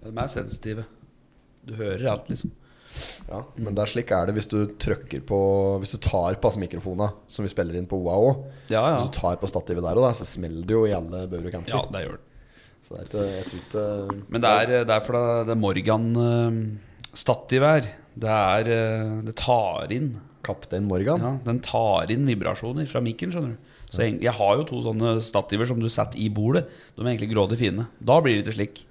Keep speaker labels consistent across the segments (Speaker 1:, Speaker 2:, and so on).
Speaker 1: De er sensitive. Du hører alt, liksom.
Speaker 2: Ja, men det er slik er det hvis du trykker på Hvis du tar på altså, mikrofona som vi spiller inn på OA òg.
Speaker 1: Ja, ja.
Speaker 2: Hvis du tar på stativet der og da, så smeller det jo i alle bauger og kanter.
Speaker 1: Ja, det gjør det.
Speaker 2: Så det er ikke, eh, jeg tror ikke
Speaker 1: Men det er, det er fordi det er Morgan-stativet her. Det er eh, Det tar inn
Speaker 2: Kaptein Morgan.
Speaker 1: Ja, den tar inn vibrasjoner fra mikken, skjønner du. Så jeg, jeg har jo to sånne stativer som du setter i bordet. De er egentlig grådig fine. Da blir det ikke slik.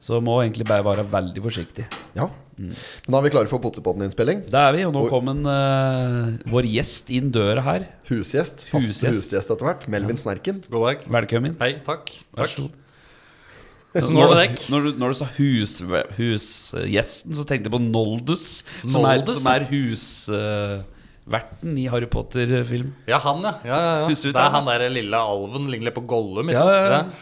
Speaker 1: Så må egentlig bare være veldig forsiktig.
Speaker 2: Ja.
Speaker 1: Mm.
Speaker 2: Men da er vi klare for Pottepotten-innspilling.
Speaker 1: Det er vi, og nå
Speaker 2: Hvor-
Speaker 1: kom en, eh, vår gjest inn døra her.
Speaker 2: Husgjest. Faste
Speaker 1: Husgjest.
Speaker 2: husgjest, etter hvert. Melvin Snerken.
Speaker 3: God dag.
Speaker 1: Velkommen.
Speaker 3: Hei, takk.
Speaker 1: Vær
Speaker 3: Takk.
Speaker 1: så god.
Speaker 3: Så nå er det dekk.
Speaker 1: Når, du, når du sa hus- husgjesten, så tenkte jeg på Noldus, som er,
Speaker 3: Noldus,
Speaker 1: som er husverten i Harry Potter-film.
Speaker 3: Ja, han, ja. ja, ja, ja.
Speaker 1: Husker du
Speaker 3: Det er
Speaker 1: det?
Speaker 3: han der lille alven ligner litt på Gollum. Ikke
Speaker 1: Ja, ja, ja.
Speaker 3: sant?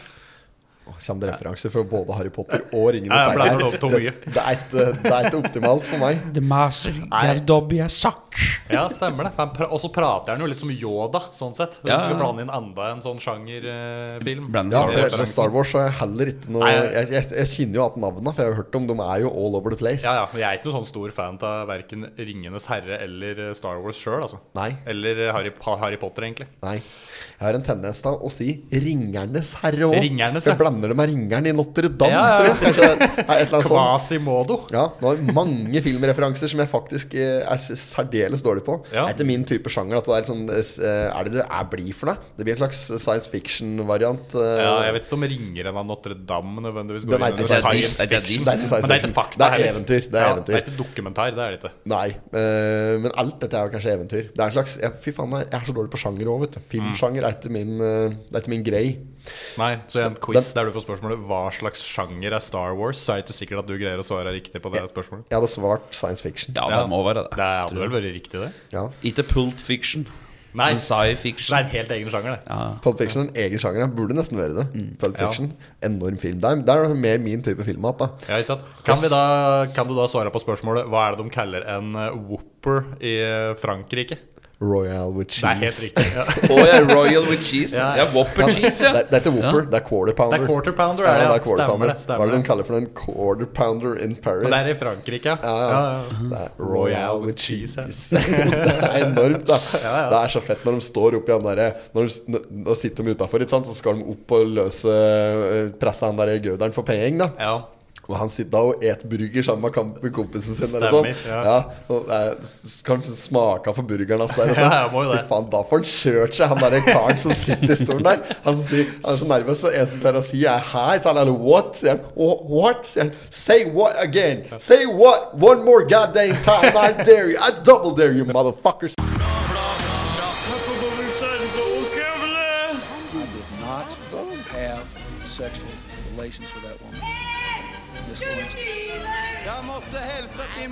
Speaker 2: Åh, Kommer det referanser fra både Harry Potter og Ringenes
Speaker 3: Ja, jeg blander
Speaker 2: herre?
Speaker 3: opp to mye.
Speaker 2: Det, det, er ikke- eh, det er ikke optimalt for meg.
Speaker 1: The master Gerdobby er sakk.
Speaker 3: Ja, ja stemmer det. For han pra- Og så prater han jo litt som Yoda, sånn sett. Hvis
Speaker 1: Ja,
Speaker 3: vi
Speaker 1: ja.
Speaker 3: blande inn enda en sånn sjangerfilm.
Speaker 1: Blandet
Speaker 2: Ja,
Speaker 1: Star
Speaker 2: for
Speaker 1: Wars-referansen.
Speaker 2: for Star Wars er heller ikke noe
Speaker 3: Nei.
Speaker 2: jeg, jeg, jeg kjenner jo at navnene, for jeg har hørt om dem er jo all over the place.
Speaker 3: Ja, ja, men Jeg er ikke noen sånn stor fan av verken 'Ringenes herre' eller eh, Star Wars sjøl. Altså.
Speaker 2: Nei.
Speaker 3: Eller eh, Harry, Pa- Harry Potter, egentlig.
Speaker 2: Nei. Jeg har en tendens til å si 'Ringernes herre' òg.
Speaker 3: Ringernes,
Speaker 2: Jeg
Speaker 3: ja.
Speaker 2: blander det med 'Ringeren i Notre Dame'.
Speaker 3: Ja, ja, ja.
Speaker 2: tror jeg. Kanskje det er et eller annet sånt.
Speaker 3: Quasimodo.
Speaker 2: sånn. Ja, nå har jeg mange filmreferanser som jeg faktisk eh, er s- særdeles dårlig på.
Speaker 3: Ja.
Speaker 2: Det er ikke min type sjanger. At det er, sånn, eh, s- eh, er det det er blir for noe? Det blir en slags science fiction-variant. eh,
Speaker 3: Ja, jeg vet ikke om 'Ringeren av Notre-Dame' nødvendigvis går
Speaker 2: Den er
Speaker 3: inn i
Speaker 2: ikke
Speaker 3: science
Speaker 1: science- det er ikke
Speaker 3: fiction.
Speaker 2: science
Speaker 3: Men det er
Speaker 2: fiction.
Speaker 3: ikke fakta
Speaker 2: Det er
Speaker 3: heller.
Speaker 2: eventyr, det er
Speaker 3: ja,
Speaker 2: eventyr.
Speaker 3: Det er ikke dokumentar. det er det ikke
Speaker 2: Nei, eh, men alt dette er jo kanskje eventyr. Det er en slags, jeg, Fy faen, jeg er så dårlig på sjanger òg,
Speaker 3: Mm.
Speaker 2: vet du. Filmsjanger er ikke min, eh, det er ikke min grei.
Speaker 3: Nei, så i en quiz der du får spørsmålet Hva slags sjanger er Star Wars, så er det ikke sikkert at du greier å svare riktig på det spørsmålet.
Speaker 2: Jeg hadde svart science fiction.
Speaker 1: Ja,
Speaker 3: Ja.
Speaker 1: det må være det.
Speaker 3: Det hadde vel vært riktig, det?
Speaker 2: Ja.
Speaker 1: Ikke Pulp Fiction,
Speaker 3: Nei,
Speaker 1: men
Speaker 3: det
Speaker 1: Sci-Fiction.
Speaker 3: er en helt egen sjanger, det.
Speaker 2: Pulp Fiction er en egen sjanger. Jeg burde nesten være det. Pulp
Speaker 3: Ja.
Speaker 2: Fiction, Enorm film. Det er, det er mer min type film igjen, da.
Speaker 3: Ja, ikke sant? Kan, vi da, kan du da svare på spørsmålet Hva er det de kaller en eh, whopper i eh, Frankrike?
Speaker 2: Royal with cheese.
Speaker 3: Det er helt riktig. Ja.
Speaker 1: Å ja, Royal with cheese.
Speaker 3: Ja.
Speaker 1: Ja, Whopper cheese,
Speaker 2: Det,
Speaker 1: ja.
Speaker 2: er- det er ikke Whopper, det er quarter pounder.
Speaker 3: Det er quarter pounder,
Speaker 2: ja,
Speaker 3: er det, ja.
Speaker 2: det er quarter
Speaker 3: Stemmer
Speaker 2: pounder.
Speaker 3: det, stemmer
Speaker 2: Hva er det de
Speaker 3: det.
Speaker 2: kaller for den quarter pounder in Paris?
Speaker 3: Og det er i Frankrike, ja.
Speaker 2: ja, ja. Det er Royal with cheese. det er enormt, da. Det er så fett når de står oppi han derre Når de når- når sitter de utafor, så skal de opp og løse øh, presse han derre gauderen for penger, da.
Speaker 3: ja.
Speaker 2: Og han sitter da og et burger sammen med kamp- med kompisen sin. Eller sånn.
Speaker 3: Stemmer,
Speaker 2: ja.
Speaker 3: ja.
Speaker 2: og, eh, s- kan han smake for burgeren hans der. Og sånn.
Speaker 3: Ja, ja, må jo det.
Speaker 2: Fy faen, da får han kjørt seg, han derre karen som sitter i stolen der. Han, som sier, han er så nervøs, og eneste han klarer å si, er hi. Så han er sånn, what? Sier han. «Wha- What? Sier han. Say what again? Say what? One more goddamn time. I dare you. I double dare you, motherfuckers.
Speaker 4: not have sexual relations with that woman. Miss Lewinsky.
Speaker 5: Jeg måtte hilse til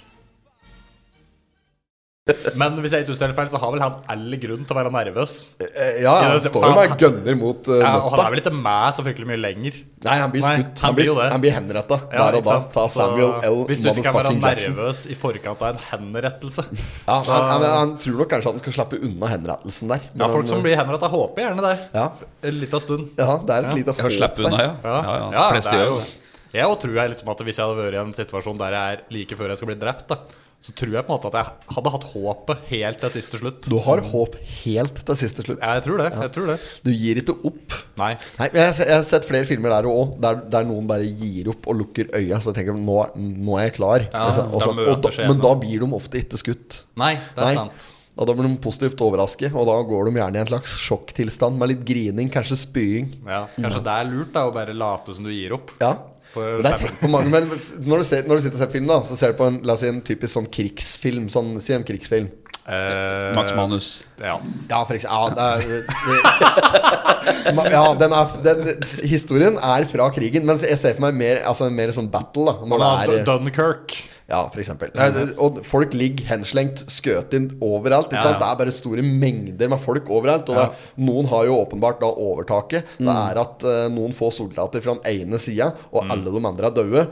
Speaker 3: Men hvis jeg ikke husker helt feil, så har vel han all grunn til å være nervøs.
Speaker 2: Eh, Ja, han
Speaker 3: Ja, det-
Speaker 2: står jo
Speaker 3: faen.
Speaker 2: med gønner mot eh,
Speaker 3: Ja, og han
Speaker 2: nøtta.
Speaker 3: er vel ikke med så fryktelig mye lenger.
Speaker 2: Nei, han blir
Speaker 3: Nei,
Speaker 2: skutt.
Speaker 3: han
Speaker 2: Han blir,
Speaker 3: blir jo det.
Speaker 2: han blir henretta
Speaker 3: Ja,
Speaker 2: der og
Speaker 3: ikke
Speaker 2: da.
Speaker 3: sant?
Speaker 2: Ta
Speaker 3: Så
Speaker 2: Samuel L.
Speaker 3: Hvis du ikke kan være
Speaker 2: motherfucking Jackson.
Speaker 3: nervøs i forkant av en henrettelse
Speaker 2: Ja, han, han, han tror nok kanskje han skal slappe unna henrettelsen der.
Speaker 3: Ja,
Speaker 2: men- eh,
Speaker 3: folk som blir henretta, håper gjerne det.
Speaker 2: Ja.
Speaker 3: En liten stund.
Speaker 2: Ja, det er et lite
Speaker 1: Jeg slipper unna, ja. Ja, ja, de fleste
Speaker 3: det er
Speaker 1: gjør
Speaker 3: jo-
Speaker 1: det.
Speaker 3: Jeg også tror jeg liksom at hvis jeg hadde vært i en situasjon der jeg er like før jeg skal bli drept, da, så tror jeg på en måte at jeg hadde hatt håpet helt til siste slutt.
Speaker 2: Du har håp helt til siste slutt.
Speaker 3: Ja, jeg tror det. jeg tror det
Speaker 2: Du gir ikke opp.
Speaker 3: Nei.
Speaker 2: Nei, men jeg, har se- jeg har sett flere filmer der òg, der, der noen bare gir opp og lukker øya. Så tenker de nå, nå er jeg klar.
Speaker 3: Ja,
Speaker 2: Altså,
Speaker 3: da
Speaker 2: og så-
Speaker 3: møter
Speaker 2: og da,
Speaker 3: skjebnen.
Speaker 2: men da blir de ofte ikke skutt.
Speaker 3: Nei, det er
Speaker 2: Nei.
Speaker 3: sant.
Speaker 2: Og da blir de positivt overrasket, og da går de gjerne i en slags sjokktilstand med litt grining, kanskje spying.
Speaker 3: Ja, kanskje det er lurt da å bare late som du gir opp.
Speaker 2: Ja.
Speaker 3: For
Speaker 2: Men det er tenkt på mange men når du, ser, når du sitter og ser film, da, så ser du på en, la oss si en typisk sånn krigsfilm. Sånn, si en krigsfilm.
Speaker 3: Eh,
Speaker 1: Max Manus.
Speaker 3: Ja.
Speaker 2: Ja, for eksempel. Ja, det er, det, ma- ja den er, den, historien er fra krigen, men jeg ser for meg mer, altså, mer sånn battle. da når det
Speaker 3: Dun-
Speaker 2: er,
Speaker 3: Dunkirk.
Speaker 2: Ja, for eksempel. Nei, det- Og folk ligger henslengt, skøt inn overalt. Ikke
Speaker 3: Mm-hmm. Ja,
Speaker 2: sant? Det
Speaker 3: ja.
Speaker 2: er bare store mengder med folk overalt. Og det, er- noen har jo åpenbart da overtaket. Det
Speaker 3: Mm.
Speaker 2: er at eh, noen få soldater fra den ene
Speaker 3: Mm.
Speaker 2: sida, og alle de andre er døde.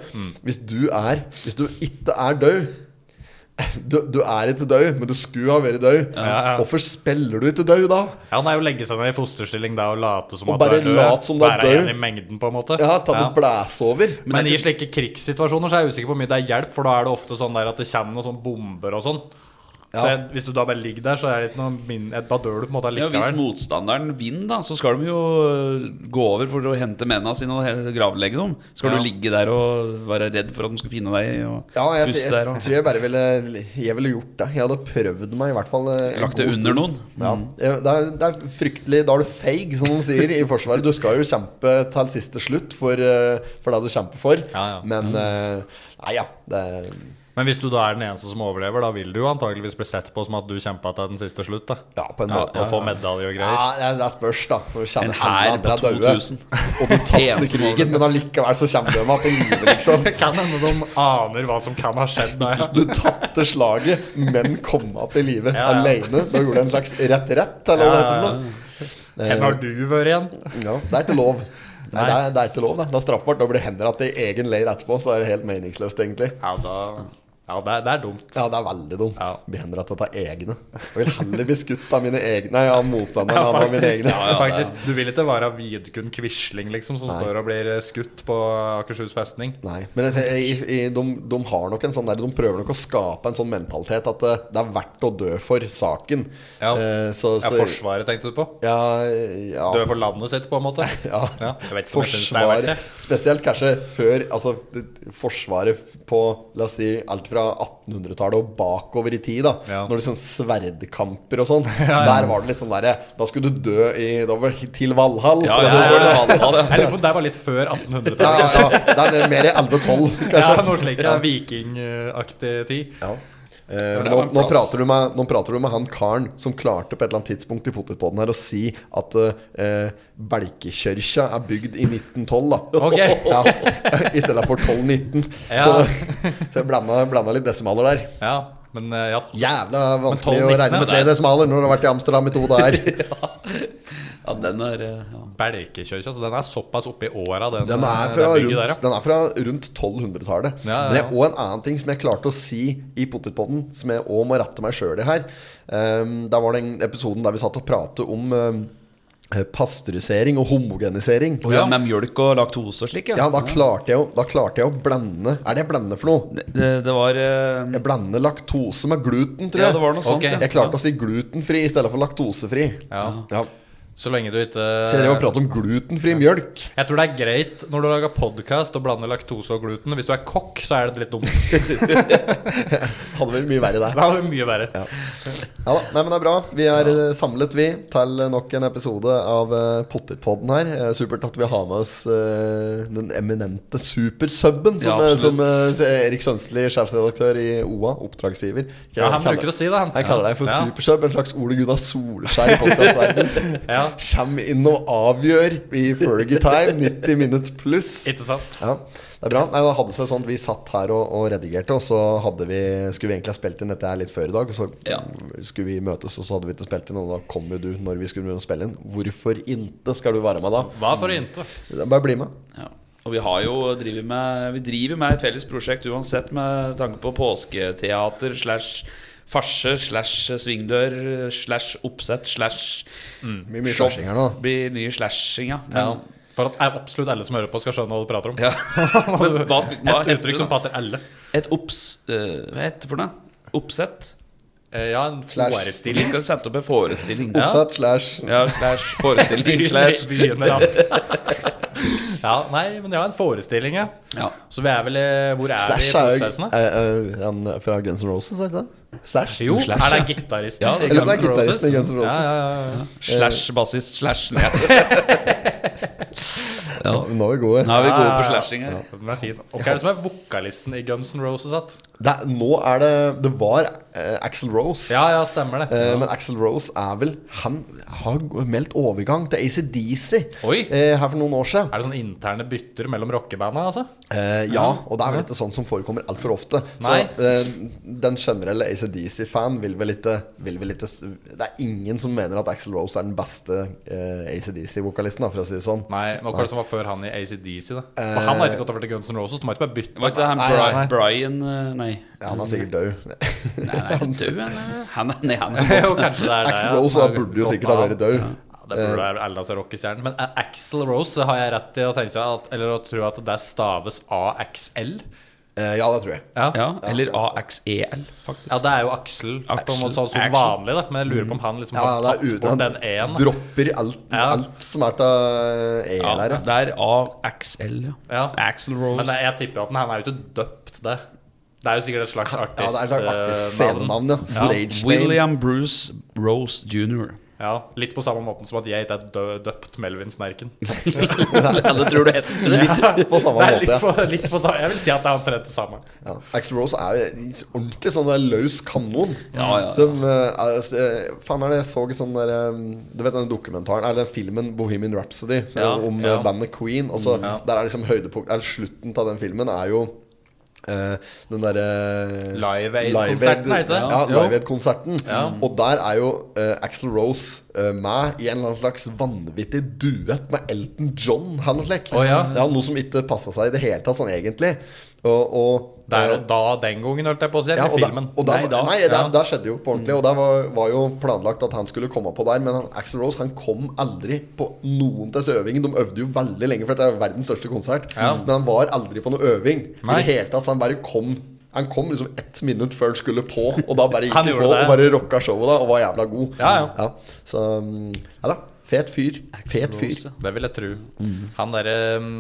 Speaker 2: Hvis du er Hvis du ikke er død Du, du er ikke død, men du skulle ha vært død.
Speaker 3: ja.
Speaker 2: Hvorfor spiller du ikke død da?
Speaker 3: Ja, Han er jo legge seg ned i fosterstilling da og late som
Speaker 2: Og
Speaker 3: at du
Speaker 2: bare
Speaker 3: er død.
Speaker 2: late som du er
Speaker 3: Være
Speaker 2: død.
Speaker 3: igjen i mengden, på en måte.
Speaker 2: Jeg har tatt en blæse over.
Speaker 3: Men i slike krigssituasjoner så er jeg usikker på hvor mye det er hjelp, for da er det ofte sånn der at det kommer noen sånne bomber og sånn. Så jeg, hvis du da bare ligger der, så er det ikke noe min... Da dør du på en måte
Speaker 1: Ja, hvis
Speaker 3: allikevel.
Speaker 1: motstanderen vinner, da, så skal de jo øh, gå over for å hente mennene sine og he- gravlegge dem. Skal
Speaker 3: Ja.
Speaker 1: du ligge der og være redd for at de skal finne deg og
Speaker 2: Ja, jeg, jeg,
Speaker 1: puste der og
Speaker 2: tror jeg bare ville Jeg ville gjort det. Jeg hadde prøvd meg i hvert fall. eh, en
Speaker 1: Lagt det
Speaker 2: god
Speaker 1: under
Speaker 2: stund.
Speaker 1: noen.
Speaker 2: Ja, jeg- det, er, det er fryktelig Da er du feig, som de sier i Forsvaret. Du skal jo kjempe til siste slutt for, eh, for det du kjemper for.
Speaker 3: Ja, ja.
Speaker 2: Men eh, Nei, ja. Det er,
Speaker 3: Men hvis du da er den eneste som overlever, da vil du jo antageligvis bli sett på som at du kjempa til den siste slutt, da.
Speaker 2: ja, på en
Speaker 3: Ja,
Speaker 2: måte.
Speaker 3: og få medalje og greier.
Speaker 2: Ja, det- det spørs, da. Når du
Speaker 1: En
Speaker 2: kjenner
Speaker 1: hær
Speaker 2: hendene
Speaker 1: på
Speaker 2: andre er døde.
Speaker 1: 2000.
Speaker 2: Og du tapte
Speaker 1: Eneste
Speaker 2: krigen, men allikevel så kommer de meg til live, liksom.
Speaker 3: Det kan hende de aner hva som kan ha skjedd der.
Speaker 2: Du tapte slaget, men kom meg til live
Speaker 3: Ja, ja.
Speaker 2: alene. Da gjorde du en slags rett-rett, eller hva det heter. for noe. Eh,
Speaker 3: Hvor har du vært igjen?
Speaker 2: Ja, det er ikke lov. Nei,
Speaker 3: Nei.
Speaker 2: det er, det er ikke lov, det. Det er straffbart. Da blir det henrettet i egen leir etterpå, så det er helt meningsløst, egentlig.
Speaker 3: Ja, da Ja, det er, det er dumt.
Speaker 2: Ja, det er veldig dumt.
Speaker 3: Ja.
Speaker 2: Bli henrettet av egne. Jeg vil heller bli skutt av mine egne Nei, av motstanderen enn av mine
Speaker 3: faktisk.
Speaker 2: egne.
Speaker 1: ja, det er-
Speaker 3: faktisk. Du vil ikke være Vidkun Quisling, liksom, som
Speaker 2: Nei.
Speaker 3: står og blir eh, skutt på Akershus festning?
Speaker 2: Nei, men jeg, tenker- i, i, de, de har nok en sånn der De prøver nok å skape en sånn mentalitet at eh, det er verdt å dø for saken.
Speaker 3: Ja.
Speaker 2: Eh, så,
Speaker 3: Ja,
Speaker 2: så,
Speaker 3: Forsvaret tenkte du på?
Speaker 2: Ja, ja.
Speaker 3: Dø for landet sitt, på en måte?
Speaker 2: Ja.
Speaker 3: Jeg vet ikke om jeg synes det er
Speaker 2: Forsvaret
Speaker 3: verdt det.
Speaker 2: Spesielt kanskje før Altså det- Forsvaret på La oss si alt fra 1800-tallet og bakover i tid. da
Speaker 3: Ja.
Speaker 2: Når det sånn sverdkamper og sånn. Der var det liksom derre Da skulle du dø i da var, det til Valhall.
Speaker 1: Ja,
Speaker 2: for
Speaker 1: ja,
Speaker 2: å
Speaker 1: ja,
Speaker 2: si det
Speaker 1: ja,
Speaker 2: sånn.
Speaker 1: ja, ja.
Speaker 3: Jeg lurer på om det var litt før 1800-tallet.
Speaker 2: Ja, ja, ja. Det er mer i 1112,
Speaker 3: Ja,
Speaker 2: kanskje.
Speaker 3: noe slikt. ja, Vikingaktig tid.
Speaker 2: Ja. Eh,
Speaker 1: For det
Speaker 2: nå,
Speaker 1: var en
Speaker 2: nå,
Speaker 1: plass.
Speaker 2: prater du med, nå prater du med han karen som klarte på et eller annet tidspunkt i Potetpodden her å si at eh, Belkekjørkja er bygd i 1912, da.
Speaker 3: Ok.
Speaker 2: Ja, I stedet for 1219.
Speaker 3: Ja.
Speaker 2: Så, så jeg blanda, blanda litt desimaler der.
Speaker 3: Ja, men eh, ja.
Speaker 2: Jævla vanskelig å
Speaker 3: 1219,
Speaker 2: regne med
Speaker 3: ja,
Speaker 2: tre
Speaker 3: det er-
Speaker 2: desimaler når du har vært i Amsterdam i to dager.
Speaker 1: Ja, den er eh, ja.
Speaker 3: Belkekjørkja, så den er såpass oppi åra, den,
Speaker 2: Den er
Speaker 3: eh,
Speaker 2: fra
Speaker 3: det bygget der, ja.
Speaker 2: rundt, den er fra rundt 1200-tallet.
Speaker 3: Ja, ja, ja.
Speaker 2: Men det er også en annen ting som jeg klarte å si i Potetpodden, som jeg òg må rette meg sjøl i her. Um, der var den episoden der vi satt og pratet om um, pasteurisering og homogenisering.
Speaker 1: Og ja, Med mjølk og laktose og slik,
Speaker 2: Ja, da klarte jeg, jo- da klarte jeg å blande Er det blende for noe?
Speaker 1: Det, det, det var eh,
Speaker 2: Jeg blander laktose med gluten, tror jeg.
Speaker 1: Ja, det var noe sånt.
Speaker 3: Ok.
Speaker 1: ja.
Speaker 2: Jeg klarte å si glutenfri i stedet for laktosefri.
Speaker 3: Ja.
Speaker 2: Ja.
Speaker 3: Så lenge du ikke eh,
Speaker 2: Så jeg drev og pratet om glutenfri mjølk.
Speaker 3: Jeg tror det er greit når du lager podkast og blander laktose og gluten. Hvis du er kokk, så er det litt dumt.
Speaker 2: Hadde vært mye verre der.
Speaker 3: Da er det mye verre.
Speaker 2: Ja da, nei, men det er bra. Vi er eh, samlet, vi, til nok en episode av eh, Pottitpodden her. Eh, Supert at vi har med oss eh, den eminente supersubben, som,
Speaker 1: Ja,
Speaker 2: eh,
Speaker 1: absolutt.
Speaker 2: som eh, Erik Sønsli, sjefsredaktør i OA, oppdragsgiver.
Speaker 3: Ja, han bruker å si det, han.
Speaker 2: Jeg kaller deg for
Speaker 3: Ja.
Speaker 2: supersub, en slags Ole Gunnar Solskjær i podkastverdenen.
Speaker 3: Ja.
Speaker 2: Kjem inn og avgjør i Fergie Time, 90 minutt pluss.
Speaker 3: Ikke sant?
Speaker 2: Ja, det er bra. Nei, det hadde seg sånn at Vi satt her og, og redigerte, og så hadde vi, skulle vi egentlig ha spilt inn dette her litt før i dag. Og så
Speaker 1: Ja.
Speaker 2: skulle vi møtes, og så hadde vi ikke spilt inn, og da kom jo du når vi skulle begynne å spille inn. Hvorfor inte skal du være med da?
Speaker 3: Hva for inte?
Speaker 2: Bare bli med.
Speaker 1: Ja. Og vi har jo driver med Vi driver med et felles prosjekt uansett, med tanke på påsketeater slash farse slash svingdør slash oppsett slash Mm.
Speaker 2: Mye, mye slashing her nå.
Speaker 1: Blir nye slashing, ja.
Speaker 3: Ja.
Speaker 1: Men,
Speaker 3: For at absolutt alle som hører på, skal skjønne hva du prater om.
Speaker 1: ja. Men hva, skal- hva
Speaker 3: Et
Speaker 1: heter det
Speaker 3: uttrykk som
Speaker 1: da?
Speaker 3: passer alle.
Speaker 1: Et opps... eh, hva heter det for noe? Oppsett?
Speaker 3: Eh, Ja, en
Speaker 2: Flash.
Speaker 1: Vi
Speaker 3: forestilling.
Speaker 1: skal sette opp en forestilling. Ja,
Speaker 2: Oppsatt slash
Speaker 1: slash forestilling slash
Speaker 3: Begynner alt. Ja, nei, men ja, en forestilling, ja.
Speaker 1: Ja.
Speaker 3: Så vi er vel i- Hvor er vi i
Speaker 2: Slash er jo
Speaker 3: prosessen, da?
Speaker 2: eh, eh, en fra Guns N' Roses, er det ikke det? Slash?
Speaker 3: Jo,
Speaker 1: Slash,
Speaker 3: er det
Speaker 1: ja.
Speaker 3: gitaristen
Speaker 1: Ja,
Speaker 3: i
Speaker 1: eller
Speaker 2: det er
Speaker 3: Guns N' Roses?
Speaker 2: gitaristen i Guns N' Roses.
Speaker 3: Ja, ja, ja, ja.
Speaker 1: slash bassist slash ned.
Speaker 2: Ja, nå er vi gode.
Speaker 1: Nå er vi gode på slashing her.
Speaker 3: Den er fin. Og hva er det som er vokalisten i Guns N' Roses? At?
Speaker 2: Det, er- nå er det Det var eh, Axl Rose.
Speaker 3: Ja, ja, stemmer det.
Speaker 2: Eh, Men Axel Rose er vel Han har meldt overgang til ACDC
Speaker 3: Oi.
Speaker 2: eh, her for noen år siden.
Speaker 3: Er det sånne interne bytter mellom rockebanda, altså?
Speaker 2: Eh, ja, og det er vel ikke sånn som forekommer altfor ofte.
Speaker 3: Nei.
Speaker 2: Så eh, den generelle ACDC-fan vil vel ikke vil vel ikke s- Det er ingen som mener at Axel Rose er den beste eh, ACDC-vokalisten, for å si det sånn.
Speaker 3: Nei, men hva er det som var før han i ACDC, da. For han har ikke gått over til Guns N' Roses. De har ikke bare bytta.
Speaker 1: Var ikke det han
Speaker 2: Eh, Nei, nei, nei.
Speaker 1: Bri- Brian eh, Nei.
Speaker 2: Ja, han er sikkert død.
Speaker 1: Nei, han er ikke død, eller? Han er, nei, han er
Speaker 3: Jo, kanskje det er det.
Speaker 2: Axl
Speaker 3: ja.
Speaker 2: Rose da burde jo
Speaker 3: Godt
Speaker 2: sikkert ha
Speaker 3: navn.
Speaker 2: vært død. Eh.
Speaker 3: Ja, det burde være Elda som rockestjernen. Men Axel Rose har jeg rett i å tenke seg at, Eller å tro at det staves AXL.
Speaker 2: Eh, Ja, det tror jeg.
Speaker 3: Ja.
Speaker 1: Ja, eller AXEL, faktisk.
Speaker 3: Ja, det er jo Aksel, på en
Speaker 1: Aksel.
Speaker 3: måte sånn som
Speaker 1: Aksel.
Speaker 3: vanlig, da. Men jeg lurer på om han liksom
Speaker 2: Ja,
Speaker 3: har
Speaker 2: det
Speaker 3: tatt
Speaker 2: er uten
Speaker 3: bort den
Speaker 2: Han
Speaker 3: E-en.
Speaker 2: dropper alt,
Speaker 3: Ja.
Speaker 2: alt som er til E
Speaker 1: Ja,
Speaker 2: der, ja.
Speaker 1: det er AXL, ja.
Speaker 3: Ja.
Speaker 1: Axl Rose.
Speaker 3: Men jeg, jeg tipper at den, han er jo ikke døpt det. Det er jo sikkert et slags eh,
Speaker 2: Ja, det er et slags artig
Speaker 3: artistnavn.
Speaker 2: scenenavn, ja. Stage name.
Speaker 1: William Bruce Rose jr.
Speaker 3: Ja, litt på samme måten som at jeg ikke er dø døpt Melvin Snerken.
Speaker 1: Alle tror det heter det.
Speaker 2: Litt på samme
Speaker 3: Det er litt
Speaker 2: måte.
Speaker 3: på, litt på samme Jeg vil si at det er omtrent det samme.
Speaker 2: Ja. Axl Rose er jo en ordentlig sånn der løs kanon.
Speaker 1: Ja, ja, ja.
Speaker 2: Som eh, er, s- eh, Faen, er det jeg så en sånn der eh, Du vet den dokumentaren Eller den filmen 'Bohemian Rhapsody' eh,
Speaker 1: Ja,
Speaker 2: om
Speaker 3: ja. Mm,
Speaker 2: eh, bandet Queen. Og så Der er liksom høydepunkt Eller slutten av den filmen er jo eh, den derre
Speaker 3: Live Aid-konserten, heter det?
Speaker 2: Ja,
Speaker 3: Jo.
Speaker 2: Live Aid-konserten. Og der er jo uh, Axel Rose eh, med i en eller annen slags vanvittig duett med Elton John. Han og slik.
Speaker 3: Å, ja.
Speaker 2: noe som ikke passa seg i det hele tatt, sånn egentlig. Og, og,
Speaker 3: Der og da den gangen, holdt jeg på å si.
Speaker 2: ja,
Speaker 3: Eller
Speaker 2: og
Speaker 3: filmen.
Speaker 2: Da, og da, nei,
Speaker 3: da.
Speaker 2: det,
Speaker 3: Ja. Mm.
Speaker 2: det skjedde jo på ordentlig. Og det var, var jo planlagt at han skulle komme på der, men han, Axel Rose han kom aldri på noen til disse øvingene. De øvde jo veldig lenge, for dette er verdens største konsert. Men han var aldri på noen øving. I
Speaker 3: Nei.
Speaker 2: det hele tatt, så han bare kom. Han kom liksom ett minutt før han skulle på, og da bare gikk
Speaker 3: Han
Speaker 2: han
Speaker 3: gjorde
Speaker 2: på
Speaker 3: det.
Speaker 2: og bare rocka showet da, og var jævla god.
Speaker 3: Ja, ja.
Speaker 2: Så mm, ja da. Fet fyr. Fet fyr.
Speaker 3: Det vil jeg tro. Han derre um,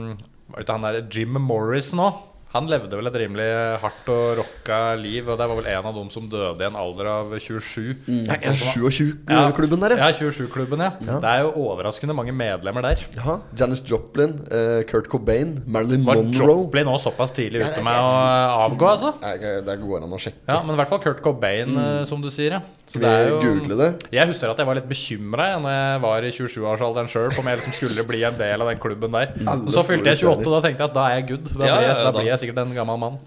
Speaker 3: Var det ikke han derre Jim Morris nå? Han levde vel et rimelig eh, hardt og rocka liv, og det var vel en av dem som døde i en alder av 27.
Speaker 2: Nei, er det 27-klubben der, ja.
Speaker 3: Ja, 27-klubben, ja. Det er jo overraskende mange medlemmer der.
Speaker 2: ja. Janis Joplin, eh, Kurt Cobain, Marilyn
Speaker 3: Var
Speaker 2: Monroe.
Speaker 3: Joplin nå såpass tidlig
Speaker 2: det
Speaker 3: ute
Speaker 2: er
Speaker 3: med å avgå, altså?
Speaker 2: Nei, Det går an å sjekke.
Speaker 3: Ja, men i hvert fall Kurt Cobain, eh, som du sier. Ja. Så
Speaker 2: Skal Mm. vi google det?
Speaker 3: Jeg husker at jeg var litt bekymra når jeg var i 27-årsalderen sjøl, på om jeg liksom skulle bli en del av den klubben der.
Speaker 2: Alle
Speaker 3: Og så fylte jeg
Speaker 2: store
Speaker 3: 28, og da tenkte jeg at da er jeg good. Da,
Speaker 1: Ja,
Speaker 3: blir, jeg,
Speaker 1: ja, ja,
Speaker 3: da
Speaker 1: da.
Speaker 3: blir jeg sikkert en gammel mann.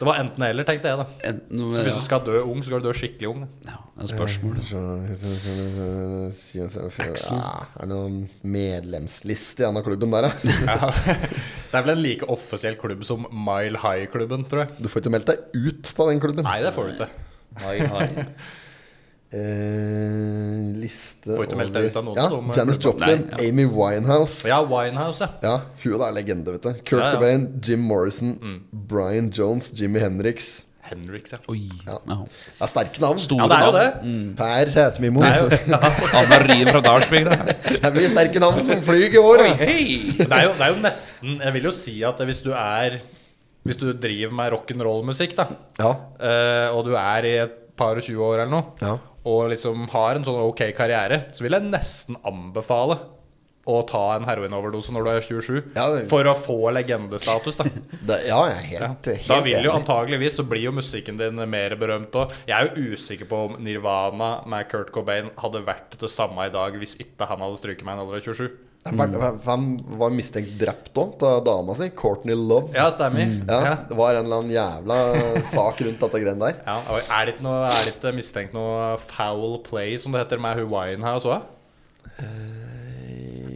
Speaker 3: Det var enten eller, tenkte jeg, da.
Speaker 1: Enten
Speaker 3: Så hvis du
Speaker 1: ja,
Speaker 3: skal dø ung, så skal du dø skikkelig ung. da.
Speaker 1: ja, det er spørsmål.
Speaker 2: Så- så- så- så- så- så- Ja, Er det noen medlemsliste i denne klubben der, da?
Speaker 3: Det er vel en like offisiell klubb som Mile High-klubben, tror jeg.
Speaker 2: Du får ikke meldt deg ut av den klubben.
Speaker 3: Nei, det får du ikke.
Speaker 2: Eh, liste
Speaker 3: Får ikke meldt deg ut av noen
Speaker 2: ja,
Speaker 3: som-
Speaker 2: Janis Joplin,
Speaker 1: Nei, ja.
Speaker 2: Amy Winehouse.
Speaker 3: Ja, Winehouse, ja.
Speaker 2: Ja, hun er legende, vet du. Kurt
Speaker 3: Ja, Mm. ja.
Speaker 2: Cobain, Jim Morrison, Brian Jones, Jimi Hendrix.
Speaker 3: Henriks, ja.
Speaker 1: Oi.
Speaker 2: Ja.
Speaker 1: Ja.
Speaker 2: Det er sterke navn.
Speaker 1: Store
Speaker 3: Ja, det er jo det.
Speaker 1: navn.
Speaker 2: Per Sætermimo.
Speaker 3: Det
Speaker 2: Det
Speaker 3: er jo,
Speaker 1: Anna Rien fra Dalsbygd.
Speaker 2: blir sterke navn som flyr i år. da.
Speaker 1: Hei!
Speaker 3: det er jo, det er jo nesten Jeg vil jo si at hvis du er Hvis du driver med rock'n'roll-musikk, da,
Speaker 2: Ja.
Speaker 3: eh, og du er i et par og 20 år eller noe,
Speaker 2: Ja.
Speaker 3: og liksom har en sånn ok karriere, så vil jeg nesten anbefale å ta en heroinoverdose når du er 27,
Speaker 2: Ja, det-
Speaker 3: for å få legendestatus, da.
Speaker 2: Det, ja, jeg er helt, helt
Speaker 3: Da vil jo
Speaker 2: enig.
Speaker 3: antageligvis så blir jo musikken din mer berømt òg. Jeg er jo usikker på om Nirvana med Kurt Cobain hadde vært det samme i dag hvis ikke han hadde stryket meg i en alder av 27.
Speaker 2: Hvem hvem var mistenkt drept òg, av dama si? Courtney Love.
Speaker 3: Ja, stemmer.
Speaker 2: Ja,
Speaker 3: Ja.
Speaker 2: Det var en eller annen jævla sak rundt dette greiene der.
Speaker 3: Ja, og er det ikke noe, er det ikke mistenkt noe foul play, som det heter, med hun Winehouse òg?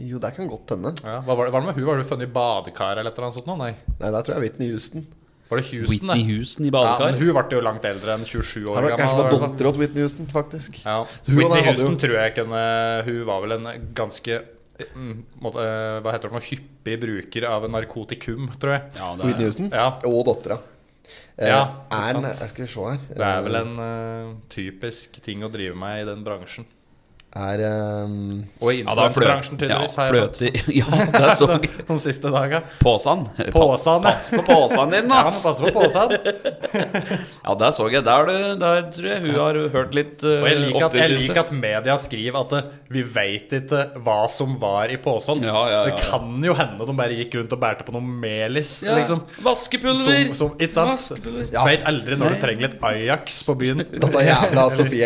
Speaker 2: Jo, det kan godt hende.
Speaker 3: Ja. Hva var det, var det med hun? Var det funnet i badekar eller et eller annet sånt? nå? Nei.
Speaker 2: Nei, der tror jeg Whitney Houston.
Speaker 3: Var det Houston,
Speaker 1: Whitney
Speaker 3: det?
Speaker 1: Houston i
Speaker 3: Ja, men
Speaker 1: badekar.
Speaker 3: hun ble jo langt eldre enn 27 år
Speaker 2: Her var,
Speaker 3: gammel.
Speaker 2: kanskje det var
Speaker 3: i hvert fall.
Speaker 2: dattera til Whitney Houston, faktisk.
Speaker 3: Ja.
Speaker 2: Hun og
Speaker 3: Whitney
Speaker 2: den hadde jo-
Speaker 3: Houston tror jeg kunne Hun var vel en ganske mm, måte, eh, Hva heter det for noe? Hyppig bruker av narkotikum, tror jeg.
Speaker 1: Ja, det er-
Speaker 2: Whitney Houston
Speaker 3: Ja.
Speaker 2: og dattera.
Speaker 3: Ja,
Speaker 2: er
Speaker 3: ikke
Speaker 2: en,
Speaker 3: sant.
Speaker 2: skal vi se her
Speaker 3: Det er vel en eh, typisk ting å drive med i den bransjen.
Speaker 2: Er eh,
Speaker 3: Og i
Speaker 1: Ja, da fløt-
Speaker 3: influensebransjen, tydeligvis.
Speaker 1: Ja,
Speaker 3: har jeg
Speaker 1: fløte Ja, det så
Speaker 3: fått De siste daga.
Speaker 1: Påsan.
Speaker 3: Påsan, ja.
Speaker 1: Pass på påsan din, da.
Speaker 3: Ja, men pass på posen.
Speaker 1: Ja, der så jeg. Der, du- der tror jeg hun har hørt litt uh,
Speaker 3: Og jeg liker, at,
Speaker 1: ofte i
Speaker 3: jeg
Speaker 1: siste.
Speaker 3: liker at media skriver at eh, vi veit ikke eh, hva som var i posen.
Speaker 1: Ja, ja, ja,
Speaker 3: Det
Speaker 1: ja.
Speaker 3: kan jo hende de bare gikk rundt og bærte på noe melis,
Speaker 1: ja.
Speaker 3: liksom.
Speaker 1: Vaskepulver!
Speaker 3: Som, som, ikke sant?
Speaker 1: Vaskepulver.
Speaker 2: Ja.
Speaker 3: Vet aldri når du trenger litt Ajax på byen.
Speaker 2: dette jævla Sophie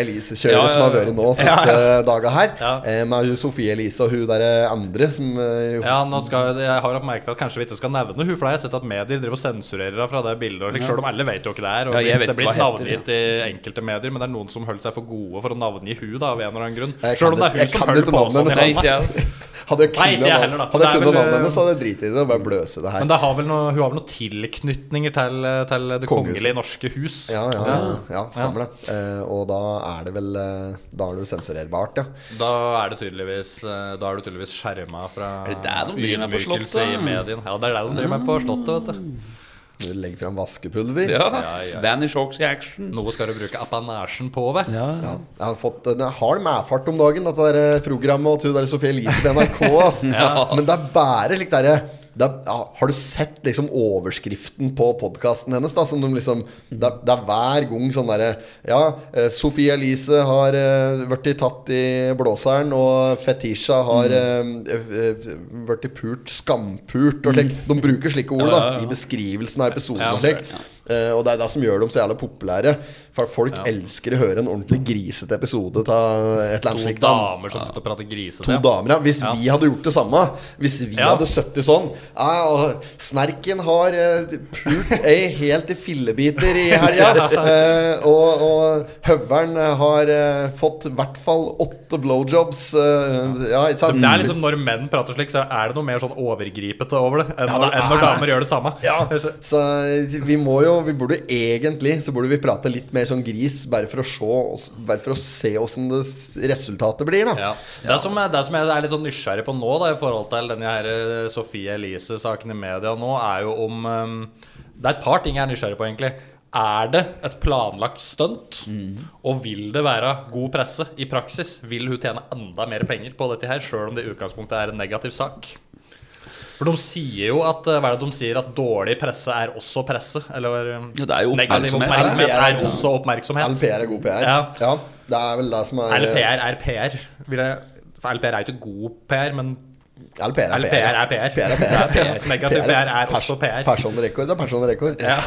Speaker 1: Ja,
Speaker 2: Elise-kjøret
Speaker 1: ja, ja.
Speaker 2: som har vært nå siste
Speaker 3: Ja, ja.
Speaker 2: dagene laga her.
Speaker 3: Ja.
Speaker 2: Eh, med hun Sofie Elise og hun derre andre som eh,
Speaker 3: Ja, nå skal, jeg- jeg har merket at kanskje vi ikke skal nevne hun, for da har jeg sett at medier driver og sensurerer henne fra det bildet. Og slik, selv om alle vet jo ikke det er. Og
Speaker 1: Ja, jeg
Speaker 3: det er
Speaker 1: vet ikke
Speaker 3: blitt
Speaker 1: hva
Speaker 3: navngitt i enkelte medier, men det er noen som holder seg for gode for å navngi hun da, av en eller annen grunn.
Speaker 2: Jeg
Speaker 3: Selv om
Speaker 2: kan det-
Speaker 3: det er hun
Speaker 2: jeg
Speaker 3: som
Speaker 2: kan
Speaker 3: holder
Speaker 2: ikke
Speaker 3: på
Speaker 2: navnet
Speaker 3: sånn.
Speaker 2: hennes,
Speaker 3: hele
Speaker 1: Nei,
Speaker 3: tiden.
Speaker 1: ikke jeg.
Speaker 2: Hadde jeg
Speaker 3: Nei, ikke
Speaker 2: kunnet
Speaker 3: jeg
Speaker 2: navn-
Speaker 3: heller, da.
Speaker 2: hadde jeg
Speaker 3: Det er
Speaker 2: kunnet
Speaker 3: vel,
Speaker 2: navnet hennes,
Speaker 3: eh,
Speaker 2: hadde jeg driti i det og bare bløse det her.
Speaker 3: Men det har vel noe, hun har vel noen tilknytninger til, til Det
Speaker 2: Kongehuset.
Speaker 3: kongelige norske hus.
Speaker 2: Ja, ja, ja, ja, stemmer det. Eh, og da er det vel eh, Da er det jo sensurerbart, ja.
Speaker 3: Da er det tydeligvis eh, Da er du tydeligvis skjerma fra
Speaker 1: Er det det de driver med på
Speaker 3: ydmykelse
Speaker 1: Slottet?
Speaker 3: i medien. Ja, det er det de driver med på Slottet, vet du.
Speaker 2: Du legger fram vaskepulver.
Speaker 1: Ja.
Speaker 3: Ja, ja.
Speaker 1: Vanish Hawks i action.
Speaker 3: Noe skal du bruke apanasjen på, ved.
Speaker 1: Ja.
Speaker 2: Ja, jeg har fått en hard medfart om dagen, dette der eh, programmet og hun der Sofie Elise på NRK. Ass. Men det er bare slik derre det er, ja, Har du sett liksom overskriften på podkasten hennes? da Som de liksom Det er, det er hver gang sånn derre Ja, eh, Sofie Elise har eh, vært i tatt i blåseren, og Fetisha har mm. vært i pult, skampult og slik. De bruker slike ord da
Speaker 1: Mm. Ja, ja, ja.
Speaker 2: i beskrivelsen av episoden.
Speaker 3: Ja,
Speaker 2: og slik Eh, og det er det som gjør dem så jævlig populære. For folk elsker å høre en ordentlig grisete episode av et eller
Speaker 3: To
Speaker 2: annet slikt. da.
Speaker 3: damer som sitter og prater grisete.
Speaker 2: To damer, ja. Hvis vi hadde gjort det samme, hvis vi
Speaker 3: Ja.
Speaker 2: hadde sittet sånn ja, og Snerken har eh, pult ei helt i fillebiter i helga. eh, og og høveren har eh, fått i hvert fall åtte blowjobs. eh, ja, ikke sant?
Speaker 3: Det er liksom Når menn prater slik, så er det noe mer sånn overgripete over det enn, når,
Speaker 2: det
Speaker 3: enn når
Speaker 2: er det.
Speaker 3: damer gjør det samme.
Speaker 2: Ja,
Speaker 3: Det er så-
Speaker 2: så eh, vi må jo Vi burde egentlig Så burde vi prate litt mer sånn gris, bare for å se oss- Bare for å se åssen det s- resultatet blir, da.
Speaker 3: Ja. Det, som, er- det som jeg er litt sånn nysgjerrig på nå, da, i forhold til denne her eh, Sophie Elise-saken i media nå, er jo om eh, Det er et par ting jeg er nysgjerrig på, egentlig. Er det et planlagt stunt?
Speaker 1: Mhm.
Speaker 3: Og vil det være god presse i praksis? Vil hun tjene enda mer penger på dette her, sjøl om det i utgangspunktet er en negativ sak? For de sier jo at eh, Hva er det de sier? At dårlig presse er også presse? Eller eh,
Speaker 1: Ja, det er jo
Speaker 3: negativ
Speaker 1: oppmerksomhet.
Speaker 2: LPR,
Speaker 3: oppmerksomhet er
Speaker 2: ja.
Speaker 3: også oppmerksomhet?
Speaker 2: LPR er god PR.
Speaker 3: Ja.
Speaker 2: Det er vel det som er
Speaker 3: LPR er PR. Vil jeg, for LPR er jo ikke god PR, men
Speaker 2: LPR er
Speaker 3: LPR er PR.
Speaker 2: PR er PR.
Speaker 3: Det er PR. Negativ PR er også PR.
Speaker 2: Personrekord er personrekord.
Speaker 3: ja.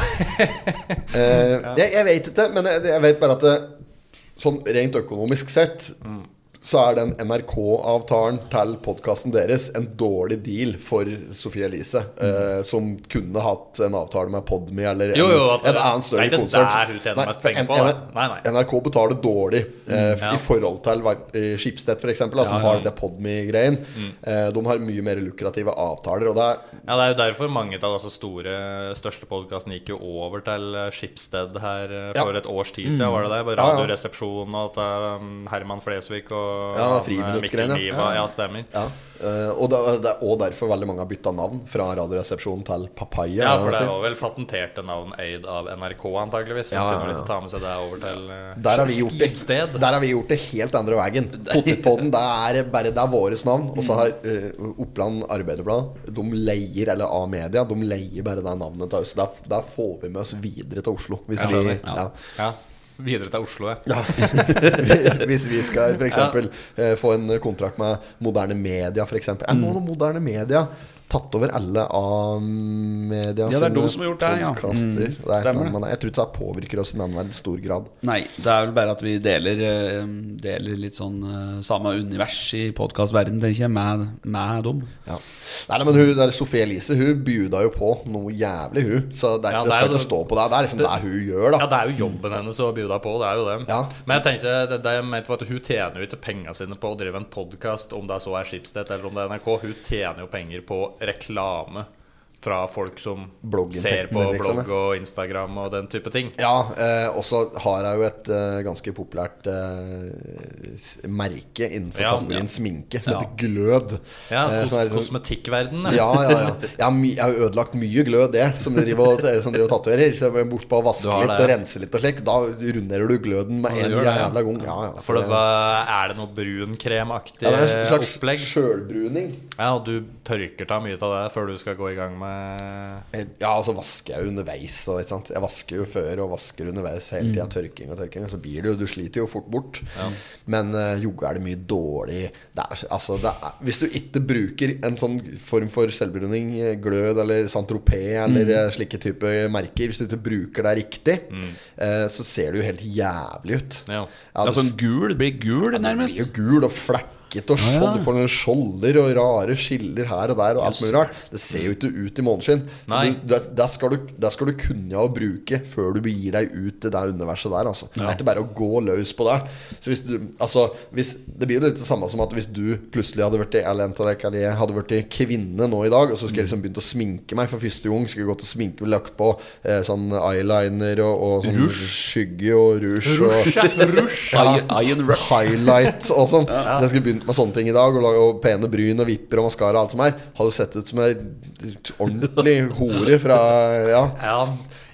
Speaker 2: Eh, jeg, jeg vet ikke, men jeg, jeg vet bare at det, sånn rent økonomisk sett så er den NRK-avtalen til podkasten deres en dårlig deal for Sophie Elise, eh, som kunne hatt en avtale med Podme eller
Speaker 3: Jo, jo,
Speaker 2: en,
Speaker 3: at-
Speaker 2: en annen
Speaker 3: Nei,
Speaker 2: større
Speaker 3: det er
Speaker 2: konsert.
Speaker 3: der hun tjener mest penger på, da. Nei, nei.
Speaker 2: NRK betaler dårlig eh,
Speaker 3: ja.
Speaker 2: i forhold til eh, Schibsted, f.eks., som
Speaker 3: Ja, Mm. ja,
Speaker 2: har
Speaker 3: ja.
Speaker 2: det Podme-greien. Eh, de har mye mer lukrative avtaler, og det er
Speaker 3: ja, det er jo derfor mange av de store, største podkastene gikk jo over til eh, Schibsted her eh, for
Speaker 2: Ja.
Speaker 3: et års tid siden, var det det? Bare
Speaker 2: Ja, ja.
Speaker 3: Radioresepsjonen og at um, Herman Flesvig og
Speaker 2: Ja,
Speaker 3: han, eh,
Speaker 2: friminuttgreiene.
Speaker 3: Mikkel Niva.
Speaker 2: Ja, ja.
Speaker 3: Ja, stemmer.
Speaker 2: Ja, eh, og, det, det er også derfor veldig mange har bytta navn fra Radioresepsjonen til Papaya.
Speaker 3: Ja,
Speaker 2: er
Speaker 3: for det
Speaker 2: det?
Speaker 3: var vel patenterte navn eid av NRK, antageligvis. Så
Speaker 2: Ja,
Speaker 3: ja,
Speaker 2: ja,
Speaker 3: kunne
Speaker 2: ja.
Speaker 3: de ta med seg det over til eh,
Speaker 2: der har, vi gjort det,
Speaker 3: Schibsted.
Speaker 2: der har vi gjort det helt andre veien. Potipodden, det er bare det er våres navn. Og så har eh, Oppland Arbeiderblad De leier, eller A-media, de leier bare det navnet til oss. Der, der får vi med oss videre til Oslo. Hvis,
Speaker 3: Jeg
Speaker 2: vi,
Speaker 3: skjønner,
Speaker 2: ja.
Speaker 3: Ja. Videre til Oslo, ja.
Speaker 2: Ja. hvis vi skal f.eks. Ja. få en kontrakt med moderne media, f.eks. Er nå noe moderne media tatt over alle A-media
Speaker 1: Ja, det er
Speaker 2: sine
Speaker 1: de som har gjort det, ja.
Speaker 2: podcaster?
Speaker 1: Mm,
Speaker 2: Det er
Speaker 1: stemmer
Speaker 2: et eller annet,
Speaker 1: det.
Speaker 2: men jeg tror ikke det påvirker oss i nevneverdig stor grad.
Speaker 1: Nei, det er vel bare at vi deler, eh, deler litt sånn eh, samme univers i podkastverdenen, tenker jeg, med, med dem.
Speaker 2: Ja. Nei, nei, men hun der Sofie Elise Hun bjuda jo på noe jævlig, hun. Så det, er-
Speaker 3: Ja,
Speaker 2: det
Speaker 3: det er
Speaker 2: skal
Speaker 3: jo
Speaker 2: ikke
Speaker 3: det-
Speaker 2: stå på det. Det er liksom det hun gjør, da.
Speaker 3: Ja, det er jo jobben hennes å bjuda på, det er jo det.
Speaker 2: Ja.
Speaker 3: Men jeg tenker, det, det jeg mente var at hun tjener jo ikke penga sine på å drive en podkast, om det så er Schibsted eller om det er NRK. Hun tjener jo penger på reklame fra folk som ser
Speaker 2: Blogginntektene,
Speaker 3: på
Speaker 2: liksom,
Speaker 3: blogg og Instagram og den type ting.
Speaker 2: Ja, eh, og så har jeg jo et eh, ganske populært eh, s- merke innenfor
Speaker 3: Ja,
Speaker 2: kategorien
Speaker 1: ja.
Speaker 2: sminke som
Speaker 1: Ja.
Speaker 2: heter Glød.
Speaker 3: Ja,
Speaker 2: Eh,
Speaker 3: kos
Speaker 2: som er liksom-
Speaker 3: Kosmetikkverdenen.
Speaker 2: Ja, ja, ja. Jeg har, my jeg har ødelagt mye glød, det, som driver og, som driver og tatoverer. Så jeg må bort på å vaske
Speaker 3: Du har
Speaker 2: litt
Speaker 3: det,
Speaker 2: og
Speaker 3: ja.
Speaker 2: rense litt og slik. Da runderer du gløden med
Speaker 3: Ja,
Speaker 2: en
Speaker 3: du gjør det, ja.
Speaker 2: jævla gang. Ja, ja.
Speaker 3: For
Speaker 2: så
Speaker 3: det, var- er det noe brunkremaktig
Speaker 2: ja, det er en slags
Speaker 3: opplegg?
Speaker 2: sjølbruning.
Speaker 3: Ja, og du tørker ta mye av det før du skal gå i gang med eh,
Speaker 2: Ja, og så vasker jeg jo underveis. Og, ikke sant? Jeg vasker jo før og vasker underveis
Speaker 1: Mm.
Speaker 2: hele tida. Tørking og tørking. Og så blir det jo Du sliter jo fort bort. Men eh, jogge er det mye dårlig det er, altså, det er, Hvis du ikke bruker en sånn form for selvbruning, eh, glød eller Saint-Tropez
Speaker 1: Mm.
Speaker 2: eller eh, slike type merker, hvis du ikke bruker det riktig, eh, så ser det jo helt jævlig ut.
Speaker 3: Ja.
Speaker 2: Ja,
Speaker 1: Det
Speaker 2: det
Speaker 1: er sånn gul, det blir gul nærmest.
Speaker 2: blir jo gul og flekkete og skjold. Du får noen skjolder og rare skiller her og der og alt mulig rart. Det ser jo ikke ut i måneskinn. Så
Speaker 3: Nei.
Speaker 2: du, det, det, skal du, det skal du kunne å bruke før du begir deg ut til det universet der. Altså. Det er ikke bare å gå løs på det. Så hvis du, altså, hvis, det blir jo litt det samme som at hvis du plutselig hadde vært, eller en av dere, eller jeg, hadde vært kvinne nå i dag, og så skulle jeg liksom begynt å sminke meg for første gang, skulle jeg gått og sminke meg, lagt på eh, sånn eyeliner og, og sånn skygge og rouge. og,
Speaker 1: Iron- Iron Rush.
Speaker 2: highlight og sånn. Jeg skulle begynt med sånne ting i dag. Og, lage- og pene bryn og vipper og maskara og alt som er. Hadde sett ut som ei ordentlig hore fra Ja.
Speaker 3: ja,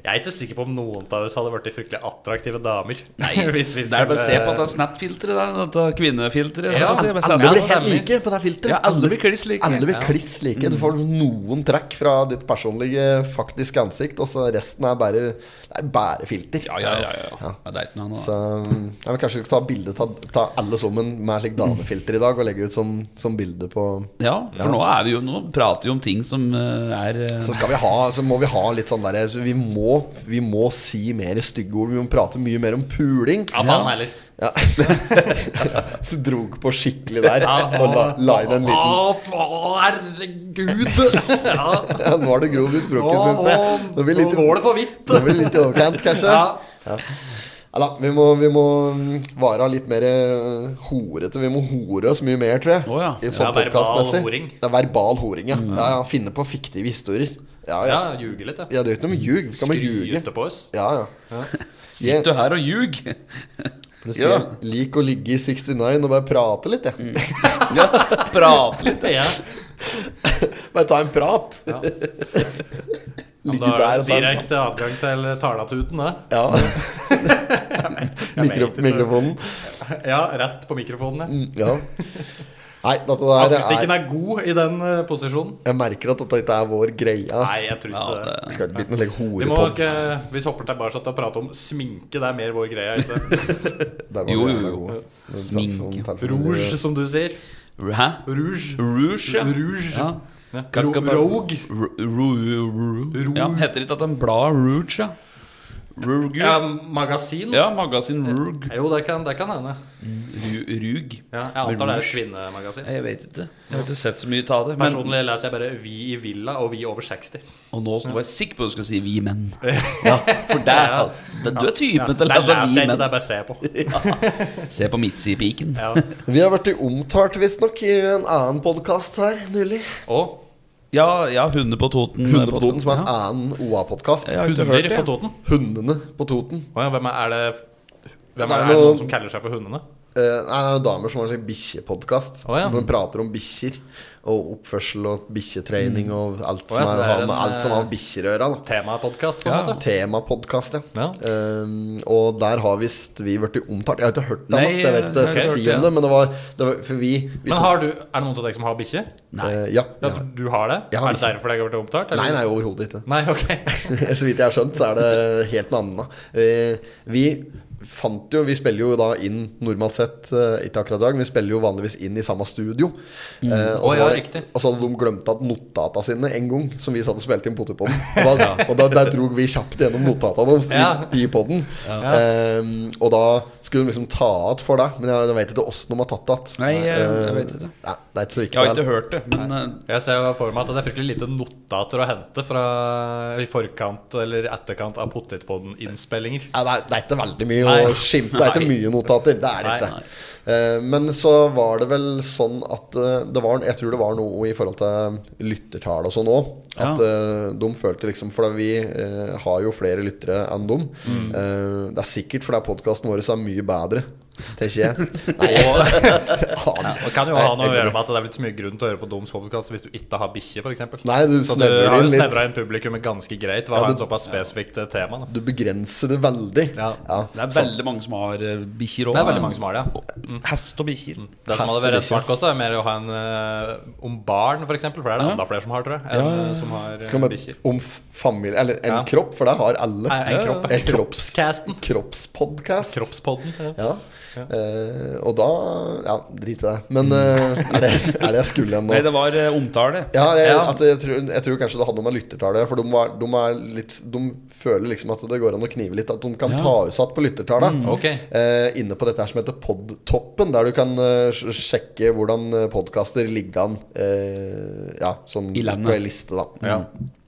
Speaker 3: jeg er ikke sikker på om noen av oss hadde vært de fryktelig attraktive damer. Nei,
Speaker 1: Det er bare å se på dette Snap-filteret, da, dette kvinnefilteret.
Speaker 3: Ja,
Speaker 1: da, så jeg bare
Speaker 2: Alle
Speaker 1: sender-
Speaker 2: blir helt like på det filteret.
Speaker 1: Ja, alle blir kliss like. Mm.
Speaker 2: Alle blir kliss like. Du får noen trekk fra ditt personlige, faktiske ansikt, og så resten er bare, det er bare filter.
Speaker 1: Ja, ja, ja, ja. ja. Det er ikke noe annet.
Speaker 2: Så jeg vil kanskje ta bilde ta, ta alle sammen med slik damefilter i dag, og legge ut som, som bilde på
Speaker 1: Ja, for nå, er vi jo, nå prater vi om ting som eh, er eh,
Speaker 2: Så skal vi ha, så må vi ha litt sånn der så vi, må, vi må si mer stygge ord. Vi må prate mye mer om puling.
Speaker 3: Ja, faen heller.
Speaker 2: Ja. så dro på skikkelig der og la, la inn en liten
Speaker 3: Å, faen, herregud! ja.
Speaker 2: ja, Nå er det grov i språket,
Speaker 3: Å,
Speaker 2: syns jeg. Nå blir det litt,
Speaker 3: nå går det for vidt.
Speaker 2: nå blir det litt i overkant, kanskje.
Speaker 3: Ja.
Speaker 2: Ja. Ja da, vi må, vi må mm, være litt mer eh, horete. Vi må hore oss mye mer, tror jeg.
Speaker 1: Å, ja. Mm.
Speaker 2: I sånn
Speaker 3: Ja, verbal
Speaker 2: podcastmessig.
Speaker 3: horing.
Speaker 2: Det er verbal horing, ja. ja, ja finne på fiktive historier. Ja, ja.
Speaker 3: ja, ljuge litt, ja.
Speaker 2: ja det er jo ikke noe med ljug. Skal man ljuge?
Speaker 3: Skryte på oss.
Speaker 2: Ja, ja. Jeg-
Speaker 1: Sitter du her og ljuger?
Speaker 2: for det sier jeg lik å ligge i 69 og bare prate litt, jeg.
Speaker 3: Mm.
Speaker 1: Prate litt.
Speaker 3: Ja.
Speaker 2: Bare ta en prat.
Speaker 3: Da
Speaker 2: Ligge der
Speaker 3: er
Speaker 2: og ta en
Speaker 3: det direkte adgang til talatuten, det.
Speaker 2: Ja. Mikro,
Speaker 3: vet ikke.
Speaker 2: mikrofonen. Mm,
Speaker 3: Ja, rett på mikrofonen. ja.
Speaker 2: Ja. Nei, dette der
Speaker 3: Akustikken
Speaker 2: er
Speaker 3: er god i den eh, posisjonen.
Speaker 2: Jeg merker at dette ikke er vår greie,
Speaker 3: Nei,
Speaker 2: ass.
Speaker 3: jeg tror ikke det.
Speaker 2: Jeg skal ikke bli noe like
Speaker 3: Vi må
Speaker 2: horepod.
Speaker 3: ikke, vi hopper tilbake til å prate om sminke. Det er mer vår greie. ikke det?
Speaker 2: Der var vi
Speaker 1: Jo, jo,
Speaker 2: jævla
Speaker 1: jo.
Speaker 2: gode. Den
Speaker 1: Sminke.
Speaker 2: telefonen- telefonen-
Speaker 3: Rouge, som du sier.
Speaker 1: Hæ?
Speaker 3: Rouge.
Speaker 1: Rouge, ja.
Speaker 3: Rouge.
Speaker 1: ja.
Speaker 3: Ro- Rogue.
Speaker 1: Ro- ro- ro- Ja, heter det ikke at den blar Rouge, ja? Rouge.
Speaker 3: Ja, magasin.
Speaker 1: Ja, magasin Roug.
Speaker 3: Jo, det kan, det kan hende.
Speaker 1: Ru- Rug.
Speaker 3: Ja, jeg antar det er et kvinnemagasin.
Speaker 1: Jeg vet ikke. Jeg har ikke sett så mye av det. Men,
Speaker 3: Personlig leser jeg bare 'Vi i villa' og 'Vi over 60'.
Speaker 1: og nå var jeg sikker på at du skulle si 'vi menn'. Ja, for der, det, du er
Speaker 3: Ja,
Speaker 1: typen
Speaker 3: det
Speaker 1: til å
Speaker 3: leser
Speaker 1: lese
Speaker 3: jeg
Speaker 1: 'vi
Speaker 3: ikke, det
Speaker 1: menn'.
Speaker 3: er bare ser jeg på.
Speaker 1: Se på midtsidepiken.
Speaker 3: Ja.
Speaker 2: Vi har vært omtalt, visstnok, i en annen podkast her nylig.
Speaker 3: Og
Speaker 1: Ja, ja, Hunde på Toten.
Speaker 2: Hundene på Toten, som er en
Speaker 1: ja.
Speaker 2: annen OA-podkast.
Speaker 1: Jeg har ikke hørt
Speaker 3: hunder
Speaker 1: det.
Speaker 3: på Toten.
Speaker 2: Hundene på Toten.
Speaker 3: Å ja, hvem er, er det hvem
Speaker 2: Det
Speaker 3: er,
Speaker 2: er
Speaker 3: er det
Speaker 2: noen-
Speaker 3: noen som kaller seg for hundene?
Speaker 2: Eh, nei, det er jo damer som har en sånn bikkjepodkast.
Speaker 3: Å, ja.
Speaker 2: Hvor de prater om bikkjer. Og oppførsel og bikkjetrening og alt
Speaker 3: Mm. Å,
Speaker 2: som
Speaker 3: ja, så
Speaker 2: er-
Speaker 3: det er
Speaker 2: har
Speaker 3: en,
Speaker 2: med- alt som har med bikkjer å gjøre. da.
Speaker 3: Temapodkast, på en
Speaker 1: Ja.
Speaker 3: måte.
Speaker 2: Temapodkast, ja.
Speaker 3: Ja.
Speaker 2: Ehm, og der har visst vi blitt omtalt. Jeg har ikke hørt det,
Speaker 1: Nei,
Speaker 2: Mats, så jeg vet ikke hva jeg
Speaker 1: jeg
Speaker 2: skal
Speaker 1: har
Speaker 2: si
Speaker 1: hørt det.
Speaker 2: om det. Men det var, det var For vi, vi
Speaker 3: Men
Speaker 2: tok-
Speaker 3: har du, er det noen av dere som har bikkje?
Speaker 2: eh, ja.
Speaker 3: Ja, for Du har det?
Speaker 2: Jeg har
Speaker 3: er det
Speaker 2: bikkje.
Speaker 3: derfor dere har vært omtalt? eller?
Speaker 2: Nei, nei, overhodet ikke.
Speaker 3: Nei, ok.
Speaker 2: så vidt jeg har skjønt, så er det helt noe annet. Eh, Vi fant jo Vi spiller jo da inn normalt sett, eh, ikke akkurat i dag, men vi spiller jo vanligvis inn i samme studio.
Speaker 1: Mm.
Speaker 2: Eh, og,
Speaker 3: Å,
Speaker 2: så
Speaker 3: ja,
Speaker 2: var-
Speaker 3: riktig.
Speaker 2: og så hadde de glemt at notata sine en gang, som vi satt og spilte inn potet på den. Og da, og da der drog vi kjapt gjennom notata deres
Speaker 3: Ja.
Speaker 2: i, i poden. og da skulle de liksom ta att for det, men jeg, jeg vet ikke åssen de har tatt att.
Speaker 1: Nei, jeg- jeg
Speaker 2: Eh,
Speaker 1: vet ikke.
Speaker 2: Nei, det er ikke så viktig.
Speaker 1: Jeg har
Speaker 2: det
Speaker 1: ikke
Speaker 2: er-
Speaker 1: hørt det, men eh,
Speaker 3: Jeg ser jo for meg at det er fryktelig lite notater å hente fra i forkant eller etterkant av Potetpodden-innspillinger.
Speaker 2: Ja, det, er, det er ikke veldig mye
Speaker 3: Nei.
Speaker 2: å skimte. Det er ikke
Speaker 3: Nei.
Speaker 2: mye notater. Det er det
Speaker 3: Nei,
Speaker 2: ikke.
Speaker 3: nei.
Speaker 2: Eh, Men så var det vel sånn at eh, det var, Jeg tror det var noe i forhold til lyttertall og sånn òg. At eh, de følte liksom For vi
Speaker 3: Mm.
Speaker 2: eh, har jo flere lyttere enn dem. Eh, Det er sikkert fordi podkasten vår er mye bedre tenker jeg.
Speaker 3: Og,
Speaker 2: Aner.
Speaker 3: og kan jo ha noe å
Speaker 2: Nei, jeg-
Speaker 3: gjøre med at det er blitt så mye grunn til å høre på Doms podcast hvis du ikke har bikkje, f.eks.
Speaker 2: Nei, du
Speaker 3: Så du
Speaker 2: snevrer
Speaker 3: har jo
Speaker 2: inn litt.
Speaker 3: snevra inn publikummet ganske greit. Hva
Speaker 2: Ja, du-
Speaker 3: er en såpass spesifikt eh, tema? Da?
Speaker 2: Du begrenser det veldig.
Speaker 3: Ja.
Speaker 1: Det er
Speaker 2: sant.
Speaker 1: veldig mange som har eh, bikkjer òg.
Speaker 3: Sånn. Det er veldig mange som har det. ja.
Speaker 1: Hest og bikkjer.
Speaker 3: Mm. Det som
Speaker 2: Hester
Speaker 3: hadde vært
Speaker 2: ikke.
Speaker 3: smart kost, er mer å ha en eh, om barn, f.eks., for, eksempel, for det er det
Speaker 1: Ja.
Speaker 3: enda flere som har, tror jeg, enn eh, som har
Speaker 2: Kan
Speaker 3: eh,
Speaker 2: man-
Speaker 3: bikkjer.
Speaker 2: Om f- familie Eller en
Speaker 3: Ja.
Speaker 2: kropp, for det har alle.
Speaker 3: Nei, En kropp.
Speaker 2: En kropps,
Speaker 3: Kroppscasten.
Speaker 2: kroppspodkast.
Speaker 3: Kroppspodden. Ja.
Speaker 2: Ja. Eh, og da Ja, drit i det. Men eh, er, det, er det jeg skulle hen nå?
Speaker 1: Mm. Nei, det var eh, omtale.
Speaker 2: Ja, jeg,
Speaker 3: Ja.
Speaker 2: At jeg, tror, jeg tror kanskje det hadde noe med lyttertall å gjøre. For de, var, de, er litt, de føler liksom at det går an å knive litt. At de kan
Speaker 1: Ja. Mm.
Speaker 2: ta ut satt på lyttertallet.
Speaker 3: ok.
Speaker 2: Eh, inne på dette her som heter Podtoppen, der du kan eh, sj- sjekke hvordan eh, podkaster ligger an eh, ja, sånn
Speaker 1: I landet.
Speaker 2: på ei liste. da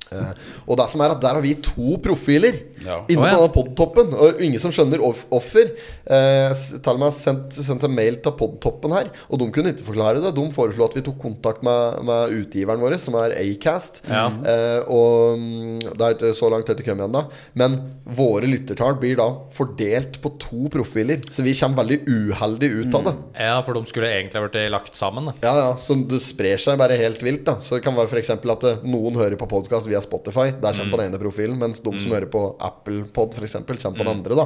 Speaker 2: Eh, og det som er at der har vi to profiler
Speaker 1: Ja.
Speaker 2: inne på
Speaker 3: Å, ja.
Speaker 2: denne podtoppen. Og ingen som skjønner off offer. Eh, s- Talma har sendt, sendt en mail til podtoppen her, og de kunne ikke forklare det. De foreslo at vi tok kontakt med, med utgiveren vår, som er Acast.
Speaker 3: Ja.
Speaker 2: Eh, og mm, det er ikke så langt etter kommet ennå. Men våre lyttertall blir da fordelt på to profiler, så vi kommer veldig uheldig ut av det.
Speaker 3: Ja, for de skulle egentlig ha blitt lagt sammen. Da.
Speaker 2: Ja, ja, så det sprer seg bare helt vilt. da Så det kan være for eksempel at eh, noen hører på podkast via Spotify. Der kommer
Speaker 3: Mm.
Speaker 2: på den ene profilen, mens de som hører på Applepod, f.eks., kommer på
Speaker 3: Mm.
Speaker 2: den andre. da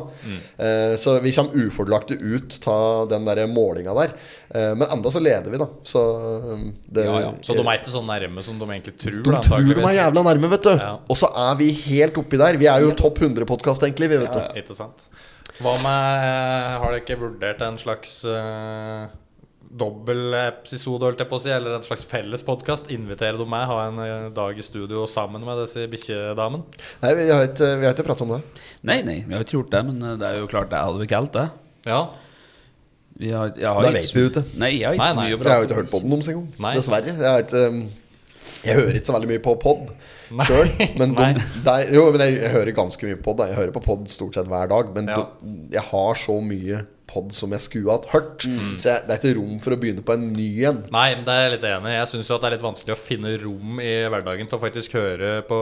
Speaker 2: Eh, Så vi kommer ufordelaktig ut av den der målinga der. Eh, Men enda så leder vi, da. Så eh, det
Speaker 3: Ja, ja. Så de er ikke så nærme som de egentlig tror.
Speaker 2: de
Speaker 3: da,
Speaker 2: tror de er
Speaker 3: antageligvis.
Speaker 2: jævla nærme, vet du.
Speaker 3: Ja.
Speaker 2: Og så er vi helt oppi der. Vi er jo topp 100-podkast, egentlig. Vi, vet du.
Speaker 3: Ikke sant. Hva med eh, Har dere ikke vurdert en slags uh, dobbel episode, holdt jeg på å si, eller en slags felles podkast? Invitere dem med, ha en eh, dag i studio sammen med disse bikkjedamene?
Speaker 2: Nei, vi har ikke, vi har ikke pratet om det.
Speaker 1: Nei, nei, vi har ikke gjort det, men eh, det er jo klart det hadde vi kalt det.
Speaker 3: Ja.
Speaker 1: Vi har, jeg har
Speaker 2: Da
Speaker 1: ikke-
Speaker 2: vet vi jo ikke.
Speaker 1: Nei, jeg har ikke
Speaker 3: Nei,
Speaker 1: så
Speaker 3: nei.
Speaker 1: mye å
Speaker 2: For jeg har
Speaker 1: prate
Speaker 2: jo ikke hørt på den deres engang.
Speaker 3: Nei.
Speaker 2: Dessverre. Jeg, har ikke, um, jeg hører ikke så veldig mye på pod
Speaker 3: Nei.
Speaker 2: sjøl. Men,
Speaker 3: Nei.
Speaker 2: de, de- jo, men jeg, jeg hører ganske mye på pod. da. Jeg hører på pod stort sett hver dag. Men
Speaker 3: Ja.
Speaker 2: de- jeg har så mye pod som jeg skulle hatt hørt. Så jeg, det er ikke rom for å begynne på en ny en.
Speaker 3: Nei, men det er jeg litt enig i. Jeg syns jo at det er litt vanskelig å finne rom i hverdagen til å faktisk høre på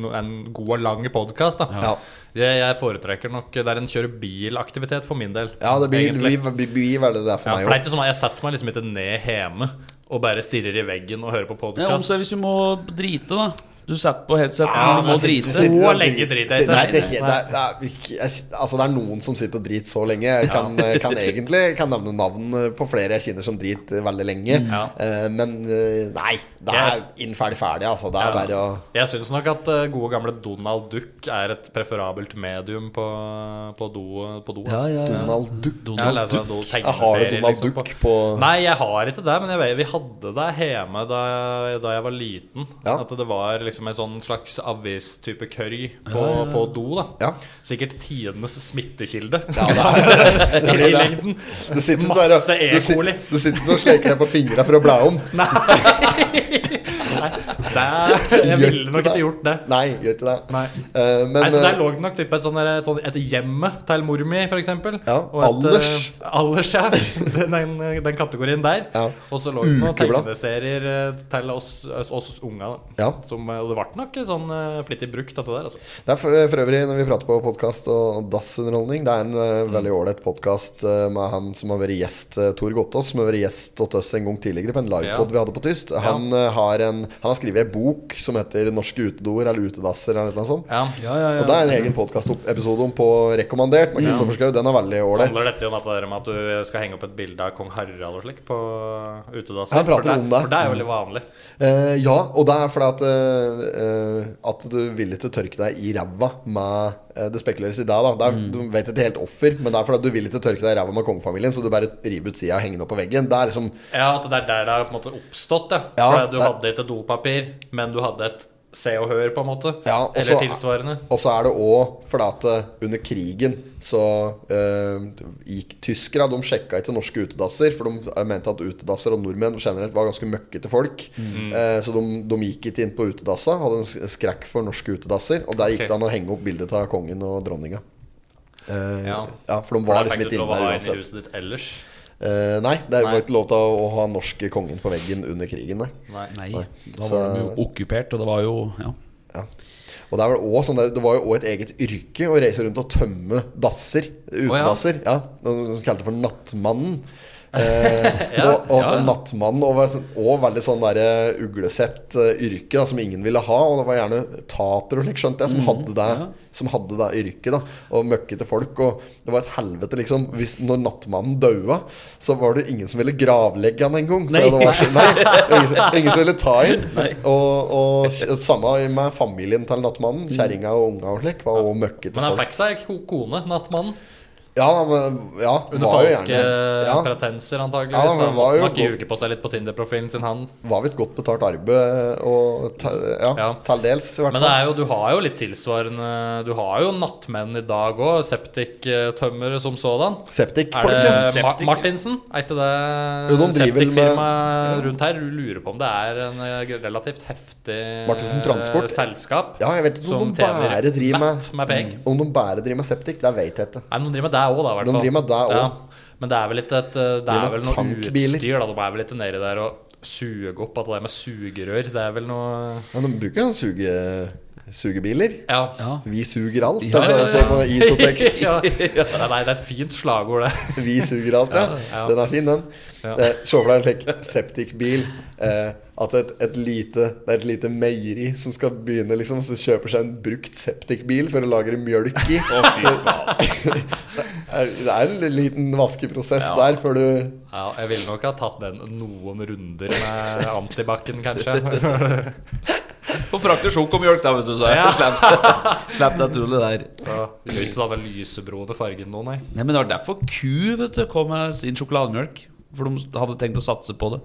Speaker 3: no- en god og lang podkast.
Speaker 2: Ja.
Speaker 3: Jeg, jeg foretrekker nok Det er en kjøre bil-aktivitet for min del.
Speaker 2: Ja, det blir,
Speaker 3: egentlig.
Speaker 2: blir, blir, blir vel det det er
Speaker 3: Ja,
Speaker 2: for
Speaker 3: for det er
Speaker 2: meg òg.
Speaker 3: ikke sånn at Jeg setter meg liksom ikke ned hjemme og bare stirrer i veggen og hører på
Speaker 1: om. Ja, om seg hvis
Speaker 3: podkast.
Speaker 1: du må drite, da. Du setter på headsetet
Speaker 3: Ja,
Speaker 1: når du må
Speaker 2: altså,
Speaker 3: men jeg synes-
Speaker 1: drite.
Speaker 3: Så lenge driter jeg ikke.
Speaker 2: Nei, det, det, er- det, er ikke- jeg- altså, det er noen som sitter og driter så lenge. Jeg kan, kan egentlig kan nevne navn eh, på flere jeg kjenner som driter veldig lenge.
Speaker 3: Ja.
Speaker 2: Eh, men eh, nei, det er inn ferdig ferdig, altså. Det er bare å
Speaker 3: Jeg syns nok at eh, gode gamle Donald Duck er et preferabelt medium på, på do. På do altså.
Speaker 1: ja,
Speaker 2: Donald Duck.
Speaker 3: Jeg
Speaker 1: Donald
Speaker 3: leser en do-
Speaker 2: Jeg har
Speaker 3: tegneserie,
Speaker 2: det Donald
Speaker 3: liksom, på-
Speaker 2: Duck på
Speaker 3: Nei, jeg har ikke det, men jeg vet, vi hadde det hjemme da jeg, da jeg var liten.
Speaker 2: Ja.
Speaker 3: At det var liksom en sånn slags avistype kørg på, på do. da
Speaker 2: Ja.
Speaker 3: Sikkert tidenes smittekilde.
Speaker 2: Ja, det er, det
Speaker 3: I
Speaker 2: blir det.
Speaker 3: lengden.
Speaker 2: Du sitter
Speaker 3: Masse
Speaker 2: der og- du
Speaker 3: E. coli.
Speaker 2: sit- Du sitter og sleker deg på fingra for å bla om.
Speaker 3: Nei! det, jeg ville nok ikke gjort det.
Speaker 2: Nei, gjør ikke det.
Speaker 3: Nei.
Speaker 2: Eh, men
Speaker 3: Nei, så Der
Speaker 2: eh,
Speaker 3: lå det nok typ et, sånn der- et, sånn- et hjemme til mor mi, f.eks.
Speaker 2: Ja, Alders.
Speaker 3: Alders, eh, ja. Den, den, den kategorien der.
Speaker 2: Ja.
Speaker 3: Og så lå det noen
Speaker 2: Ukeblad.
Speaker 3: tegneserier eh, til oss, oss, oss unga. da.
Speaker 2: Ja.
Speaker 3: Som, eh, og det ble nok sånn eh, flittig brukt, dette der. altså
Speaker 2: Det er for, for øvrig, når vi prater på podkast og dassunderholdning, det er en eh,
Speaker 3: Mm.
Speaker 2: veldig ålreit podkast med han som har vært gjest, uh, Tor Gottaas, som har vært gjest hos oss en gang tidligere på en livepod
Speaker 3: Ja.
Speaker 2: vi hadde på Tyst. Han, eh, har en, han har skrevet en bok som heter 'Norske utedoer' eller 'Utedasser' eller noe sånt.
Speaker 3: Ja. Mm.
Speaker 1: Ja, ja, ja.
Speaker 2: Og det er en egen podkastepisode om på rekommandert med Kristoffer Schau. Den er veldig ålreit.
Speaker 3: Handler dette om at, det der med at du skal henge opp et bilde av kong Harald og slik på utedasser?
Speaker 2: Han prater
Speaker 3: for
Speaker 2: om det.
Speaker 3: For det er jo veldig vanlig.
Speaker 2: Eh, ja, og det er fordi at, eh, eh, at du vil ikke tørke deg i ræva med eh, Det spekuleres i deg, da. Det er, Du vet ikke helt offer, men det er fordi at du vil ikke tørke deg i ræva med kongefamilien, så du bare river ut sida og henger den opp på veggen. Det er liksom
Speaker 3: Ja, at det er der det har på en måte oppstått, ja.
Speaker 2: Ja,
Speaker 3: For du
Speaker 2: det-
Speaker 3: hadde ikke dopapir, men du hadde et Se og Hør, på en måte.
Speaker 2: Ja, og så-
Speaker 3: Eller tilsvarende.
Speaker 2: Og så er det òg fordi at eh, under krigen så eh, gikk tyskere De sjekka ikke norske utedasser, for de eh, mente at utedasser og nordmenn generelt var ganske møkkete folk.
Speaker 3: Mm.
Speaker 2: Eh, så de, de gikk ikke inn på utedassa, hadde en s- skrekk for norske utedasser. Og der gikk
Speaker 3: Ok.
Speaker 2: det an å henge opp bildet av kongen og dronninga. Eh, ja.
Speaker 3: Ja.
Speaker 2: for de var
Speaker 3: For da
Speaker 2: liksom
Speaker 3: fikk du
Speaker 2: ikke inne
Speaker 3: ikke lov å ha
Speaker 2: der
Speaker 3: inn i
Speaker 2: uansett.
Speaker 3: huset ditt ellers.
Speaker 2: Eh, nei, det var
Speaker 3: Nei.
Speaker 2: ikke lov til å, å ha norske kongen på veggen under krigen, nei.
Speaker 3: Nei.
Speaker 1: Nei,
Speaker 2: Nei.
Speaker 1: da
Speaker 2: Så-
Speaker 1: var de jo okkupert, og det var jo Ja.
Speaker 2: Ja. Og det, er vel også sånn der, det var jo òg et eget yrke å reise rundt og tømme dasser. Utedasser. ja. Noe som kalte det for Nattmannen. Eh, og og
Speaker 3: ja, ja.
Speaker 2: Nattmannen og, var sånn- og veldig sånn der, eh, uglesett eh, yrke da, som ingen ville ha. Og det var gjerne tatere og slik, skjønte jeg, som hadde det, som hadde det yrket. da Og møkkete folk. Og det var et helvete, liksom. Hvis, når Nattmannen daua, så var det ingen som ville gravlegge han engang.
Speaker 1: Nei.
Speaker 2: for det var så- Nei, ingen, som- ingen som ville ta inn. Og, og k- samme med familien til nattmannen. Kjerringa og unga og slik var òg møkkete
Speaker 3: Mm. Men han
Speaker 2: folk.
Speaker 3: fikk seg ko- kone, nattmannen.
Speaker 2: Ja, men, ja,
Speaker 3: Under
Speaker 2: var jo
Speaker 3: falske
Speaker 2: gjerne- ja,
Speaker 3: pretenser,
Speaker 2: Ja,
Speaker 3: antakeligvis.
Speaker 2: men
Speaker 3: Ja,
Speaker 2: var jo
Speaker 3: han
Speaker 2: god.
Speaker 3: ljuger på seg litt på Tinder-profilen sin, han.
Speaker 2: Var visst godt betalt arbeid, og te, ja,
Speaker 3: Ja.
Speaker 2: til dels, i hvert
Speaker 3: Men det
Speaker 2: fall.
Speaker 3: er jo, du har jo litt tilsvarende Du har jo nattmenn i dag òg. Septiktømmere som sådan. Er
Speaker 2: Septikfolk,
Speaker 3: det
Speaker 2: ja.
Speaker 3: Ma
Speaker 1: Septik, ja.
Speaker 3: Martinsen? Er ikke
Speaker 2: Jo, de
Speaker 3: det
Speaker 2: driver vel med-
Speaker 3: septikfirmaet rundt her? Du lurer på om det er en eh, relativt heftig
Speaker 2: Martinsen Transport.
Speaker 3: eh, selskap?
Speaker 2: ja. Jeg vet ikke om
Speaker 3: Som
Speaker 2: de bare
Speaker 3: tjener
Speaker 2: driver
Speaker 3: mett med penger.
Speaker 2: med Mm. Om de bare driver med septik, det vet jeg ikke.
Speaker 3: Nei, men de driver med det òg, da. i hvert
Speaker 2: De
Speaker 3: fall.
Speaker 2: driver med det også.
Speaker 3: Ja. Men det er vel ikke et eh, Det
Speaker 2: Driver
Speaker 3: er vel
Speaker 2: med
Speaker 3: noe
Speaker 2: tankbiler.
Speaker 3: utstyr, da. De er vel ikke nedi der og suger opp at det der med sugerør. Det er vel noe
Speaker 2: Men de bruker jo suge, sugebiler.
Speaker 3: Ja.
Speaker 1: Ja.
Speaker 2: Vi suger alt.
Speaker 1: Ja,
Speaker 2: Ja,
Speaker 1: ja, ja.
Speaker 2: på Isotex.
Speaker 3: ja. Nei, det er et fint slagord, det.
Speaker 2: Vi suger alt, ja.
Speaker 3: Ja, ja.
Speaker 2: Den er fin, den.
Speaker 3: Ja.
Speaker 2: Eh, Se for deg en slik septikbil. Eh, at et, et lite, det er et lite meieri som skal begynne liksom Så kjøper seg en brukt septikbil for å lagre mjølk i. det er- det er en liten vaskeprosess der før du
Speaker 3: Ja, jeg ville nok ha tatt den noen runder med antibac-en, kanskje.
Speaker 1: Og frakter sjokomjølk, da, vet du, så jeg
Speaker 3: Ja.
Speaker 1: slapp- slapp det tullet der.
Speaker 3: Ja, det er jo ikke sånn lysebrune fargen nå, nei.
Speaker 1: Nei, men det var derfor Ku vet du, kom med sin sjokolademjølk. For de hadde tenkt å satse på det.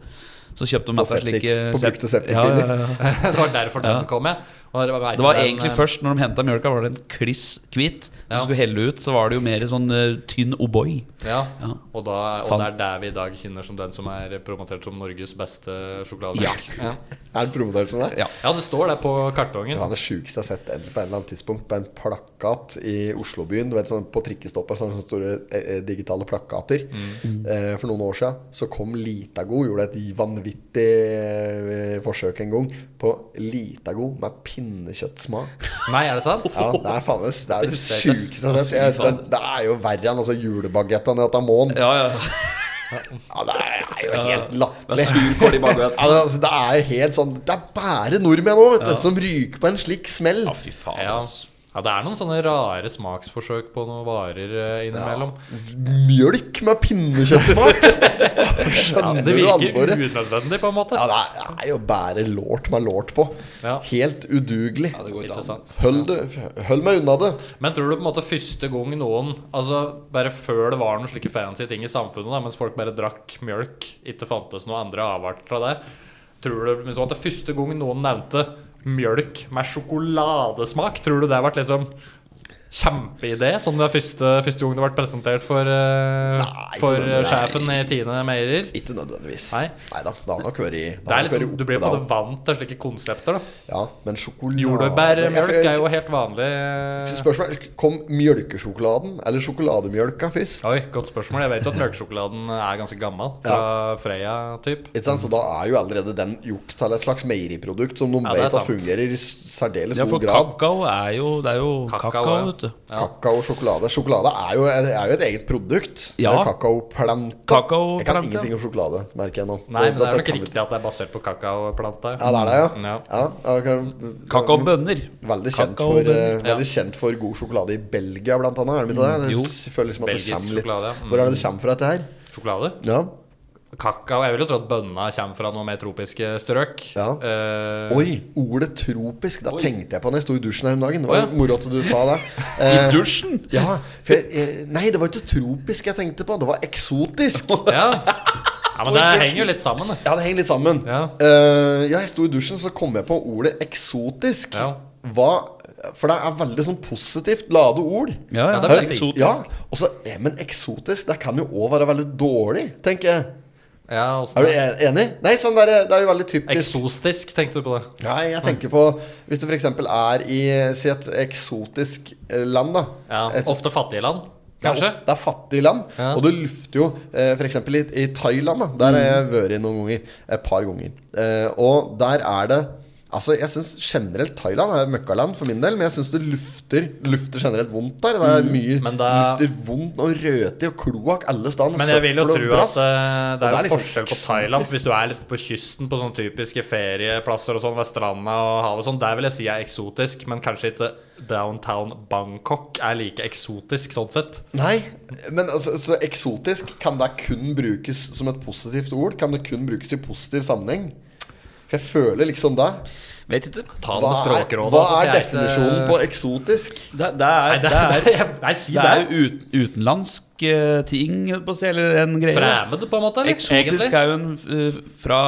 Speaker 1: Så kjøpte de
Speaker 2: På
Speaker 1: med seg
Speaker 2: septik-
Speaker 1: slike
Speaker 2: på brukte
Speaker 1: sept-
Speaker 2: septikbiler.
Speaker 1: Ja, ja, ja.
Speaker 3: Det var derfor den
Speaker 1: Ja.
Speaker 3: kom, jeg. Og det var,
Speaker 1: Det var egentlig først når de henta mjølka, var det en kliss hvitt. Når
Speaker 3: eh, Ja.
Speaker 1: du skulle helle ut, så var det jo mer i sånn eh, tynn O'boy.
Speaker 3: Ja,
Speaker 1: Ja.
Speaker 3: og, da, og
Speaker 1: Fan.
Speaker 3: det er der vi i dag kjenner som den som er promotert som Norges beste sjokolade.
Speaker 1: Ja.
Speaker 3: Ja.
Speaker 2: er det promotert som det.
Speaker 1: Ja.
Speaker 3: ja, det står det på kartongen.
Speaker 2: Det var det sjukeste jeg har sett en- på en eller annen tidspunkt på en plakat i Oslobyen. Du vet, sånn, på trikkestoppet sånne store eh, eh, digitale plakater. Eh, for noen år siden så kom Litago, gjorde et vanvittig eh, forsøk en gang, på Litago med pinnekjøttsmak.
Speaker 3: Nei, er det sant?
Speaker 2: Ja, det er faen meg s- det er det
Speaker 3: Det er det.
Speaker 2: sjukeste jeg har sett. Jeg, det, det er jo verre enn altså, julebagettene i Atamon.
Speaker 1: Ja, ja.
Speaker 2: Ja, det er jo helt
Speaker 1: Med
Speaker 2: latterlig.
Speaker 1: surkål i baguett.
Speaker 2: Ja, altså, det er helt sånn Det er bare nordmenn nå, vet du, som ryker på en slik smell.
Speaker 1: Ja, fy faen. altså.
Speaker 3: Ja.
Speaker 1: ass.
Speaker 3: ja, det er noen sånne rare smaksforsøk på noen varer eh, innimellom.
Speaker 2: Mjølk med pinnekjøttsmak! Skjønner
Speaker 3: Det
Speaker 2: du
Speaker 3: virker
Speaker 2: alvoret?
Speaker 3: unødvendig, på en måte.
Speaker 2: Ja, det er- det er jo bare lort med lort på.
Speaker 3: Ja.
Speaker 2: Helt udugelig.
Speaker 1: Ja, det går ikke an.
Speaker 3: Interessant.
Speaker 2: Hold, det- hold meg unna det.
Speaker 3: Men tror du på en måte første gang noen Altså bare før det var noen slike fancy ting i samfunnet, da, mens folk bare drakk mjølk, ikke fantes noen andre avarter av det Tror du liksom at det første gang noen nevnte mjølk med sjokoladesmak, tror du det ble liksom kjempeidé? Sånn det første, første gang det ble presentert for, eh,
Speaker 2: Nei,
Speaker 3: for
Speaker 2: ikke nødvendigvis.
Speaker 3: sjefen i Tine Meirer?
Speaker 2: Ikke nødvendigvis.
Speaker 3: Nei.
Speaker 2: da. Det har nok vært i- det
Speaker 3: Det
Speaker 2: har
Speaker 3: er
Speaker 2: nok
Speaker 3: liksom,
Speaker 2: vært
Speaker 3: du blir på
Speaker 2: oppe
Speaker 3: en måte
Speaker 2: da.
Speaker 3: vant til slike konsepter. da
Speaker 2: Ja, men sjokolade
Speaker 3: Jordbærmjølk
Speaker 2: Jeg- jeg-
Speaker 3: er jo helt vanlig. eh,
Speaker 2: Spørsmålet Kom mjølkesjokoladen eller sjokolademjølka først?
Speaker 3: Oi, godt spørsmål. Jeg vet jo at mjølkesjokoladen er ganske gammel. Fra Freia-typ.
Speaker 2: Ikke sant? Så da er jo allerede den gjort til et slags meieriprodukt som de
Speaker 3: det er
Speaker 2: vet at
Speaker 3: sant.
Speaker 2: fungerer i særdeles
Speaker 1: Ja,
Speaker 2: god
Speaker 1: for
Speaker 2: grad.
Speaker 1: kakao er jo Det er jo
Speaker 3: Kakao,
Speaker 1: kakao,
Speaker 3: ja.
Speaker 1: vet du.
Speaker 3: Ja.
Speaker 2: Kakao og sjokolade. Sjokolade er jo, er jo et eget produkt.
Speaker 1: Ja.
Speaker 2: Det er Kakaoplanta.
Speaker 1: Kakaoplanta.
Speaker 2: Jeg kan ingenting om sjokolade, merker jeg nå.
Speaker 3: Nei, men det er
Speaker 2: Dette
Speaker 3: nok
Speaker 2: kan vi-
Speaker 3: riktig at det er basert på kakaoplanta.
Speaker 2: Ja, det er det, ja.
Speaker 3: Ja.
Speaker 2: Ja, ok.
Speaker 1: Kakaobønner.
Speaker 2: Veldig kjent, for,
Speaker 1: Kakaobønner.
Speaker 2: eh,
Speaker 3: ja. Mm,
Speaker 2: veldig kjent for god sjokolade i Belgia, blant annet. Er det ikke det?
Speaker 1: jo.
Speaker 2: Jeg føler liksom at det
Speaker 3: Belgisk
Speaker 2: kommer litt
Speaker 3: sjokolade, ja. Mm.
Speaker 2: Hvor er det det kommer fra, dette her?
Speaker 3: Sjokolade.
Speaker 2: Ja.
Speaker 3: Kakao Jeg vil jo tro at bønna kommer fra noe mer tropiske strøk.
Speaker 2: Ja.
Speaker 3: Eh,
Speaker 2: Oi, ordet tropisk. Da tenkte jeg på når jeg sto i dusjen her om dagen. Det
Speaker 3: Å,
Speaker 2: var
Speaker 3: ja.
Speaker 2: moro at du sa det.
Speaker 1: I
Speaker 2: Eh,
Speaker 1: dusjen!
Speaker 2: ja, for jeg, eh, nei, det var ikke tropisk jeg tenkte på. Det var eksotisk.
Speaker 3: Ja. ja, men det henger jo litt sammen, det.
Speaker 2: Ja, det henger litt sammen.
Speaker 3: Ja.
Speaker 2: Eh, ja, jeg sto i dusjen, så kom jeg på ordet eksotisk.
Speaker 3: Ja.
Speaker 2: Hva For det er veldig sånn positivt lade ord.
Speaker 1: Ja, ja,
Speaker 3: det er veldig
Speaker 1: eksotisk.
Speaker 2: Ja, og så, ja, men eksotisk, det kan jo òg være veldig dårlig, tenker jeg.
Speaker 3: Ja,
Speaker 2: Er du
Speaker 3: også,
Speaker 2: en- enig? Nei, sånn der, det er jo veldig typisk
Speaker 3: Eksostisk, tenkte du på det?
Speaker 2: Nei, jeg tenker på Hvis du f.eks. er i eh, si et eksotisk eh, land, da.
Speaker 3: Ja.
Speaker 2: Et-
Speaker 3: Ofte fattige land,
Speaker 2: det er,
Speaker 3: kanskje?
Speaker 2: ofte- det er fattige land,
Speaker 3: Ja.
Speaker 2: og det lufter jo eh, f.eks. I,
Speaker 3: Mm.
Speaker 2: i Thailand. Da, der har jeg vært noen ganger. Et par ganger. Eh, og der er det Altså, jeg synes generelt Thailand er møkkaland for min del, men jeg syns det lufter Lufter generelt vondt der. Det er mye
Speaker 3: Mm, men da-
Speaker 2: lufter vondt og røte og kloakk alle steder.
Speaker 3: Men jeg vil jo
Speaker 2: søppel og
Speaker 3: tro at
Speaker 2: brask.
Speaker 3: eh,
Speaker 2: Og
Speaker 3: det er jo
Speaker 2: liksom
Speaker 3: forskjell på
Speaker 2: eksotisk.
Speaker 3: Thailand. Hvis du er litt på kysten, på sånne typiske ferieplasser og sånn, ved stranda og havet og sånn, der vil jeg si er eksotisk, men kanskje ikke downtown Bangkok er like eksotisk sånn sett.
Speaker 2: Nei, men altså, så eksotisk Kan det kun brukes som et positivt ord? Kan det kun brukes i positiv sammenheng? For jeg føler liksom det.
Speaker 1: Vet ikke.
Speaker 3: Ta det
Speaker 2: Hva
Speaker 3: med
Speaker 2: er,
Speaker 3: Språkrådet.
Speaker 2: hva
Speaker 3: altså,
Speaker 2: er
Speaker 3: det ikke-
Speaker 2: definisjonen på eksotisk?
Speaker 1: Det, det er,
Speaker 3: Nei, det er, det er, nei, si
Speaker 1: det
Speaker 3: det.
Speaker 1: er jo ut, utenlandsk eh, ting, holdt på å si, eller en greie.
Speaker 3: Fremmed, på en måte? Eller?
Speaker 1: Eksotisk
Speaker 3: Egentlig.
Speaker 1: er jo en eh, fra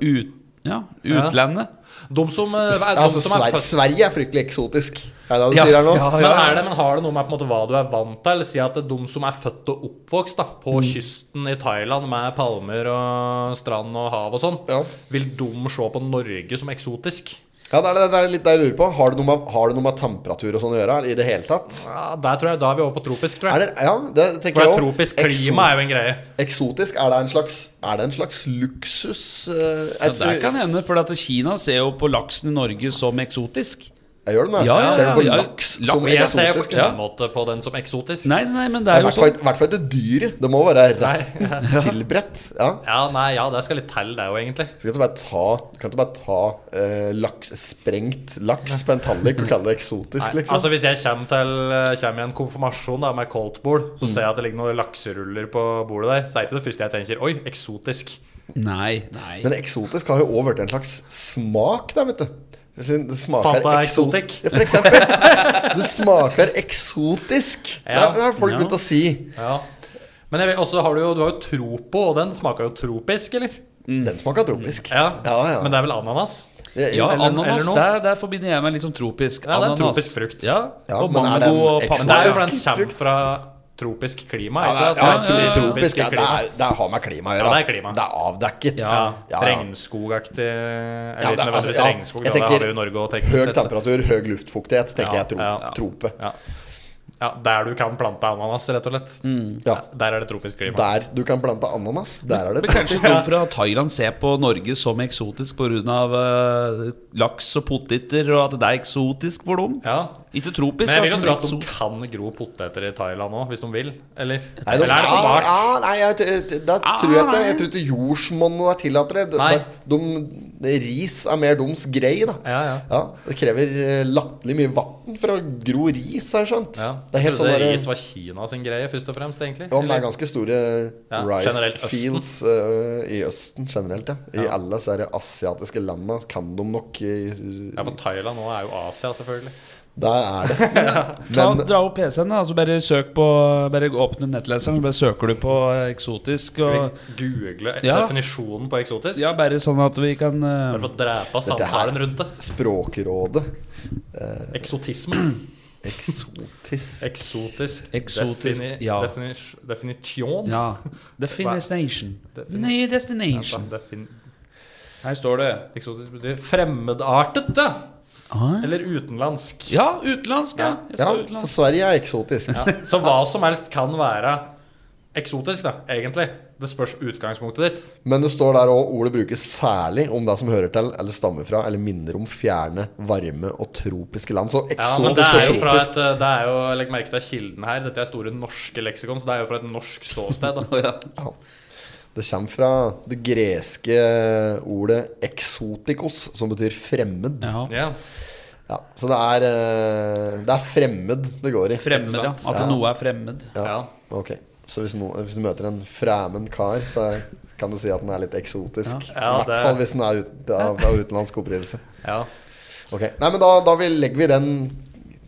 Speaker 1: ut, ja, utlandet.
Speaker 3: De som, eh, er, de
Speaker 2: Altså,
Speaker 3: som er
Speaker 2: Sver
Speaker 3: født
Speaker 2: Sverige er fryktelig eksotisk. Er det det du
Speaker 1: Ja,
Speaker 2: sier her nå?
Speaker 1: ja,
Speaker 3: men, er det, men har det noe med på en måte, hva du er vant til? Si at det er de som er født og oppvokst da, på
Speaker 2: Mm.
Speaker 3: kysten i Thailand med palmer og strand og hav og sånn,
Speaker 2: Ja.
Speaker 3: vil de se på Norge som eksotisk?
Speaker 2: Ja, det er, det er litt det jeg lurer på. Har det noe med, har det noe med temperatur og sånn å gjøre? I det hele tatt?
Speaker 3: Ja, der tror jeg, Da er vi over på tropisk, tror
Speaker 2: Er
Speaker 3: jeg.
Speaker 2: det, ja, det tenker
Speaker 3: For det
Speaker 2: jeg
Speaker 3: er
Speaker 2: også.
Speaker 3: tropisk klima er jo en greie.
Speaker 2: Ekso- Eksotisk, er det en slags Er det en slags luksus? eh,
Speaker 1: Ja,
Speaker 2: jeg,
Speaker 1: det kan hende, for at Kina ser jo på laksen i Norge som eksotisk.
Speaker 2: jeg gjør det, men
Speaker 1: Ja, ja,
Speaker 2: ser du på
Speaker 1: ja, ja.
Speaker 2: laks som
Speaker 1: Laks,
Speaker 3: Jeg ser jo på
Speaker 2: eksotisk?
Speaker 1: Ja.
Speaker 3: ingen måte på den som eksotisk.
Speaker 1: Nei, nei, men det
Speaker 2: I
Speaker 1: er jo
Speaker 2: hvert fall
Speaker 1: sånn.
Speaker 2: ikke- i hvert fall ikke dyret. Det må være
Speaker 3: Nei.
Speaker 2: rett tilberedt. Ja.
Speaker 3: Ja, nei, ja, det skal litt til, det jo, egentlig.
Speaker 2: Du kan ikke bare ta, du kan ikke bare ta eh, laks, sprengt laks på en tallrik og kalle det eksotisk,
Speaker 3: Nei,
Speaker 2: liksom.
Speaker 3: Altså Hvis jeg kommer, til, eh, kommer i en konfirmasjon da med koldtbord,
Speaker 2: Mm.
Speaker 3: så ser jeg at det ligger noen lakseruller på bordet der, så er ikke det første jeg tenker 'oi, eksotisk'.
Speaker 1: Nei, nei.
Speaker 2: Men eksotisk har jo òg blitt en slags smak, da, vet du. Det smaker
Speaker 3: Fanta
Speaker 2: ekso-
Speaker 3: Exotic.
Speaker 2: Ja, for eksempel. Du smaker eksotisk.
Speaker 3: Ja.
Speaker 2: Det har folk
Speaker 1: Ja.
Speaker 2: begynt å si.
Speaker 3: Ja. Men jeg vet, også har du jo, du har jo Tropo, og den smaker jo tropisk, eller?
Speaker 2: Den smaker tropisk.
Speaker 3: Ja,
Speaker 2: Ja, ja.
Speaker 3: Men det er vel ananas?
Speaker 1: Ja,
Speaker 3: eller-
Speaker 1: ananas,
Speaker 3: eller noe.
Speaker 1: der, der forbinder jeg meg litt sånn tropisk.
Speaker 3: Ja, det er
Speaker 1: Ananas.
Speaker 3: tropisk frukt.
Speaker 1: Ja,
Speaker 2: Ja,
Speaker 1: og
Speaker 2: men er det en
Speaker 1: mango og
Speaker 2: eksotisk-
Speaker 3: Men det er jo
Speaker 1: papaya.
Speaker 3: fordi den kommer
Speaker 2: frukt.
Speaker 3: fra tropisk klima.
Speaker 2: Ja,
Speaker 3: Ikke sant?
Speaker 2: ja,
Speaker 3: Det er
Speaker 1: ja,
Speaker 3: ikke
Speaker 2: tropisk,
Speaker 3: tropiske
Speaker 2: ja, det,
Speaker 3: klima.
Speaker 2: er, det har med klima å gjøre.
Speaker 3: Ja, det er klima.
Speaker 2: Det er avdekket.
Speaker 3: Ja, Regnskogaktig
Speaker 2: Ja,
Speaker 3: Eller
Speaker 2: det-
Speaker 3: ikke nødvendigvis
Speaker 2: altså, ja. Jeg
Speaker 3: regnskog, da, det
Speaker 2: tenker
Speaker 3: har vi jo i Norge og
Speaker 2: Høy
Speaker 3: teknisk sett. så-
Speaker 2: temperatur, høy luftfuktighet, tenker
Speaker 3: Ja,
Speaker 2: jeg tro,
Speaker 3: ja.
Speaker 2: trope.
Speaker 3: Ja. ja, Der du kan plante ananas, rett og slett.
Speaker 1: Mm.
Speaker 2: Ja.
Speaker 3: Der er det tropisk klima.
Speaker 2: Der du kan plante ananas, der er det
Speaker 1: Men kanskje noen fra Thailand ser på Norge som eksotisk pga. Uh, laks og poteter, og at det er eksotisk for dem?
Speaker 3: Ja.
Speaker 1: Ikke tropisk,
Speaker 3: Men jeg vil jo
Speaker 1: altså,
Speaker 3: tro
Speaker 1: men
Speaker 3: at de
Speaker 1: eksotisk.
Speaker 3: kan gro poteter i Thailand òg, hvis de vil. Eller,
Speaker 2: Nei, de,
Speaker 3: eller er det for
Speaker 2: ja,
Speaker 3: bart?
Speaker 2: ja, nei, jeg, t- da tror jeg ikke Jeg tror ikke jordsmonnet der tillater det.
Speaker 3: Nei.
Speaker 2: De, de, ris er mer deres greie, da.
Speaker 3: Ja, ja.
Speaker 2: det krever eh, latterlig mye vann for å gro ris, har jeg skjønt.
Speaker 3: Ja.
Speaker 2: Det er helt sånn
Speaker 3: Trodde
Speaker 2: der,
Speaker 3: ris var Kina sin greie, først og fremst, egentlig.
Speaker 2: ja, men det
Speaker 3: Eller-
Speaker 2: er ganske store
Speaker 3: Ja,
Speaker 2: rice
Speaker 3: generelt Østen.
Speaker 2: fields eh, i Østen generelt, ja. I alle disse her asiatiske landene kan de nok eh,
Speaker 3: Ja, for Thailand nå er jo Asia, selvfølgelig.
Speaker 2: Der er det.
Speaker 1: Ta,
Speaker 2: Men
Speaker 1: dra opp PC-en, da. Altså bare, søk på, bare åpne nettleseren, så bare søker du på eh, eksotisk. Og,
Speaker 3: Vi googler
Speaker 1: Ja.
Speaker 3: definisjonen på eksotisk.
Speaker 1: ja, bare sånn at vi kan eh,
Speaker 3: Bare for å drepe
Speaker 2: Dette her-
Speaker 3: samtalen rundt det.
Speaker 2: Språkrådet
Speaker 3: Eksotisme.
Speaker 2: Eksotisk
Speaker 3: Eksotisk.
Speaker 1: Eksotisk,
Speaker 3: defini-
Speaker 1: ja.
Speaker 3: definis- Definisjon.
Speaker 1: Ja. Definition. Ny
Speaker 3: Altså,
Speaker 1: destination.
Speaker 3: defin-
Speaker 1: Her står det.
Speaker 3: Eksotisk betyr fremmedartet, da.
Speaker 1: Ah.
Speaker 3: Eller utenlandsk.
Speaker 1: Ja, utenlandsk, ja. Jeg
Speaker 2: Ja,
Speaker 1: sa
Speaker 2: så
Speaker 1: utenlandsk.
Speaker 2: Sverige er eksotisk.
Speaker 3: Ja, Så hva som helst kan være eksotisk, da, egentlig. Det spørs utgangspunktet ditt.
Speaker 2: Men det står der òg ordet brukes særlig om det som hører til eller stammer fra eller minner om fjerne, varme og tropiske land. Så
Speaker 3: Ja, men det
Speaker 2: eksotisk
Speaker 3: er jo
Speaker 2: og
Speaker 3: fra
Speaker 2: tropisk.
Speaker 3: et eh, Det er jo, Legg merke til kilden her. Dette er store norske leksikon, så det er jo fra et norsk ståsted. da
Speaker 1: Ja.
Speaker 2: Det kommer fra det greske ordet 'eksotikos', som betyr fremmed.
Speaker 1: Ja.
Speaker 3: Ja.
Speaker 2: Ja, så det er, eh, det er fremmed det går i.
Speaker 1: Fremmed, ja. At
Speaker 2: Ja.
Speaker 1: noe er fremmed.
Speaker 3: Ja.
Speaker 2: Ok, Så hvis, no, hvis du møter en fremmed kar, så er, kan du si at den er litt eksotisk.
Speaker 3: Ja. Ja,
Speaker 2: I
Speaker 3: det-
Speaker 2: hvert fall hvis den er ut, av, av utenlandsk opprinnelse.
Speaker 3: ja.
Speaker 2: Ok, Nei, men da, da vi, legger vi den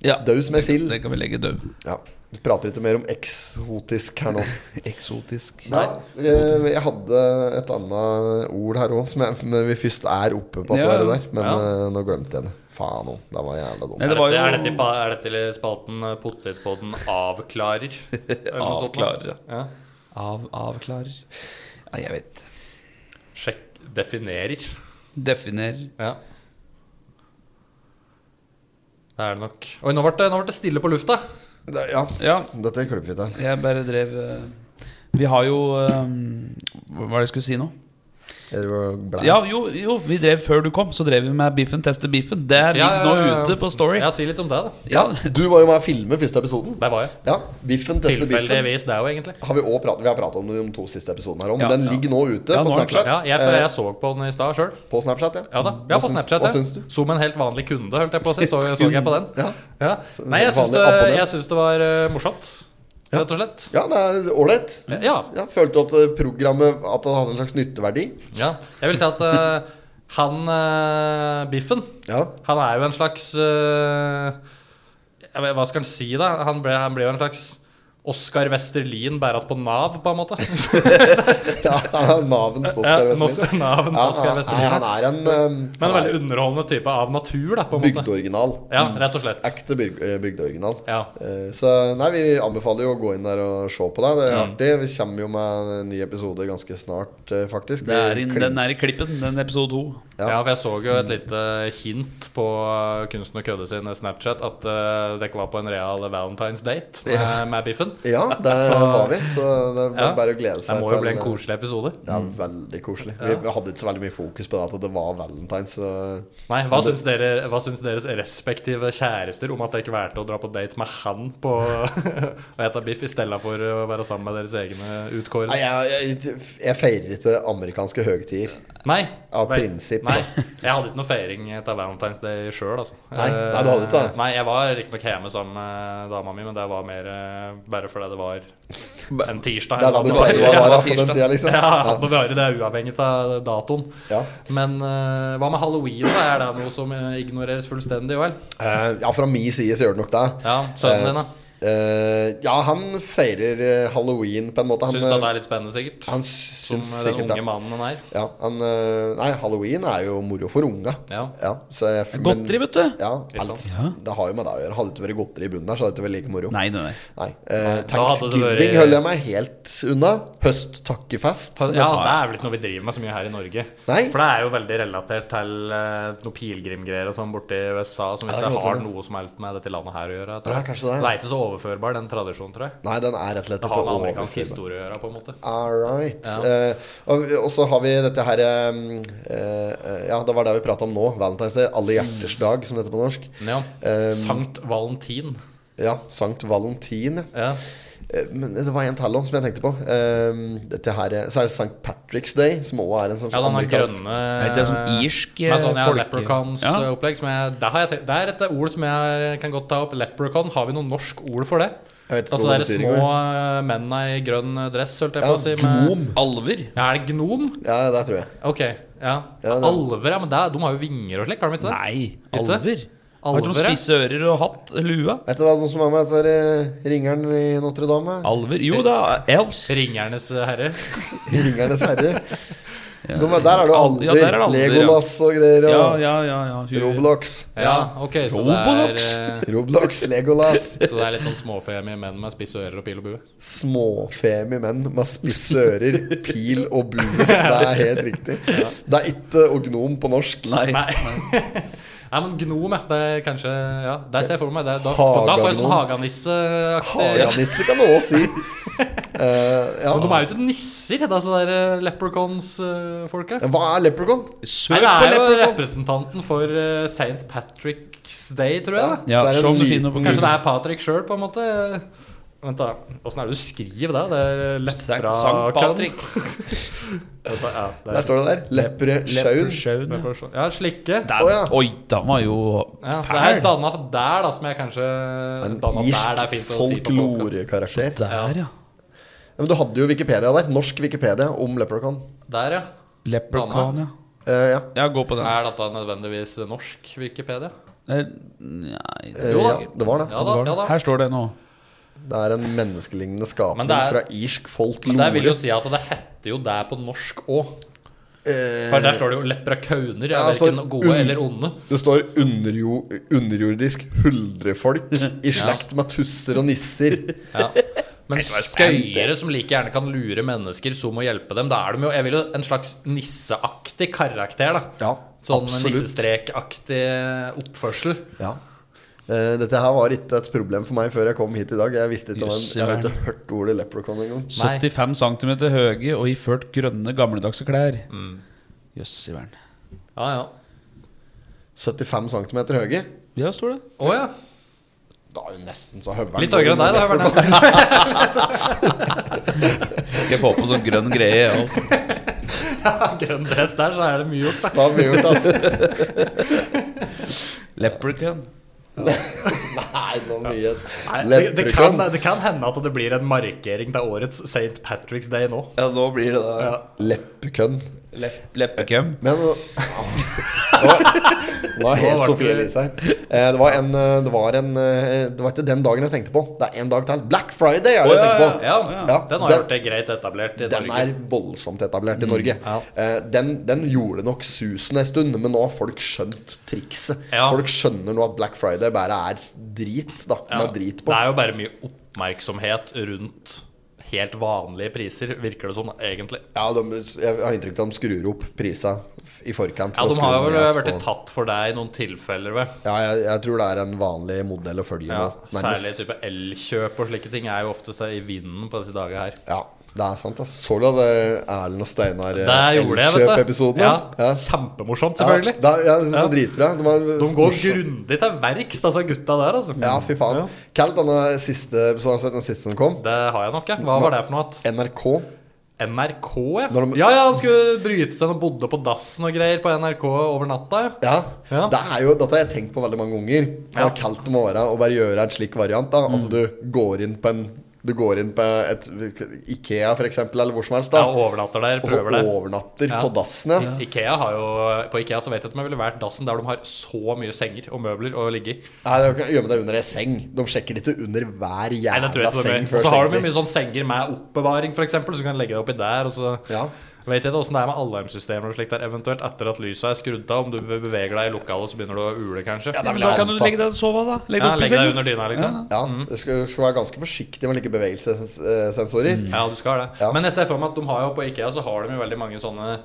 Speaker 1: Ja.
Speaker 2: daus med sild.
Speaker 1: Det kan vi legge død.
Speaker 2: Ja. Du prater ikke mer om eksotisk her nå.
Speaker 1: Eksotisk.
Speaker 2: Nei, eh, jeg hadde et annet ord her òg, når vi først er oppe på at det
Speaker 1: Ja,
Speaker 2: var det
Speaker 1: ja.
Speaker 2: der. Men
Speaker 3: Ja.
Speaker 2: eh, nå glemte jeg det. Faen òg. Det var jævla dumt.
Speaker 1: Nei,
Speaker 3: Er,
Speaker 1: det var
Speaker 3: dette,
Speaker 1: jo-
Speaker 3: er, dette, i pa- er dette i spalten eh, Potetpodden avklarer? Eller noe sånt da?
Speaker 1: Avklarer.
Speaker 3: Ja.
Speaker 1: Av, avklarer. Ja, jeg vet.
Speaker 3: Sjekk definerer.
Speaker 1: Definer.
Speaker 3: Ja. Det er det nok. Oi, nå ble det, nå ble det stille på lufta.
Speaker 2: Det- ja,
Speaker 1: Ja,
Speaker 2: dette klipper vi til.
Speaker 1: jeg bare drev eh, Vi har jo eh, Hva var det jeg skulle si nå?
Speaker 2: Eller ble-
Speaker 1: Ja, jo, jo, vi drev før du kom, så drev vi med Biffen tester biffen. Det ligger
Speaker 3: Ja, ja, ja, ja.
Speaker 1: nå ute på Story.
Speaker 3: Ja, si litt om det, da.
Speaker 2: ja, du var jo med å filme første episoden.
Speaker 3: Der var jeg.
Speaker 2: Ja, Biffen tester biffen.
Speaker 3: Tilfeldigvis, det er jo egentlig.
Speaker 2: Har vi, også pratet, vi har pratet om det i de to siste episodene her om.
Speaker 1: Ja,
Speaker 2: den
Speaker 1: ja.
Speaker 2: ligger nå ute
Speaker 1: Ja, nå
Speaker 2: på
Speaker 1: er den
Speaker 2: Snapchat.
Speaker 3: Ja, jeg,
Speaker 2: Eh,
Speaker 3: jeg så på den i stad sjøl.
Speaker 2: På Snapchat, ja.
Speaker 3: Ja da.
Speaker 2: Hva
Speaker 3: Ja, på
Speaker 2: syns-
Speaker 3: Snapchat.
Speaker 2: Hva
Speaker 3: ja.
Speaker 2: syns du?
Speaker 3: Som en helt vanlig kunde, holdt jeg på å si. Så, så jeg på den.
Speaker 2: Ja.
Speaker 3: Ja. Nei, jeg syns
Speaker 2: Vanlig
Speaker 3: det,
Speaker 2: abonnent.
Speaker 3: jeg syns det var eh, morsomt. Rett og slett.
Speaker 2: Ja, det er ålreit.
Speaker 3: Ja.
Speaker 2: Ja, følte du at eh, programmet At det hadde en slags nytteverdi?
Speaker 3: ja. Jeg vil si at eh, han eh, Biffen,
Speaker 2: Ja.
Speaker 3: han er jo en slags eh, jeg vet, Hva skal han si, da? Han ble, han ble jo en slags Oskar Westerlin bæret på Nav, på en måte.
Speaker 2: ja Navens
Speaker 3: Ja,
Speaker 2: Oskar Vestlin.
Speaker 3: Nos- Navens Oscar Westerlin.
Speaker 2: Nei, han er en um,
Speaker 3: Men en
Speaker 2: han er
Speaker 3: veldig underholdende type av natur, da, på en måte.
Speaker 2: bygdeoriginal.
Speaker 3: Ja, rett og slett.
Speaker 2: Ekte byg- eh, bygdeoriginal.
Speaker 3: Ja.
Speaker 2: Eh, Så nei, vi anbefaler jo å gå inn der og se på det. Det
Speaker 3: Mm.
Speaker 2: er artig. Vi kommer jo med en ny episode ganske snart, eh, faktisk.
Speaker 1: Det er
Speaker 2: Vi
Speaker 1: inn,
Speaker 2: klin-
Speaker 1: den er i klippen, den episode to.
Speaker 2: Ja.
Speaker 3: Ja. for jeg så jo et lite hint på eh, Kunsten og kødde sin Snapchat at eh, dere var på en real Valentine's date med, med Biffen.
Speaker 2: Ja, der var vi. Så det er
Speaker 3: Ja.
Speaker 2: bare å glede seg. eh,
Speaker 3: Det må jo bli en koselig episode.
Speaker 2: Det er veldig koselig. Vi hadde ikke så veldig mye fokus på det at det var valentines. Så
Speaker 3: Nei, hva syns, dere, hva syns deres respektive kjærester om at dere ikke valgte å dra på date med han på å ete biff i stedet for å være sammen med deres egne
Speaker 2: Nei,
Speaker 3: utkårede?
Speaker 2: jeg, jeg, jeg feirer ikke amerikanske høgtider.
Speaker 3: Nei.
Speaker 2: Av
Speaker 3: Vel,
Speaker 2: prinsipp,
Speaker 3: Nei.
Speaker 2: da.
Speaker 3: Jeg hadde ikke noe feiring til Valentine's Day sjøl, altså.
Speaker 2: Nei,
Speaker 3: Eh,
Speaker 2: nei, du hadde ikke det.
Speaker 3: Nei, jeg var riktignok hjemme sammen med dama mi, men det var mer eh, bare fordi det var en tirsdag.
Speaker 2: Det er da du
Speaker 3: Det var-
Speaker 2: pleier å
Speaker 1: ja,
Speaker 2: være
Speaker 1: det var
Speaker 2: på den
Speaker 1: tirsdag.
Speaker 2: tida, liksom.
Speaker 3: Ja, det varer, det er uavhengig av datoen.
Speaker 2: Ja.
Speaker 3: Men eh, hva med halloween? da? Er det noe som eh, ignoreres fullstendig? Vel?
Speaker 2: Eh, ja, fra min side så gjør det nok det.
Speaker 3: Ja, Sønnen din, da?
Speaker 2: Eh, ja, han feirer eh, halloween på en måte. Han,
Speaker 3: Syns at det
Speaker 2: eh,
Speaker 3: er litt spennende, sikkert?
Speaker 2: han
Speaker 3: som
Speaker 2: syns
Speaker 3: den
Speaker 2: sikkert
Speaker 3: unge
Speaker 2: det.
Speaker 3: mannen han er.
Speaker 2: Ja, han, eh, nei, halloween er jo moro for unga.
Speaker 3: Ja.
Speaker 2: så jeg, men-
Speaker 1: Godteri, vet du.
Speaker 2: Ja,
Speaker 3: Ikke sant?
Speaker 2: alt, det har jo med det å gjøre. Hadde det ikke vært godteri i bunnen der, så hadde det ikke vært like moro.
Speaker 1: Nei, nei, nei.
Speaker 2: Nei, eh,
Speaker 3: da hadde det
Speaker 2: Thanksgiving
Speaker 3: vært-
Speaker 2: holder jeg meg helt unna. Høsttakkefest.
Speaker 3: Ja, det er vel ikke noe vi driver med så mye her i Norge.
Speaker 2: Nei.
Speaker 3: For det er jo veldig relatert til eh, noe pilegrimgreier og sånn borti USA som
Speaker 2: Ja, det
Speaker 3: ikke
Speaker 2: kan godt
Speaker 3: har
Speaker 2: hende.
Speaker 3: noe som helst med dette landet her å gjøre.
Speaker 2: Ja,
Speaker 3: Tror jeg.
Speaker 2: kanskje det.
Speaker 3: det er ikke så overførbar, den tradisjonen, tror jeg.
Speaker 2: Nei, den er rett og slett
Speaker 3: Det har
Speaker 2: ikke
Speaker 3: med amerikansk
Speaker 2: overførbar.
Speaker 3: historie å gjøre, på en måte.
Speaker 2: All right.
Speaker 3: Ja.
Speaker 2: Eh, og, og så har vi dette her eh, eh, Ja, det var det vi prata om nå. Valentine's Day. Alle hjerters dag, som det heter på norsk.
Speaker 3: Ja.
Speaker 2: Eh,
Speaker 3: Sankt Valentin.
Speaker 2: Ja, Sankt Valentin.
Speaker 3: Ja.
Speaker 2: Eh, Men det var en tall også som jeg tenkte på. Eh, dette her, er- så er det St. Patrick's Day, som også er en sånn
Speaker 3: Ja, den har
Speaker 2: amerikansk-
Speaker 3: grønne
Speaker 1: Er ikke det sånn irsk eh,
Speaker 3: Med sånn ja,
Speaker 1: folke- Ja.
Speaker 3: leprechauns-opplegg. som jeg- Det, har jeg tenkt- det er et ord som jeg kan godt ta opp. Leprechaun. Har vi noe norsk ord for det?
Speaker 2: Jeg vet ikke
Speaker 3: Altså
Speaker 2: hva
Speaker 3: de
Speaker 2: det betyr,
Speaker 3: små eh, mennene i grønn dress, holdt jeg
Speaker 2: Ja,
Speaker 3: på å si. med-
Speaker 2: Gnom.
Speaker 1: Alver.
Speaker 3: Ja, er det gnom?
Speaker 2: Ja, det tror jeg.
Speaker 3: Ok, ja.
Speaker 2: Ja, det-
Speaker 3: Alver, ja. Men det, er- de har jo vinger og slik, har de ikke det?
Speaker 1: Nei,
Speaker 3: Ikke?
Speaker 1: alver. Har ikke
Speaker 3: Alver,
Speaker 1: noen
Speaker 3: ja.
Speaker 1: spisse ører og hatt lue?
Speaker 2: Vet du det er noen som er med etter eh, ringeren i Notre-Dame?
Speaker 1: Alver? Jo da, elves.
Speaker 3: Ringernes herre.
Speaker 2: I Ringernes herre. De, der er det jo
Speaker 1: Al-
Speaker 2: alder.
Speaker 1: ja, der er det alder, ja.
Speaker 2: Legolas og greier.
Speaker 1: Ja,
Speaker 2: Og
Speaker 1: ja, ja. ja. Hun-
Speaker 2: Roblox.
Speaker 3: Ja, ok, så det
Speaker 1: Robolox.
Speaker 3: er eh,
Speaker 2: Roblox, Legolas.
Speaker 3: Så det er litt sånn småfemie menn med spisse ører og pil og bue.
Speaker 2: Småfemi menn med spisse ører, pil og bue. Det er helt riktig. Det er ikke og gnom på norsk.
Speaker 1: Nei.
Speaker 3: Nei. Nei, men gnom, ja. Det er kanskje Ja, der ser jeg for meg det. Da,
Speaker 2: Hagagnom.
Speaker 3: da får jeg sånn haganisse-aktig
Speaker 2: Haganisse kan du også si. Eh, ja.
Speaker 3: Men de er jo ikke nisser, det er sånne der eh, leprechauns-folka.
Speaker 2: Hva er leprechaun?
Speaker 1: Søk på
Speaker 3: Nei, det er jo
Speaker 1: leprechaun.
Speaker 3: representanten for eh, St. Patrick's Day, tror jeg. da
Speaker 1: Ja,
Speaker 2: Så er det
Speaker 1: se om
Speaker 2: en
Speaker 1: du
Speaker 2: liten-
Speaker 1: finner noe på
Speaker 3: Kanskje
Speaker 1: Google.
Speaker 3: det er Patrick sjøl, på en måte. Vent, da. Åssen er det du skriver det? Det er lepra
Speaker 1: Sankt Patrick.
Speaker 3: Vent da, ja, det
Speaker 2: Der
Speaker 3: er
Speaker 2: står det der. Leprechaun.
Speaker 1: Leprechaun, ja.
Speaker 3: leprechaun. Ja, slikke.
Speaker 1: Der-
Speaker 2: Å, ja.
Speaker 1: Oi, den var jo
Speaker 3: Ja, det er
Speaker 1: fæl.
Speaker 3: danna for der, da, som jeg kanskje
Speaker 2: En
Speaker 3: danna der, det
Speaker 2: irsk
Speaker 3: er fint å si på podcast.
Speaker 2: folklorekarakter.
Speaker 1: Der, ja.
Speaker 2: Ja, men du hadde jo Wikipedia der. Norsk Wikipedia om leprechaun.
Speaker 3: Der, ja.
Speaker 1: Leprechaun, ja.
Speaker 2: Eh, ja.
Speaker 1: Ja, gå på den.
Speaker 3: Er dette nødvendigvis norsk Wikipedia?
Speaker 1: Nei, nei det er
Speaker 2: Eh, ja,
Speaker 1: sikkert-
Speaker 2: det var det.
Speaker 3: Ja da,
Speaker 1: var det.
Speaker 3: ja da.
Speaker 1: Her står det nå.
Speaker 2: Det er en menneskelignende skapning
Speaker 3: Men det er-
Speaker 2: fra irsk folklore.
Speaker 3: Men der vil jo si at det heter jo der på norsk òg.
Speaker 2: Eh,
Speaker 3: For der står det jo leprakauner.
Speaker 2: Ja,
Speaker 3: Ja,
Speaker 2: altså,
Speaker 3: verken gode
Speaker 2: un-
Speaker 3: eller onde.
Speaker 2: Det står underjo, underjordisk huldrefolk i slekt med tusser og nisser.
Speaker 3: Ja. Men skøyere som like gjerne kan lure mennesker som å hjelpe dem. Da er de jo jeg vil jo en slags nisseaktig karakter. da
Speaker 2: Ja,
Speaker 3: Sånn
Speaker 2: absolutt.
Speaker 3: nissestrekaktig oppførsel.
Speaker 2: Ja. Eh, dette her var ikke et problem for meg før jeg kom hit i dag. Jeg visste ikke om en,
Speaker 1: Jøss,
Speaker 2: Jeg har
Speaker 1: Jørn.
Speaker 2: ikke hørt ordet leprechaun engang.
Speaker 3: Nei.
Speaker 1: 75 cm høye og iført grønne, gammeldagse klær. Jøss i verden.
Speaker 3: Ja, ja.
Speaker 2: 75 cm høye.
Speaker 1: Ja, står det.
Speaker 3: Å ja.
Speaker 2: Da er jo nesten så høveren
Speaker 3: Litt høyere enn deg, da. Høveren.
Speaker 1: Skal jeg få på sånn grønn greie? jeg også?
Speaker 3: Grønn dress der, så er det mye gjort.
Speaker 2: Da blir jo ikke, altså.
Speaker 1: Leprechaun.
Speaker 2: Nei, nå mye ass.
Speaker 3: Nei, det, det, kan,
Speaker 2: Leprechaun.
Speaker 3: det kan hende at det blir en markering til årets St. Patrick's Day nå.
Speaker 1: Ja, nå blir det da
Speaker 3: Ja.
Speaker 2: Leppekønn.
Speaker 1: Lep Leppekøm.
Speaker 2: Men nå- Nå nå er helt
Speaker 3: var eh, det
Speaker 2: Sofie
Speaker 3: ikke-
Speaker 2: Elise her. Eh, Det var, en, eh, det, var en, eh, det var ikke den dagen jeg tenkte på. Det er en dag til. Black Friday er det jeg
Speaker 1: ja,
Speaker 2: tenker på.
Speaker 3: Ja,
Speaker 2: Ja,
Speaker 3: Den har gjort det greit etablert i
Speaker 2: Den
Speaker 3: Norge. Mm,
Speaker 2: er voldsomt etablert i Norge.
Speaker 3: ja.
Speaker 2: Eh, den, den gjorde nok susen en stund, men nå har folk skjønt trikset.
Speaker 3: Ja.
Speaker 2: Folk skjønner nå at Black Friday bare er s- drit, da.
Speaker 3: Ja.
Speaker 2: Med drit på.
Speaker 3: Det er jo bare mye oppmerksomhet rundt helt vanlige priser, virker det som, egentlig.
Speaker 2: Ja, de, jeg har inntrykk av at de skrur opp prisa f- i forkant.
Speaker 3: Ja,
Speaker 2: for å
Speaker 3: De har
Speaker 2: skru
Speaker 3: vel
Speaker 2: ned
Speaker 3: vært
Speaker 2: på-
Speaker 3: tatt for deg i noen tilfeller, vel.
Speaker 2: Ja, jeg, jeg tror det er en vanlig modell å følge
Speaker 3: Ja,
Speaker 2: nå, nærmest.
Speaker 3: særlig type elkjøp og slike ting er jo ofte så i vinden på disse dager her.
Speaker 2: Ja, det er sant. ass. Så du det Erlend og Steinar
Speaker 3: Det gjorde jeg, vet du.
Speaker 2: Elkjøp-episoden?
Speaker 3: Ja,
Speaker 2: Ja.
Speaker 3: Kjempemorsomt, selvfølgelig.
Speaker 2: Ja, da, ja, det
Speaker 3: Ja.
Speaker 2: var dritbra. Det var
Speaker 3: De går
Speaker 2: morsomt.
Speaker 3: grundig til verks, altså gutta der, altså.
Speaker 2: Ja, fy faen. Kall denne siste episoden, har du sett den siste som kom.
Speaker 3: Det har jeg nok, ja. Hva var det for noe? at-
Speaker 2: NRK.
Speaker 3: NRK, ja.
Speaker 2: Når de-
Speaker 3: Ja, ja, han skulle bryte seg inn og bodde på dassen og greier på NRK over natta. ja.
Speaker 2: Ja.
Speaker 3: Ja.
Speaker 2: Det er jo, dette har jeg tenkt på veldig mange ganger. Jeg har
Speaker 3: Ja. Mm.
Speaker 2: kalt det må være å bare gjøre en slik variant. Da. Altså Du går inn på en Du går inn på et Ikea, for eksempel, eller hvor som helst. Da.
Speaker 3: Jeg overnatter der,
Speaker 2: og så
Speaker 3: prøver det.
Speaker 2: overnatter
Speaker 3: Ja.
Speaker 2: på dassen. Ja.
Speaker 3: Ikea har jo, på Ikea så vet jeg at de ville vært dassen der de har så mye senger og møbler å ligge i.
Speaker 2: Nei, du kan gjemme deg under ei seng. De sjekker ikke under hver
Speaker 3: Nei, det tror
Speaker 2: jævla
Speaker 3: jeg ikke det er
Speaker 2: seng
Speaker 3: mye.
Speaker 2: før
Speaker 3: Og så har de jo
Speaker 2: stengetid.
Speaker 3: mye sånn senger med oppbevaring, f.eks., så du kan legge deg oppi der. Og så
Speaker 2: Ja.
Speaker 3: vet jeg ikke åssen det er med alarmsystemer og slikt der, eventuelt etter at lysa er skrudd av. Om du beveger deg i lokalet, så begynner du å ule, kanskje.
Speaker 2: Ja,
Speaker 3: Ja,
Speaker 2: det vil
Speaker 1: Da
Speaker 2: jeg
Speaker 1: kan du
Speaker 2: anta.
Speaker 1: legge deg og sove, da. Legg deg opp i
Speaker 3: Legg deg
Speaker 1: senga.
Speaker 3: under dyna, liksom.
Speaker 2: Ja, du skal, skal være ganske forsiktig med like bevegelsessensorer.
Speaker 3: Ja, du skal det.
Speaker 2: Ja.
Speaker 3: Men jeg ser for meg at de har jo på Ikea så har de jo veldig mange sånne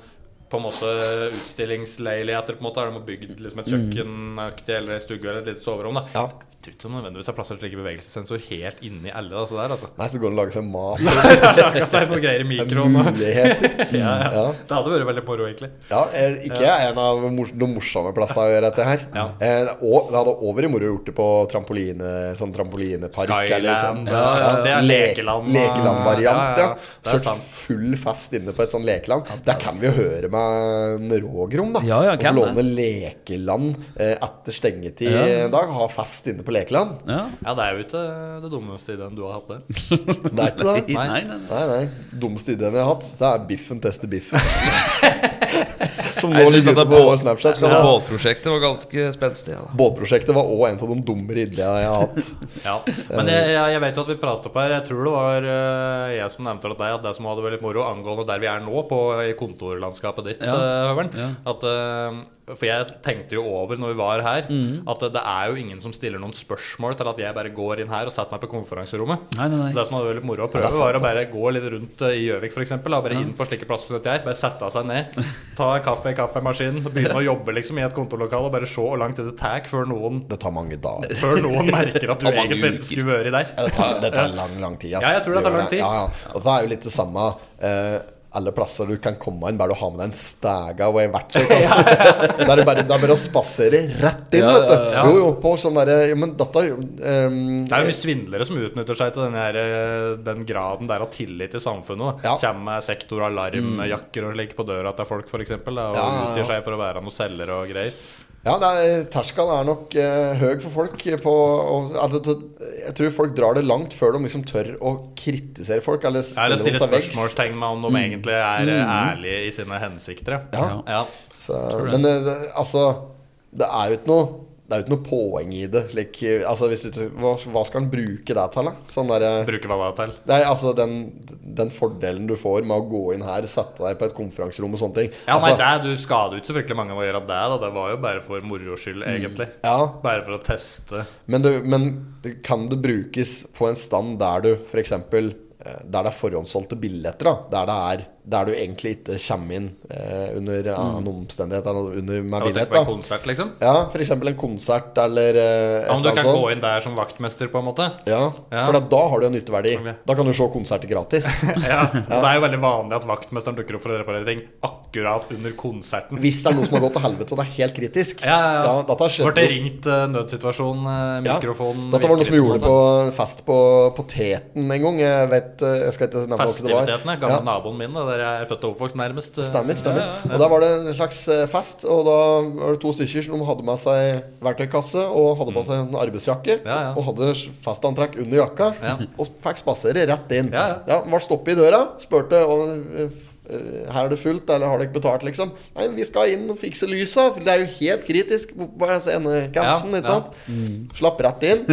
Speaker 3: på en måte utstillingsleiligheter. på en måte Har De har bygd liksom et kjøkkenaktig eller en stue eller et lite soverom. da
Speaker 2: Mm. Ja.
Speaker 3: Jeg tror ikke de nødvendigvis har plassert slik bevegelsessensor helt inni alle. Altså, der, altså.
Speaker 2: Nei, så går det an å lage seg mat.
Speaker 3: Lage seg noen greier i mikroen.
Speaker 2: Mm.
Speaker 3: og-
Speaker 2: Muligheter.
Speaker 3: Ja, ja.
Speaker 2: Ja.
Speaker 3: Det hadde vært veldig moro, egentlig.
Speaker 2: Ja, eh, ikke er en av mors de morsomme plassene å gjøre dette her.
Speaker 3: Ja.
Speaker 2: Eh, det er å- det hadde over i moro gjort det på trampoline, sånn trampolinepark.
Speaker 3: Skyland,
Speaker 2: eller sånn.
Speaker 3: ja, det er
Speaker 2: le-
Speaker 3: lekeland.
Speaker 2: Lekelandvariant,
Speaker 3: Ja,
Speaker 2: ja.
Speaker 3: ja, det er
Speaker 2: Kjørt
Speaker 3: sant.
Speaker 2: full fest inne på et sånt lekeland. Der kan vi jo høre med en Rågrom, da.
Speaker 1: Ja, ja,
Speaker 2: Og
Speaker 1: kan
Speaker 2: få
Speaker 1: det.
Speaker 2: låne lekeland eh, etter stengetid
Speaker 1: Ja.
Speaker 2: en dag. Ha fest inne på lekeland.
Speaker 1: Ja.
Speaker 3: Ja, det er jo ikke det dummeste i den du har hatt, det.
Speaker 2: Det er ikke det.
Speaker 1: Nei, nei, nei.
Speaker 2: Nei, nei. Dummeste ideen jeg har hatt, det er biffen tester biffen. Som nå
Speaker 1: Jeg synes
Speaker 2: ligger
Speaker 1: at
Speaker 2: ute
Speaker 1: det
Speaker 2: på
Speaker 1: er
Speaker 2: vår Snapchat. Så
Speaker 1: Så Bålprosjektet var ganske spenstig. Ja, da.
Speaker 2: Båtprosjektet var òg en av de dummere ideene jeg har hatt.
Speaker 3: Ja. Men jeg, jeg, jeg vet jo at vi prater på her. Jeg tror det var eh, jeg som nevnte til deg at det som hadde vært litt moro angående der vi er nå, på, i kontorlandskapet ditt,
Speaker 1: Ja.
Speaker 3: eh, Høveren
Speaker 1: Ja.
Speaker 3: at, eh, For jeg tenkte jo over når vi var her,
Speaker 1: Mhm.
Speaker 3: at eh, det er jo ingen som stiller noen spørsmål til at jeg bare går inn her og setter meg på konferanserommet.
Speaker 1: Nei, nei, nei.
Speaker 3: Så det som hadde vært litt moro
Speaker 2: Ja,
Speaker 3: å prøve,
Speaker 2: det er sant,
Speaker 3: var å
Speaker 2: ass.
Speaker 3: bare gå litt rundt eh, i Gjøvik, f.eks. Bare inn på slike plasser som dette her. Bare sette seg ned, ta kaffe i kaffemaskinen, begynne å jobbe liksom i et kontorlokale og bare se hvor lang tid det tar før noen
Speaker 2: Det tar mange dager.
Speaker 3: før noen merker at du
Speaker 1: Og mange
Speaker 3: egentlig ikke
Speaker 1: uker.
Speaker 3: skulle vært der.
Speaker 2: Det tar, det tar lang, lang tid. ass.
Speaker 3: Ja, jeg tror det tar
Speaker 2: gjør
Speaker 3: lang tid.
Speaker 2: Ja, ja. Og det er jo litt det samme eh, alle plasser du kan komme inn, bare du har med deg en stæga og ei verktøykasse. Det er det bare, det er bare å spasere rett inn,
Speaker 1: Ja,
Speaker 2: vet du.
Speaker 3: ja.
Speaker 2: Jo, jo, på sånn derre ja, Men dette ehm,
Speaker 3: Det er jo mye svindlere som utnytter seg til den, her, eh, den graden der av tillit i samfunnet.
Speaker 2: Ja. Mm.
Speaker 3: Ja. Kommer med sektoralarmjakker og slik på døra til folk, f.eks. Og
Speaker 2: ja, ja.
Speaker 3: utgir seg for å være noen selgere og greier.
Speaker 2: Ja, det er, terskelen er nok eh, høy for folk. På, og, altså, t- jeg tror folk drar det langt før de liksom tør å kritisere folk. Eller
Speaker 3: Ja,
Speaker 2: stille
Speaker 3: Eller
Speaker 2: dem
Speaker 3: stille
Speaker 2: til veggs. Mm.
Speaker 3: spørsmålstegn med om de egentlig er eh, ærlige i sine hensikter.
Speaker 2: Ja.
Speaker 3: Ja.
Speaker 2: Så, men eh, det, altså, det er jo ikke noe det er jo ikke noe poeng i det. Slik, eh, altså, hvis du, t- hva, hva skal en bruke det til? da? Sånn der, eh,
Speaker 3: Bruker hva da til?
Speaker 2: Nei, altså den, den fordelen du får med å gå inn her, sette deg på et konferanserom og sånne ting.
Speaker 3: Ja, nei,
Speaker 2: altså,
Speaker 3: det, Du skader jo ikke så fryktelig mange av å gjøre det. da Det var jo bare for moro skyld,
Speaker 2: Mm.
Speaker 3: egentlig.
Speaker 2: ja,
Speaker 3: Bare for å teste.
Speaker 2: Men, du, men du- kan det brukes på en stand der du f.eks. eh, der det er forhåndssolgte billetter, da. Der, det er, der du egentlig ikke kommer inn eh, under annen
Speaker 3: Mm.
Speaker 2: omstendighet enn under med
Speaker 3: Har du
Speaker 2: billett.
Speaker 3: tenkt på en
Speaker 2: Da.
Speaker 3: konsert, liksom?
Speaker 2: Ja, f.eks. en konsert eller eh, et
Speaker 3: Ja, men
Speaker 2: eller
Speaker 3: du
Speaker 2: annet
Speaker 3: kan
Speaker 2: sånt.
Speaker 3: gå inn der som vaktmester, på en måte?
Speaker 2: Ja,
Speaker 3: Ja.
Speaker 2: for da, da har du en nytteverdi.
Speaker 3: Ok.
Speaker 2: Da kan du se konserter gratis.
Speaker 3: Ja, og Det er jo veldig vanlig at vaktmesteren dukker opp for å reparere ting akkurat under konserten.
Speaker 2: Hvis det er noe som har gått til helvete, og det er helt kritisk.
Speaker 3: Ja, ja, ja.
Speaker 2: dette har skjedd
Speaker 3: Ble det
Speaker 2: jo-
Speaker 3: ringt eh, nødsituasjon, eh,
Speaker 2: Ja.
Speaker 3: mikrofon
Speaker 2: Dette var noe som vi
Speaker 3: virker
Speaker 2: gjorde
Speaker 3: litt,
Speaker 2: på
Speaker 3: en måte.
Speaker 2: en fest på, på Teten en gang. Jeg vet eh, Jeg skal ikke nevne hva det var.
Speaker 3: Festivitetene. Gamle
Speaker 2: Ja,
Speaker 3: naboen min, da, der jeg er født og oppvokst, nærmest. eh,
Speaker 2: Stemmer. stemmer Og da var det en slags eh, fest, og da var det to stykker som hadde med seg verktøykasse og hadde på seg en arbeidsjakke,
Speaker 3: Mm. Ja, ja.
Speaker 2: og hadde festantrekk under jakka,
Speaker 3: Ja.
Speaker 2: og fikk spasere rett inn.
Speaker 3: Ja, ja.
Speaker 2: Var stoppet i døra, spurte om eh, her er det fullt, eller har dere ikke betalt, liksom. Nei, vi skal inn og fikse lysa, for det er jo helt kritisk på på scenekanten,
Speaker 3: Ja, Mm.
Speaker 2: ikke sant. Slapp rett inn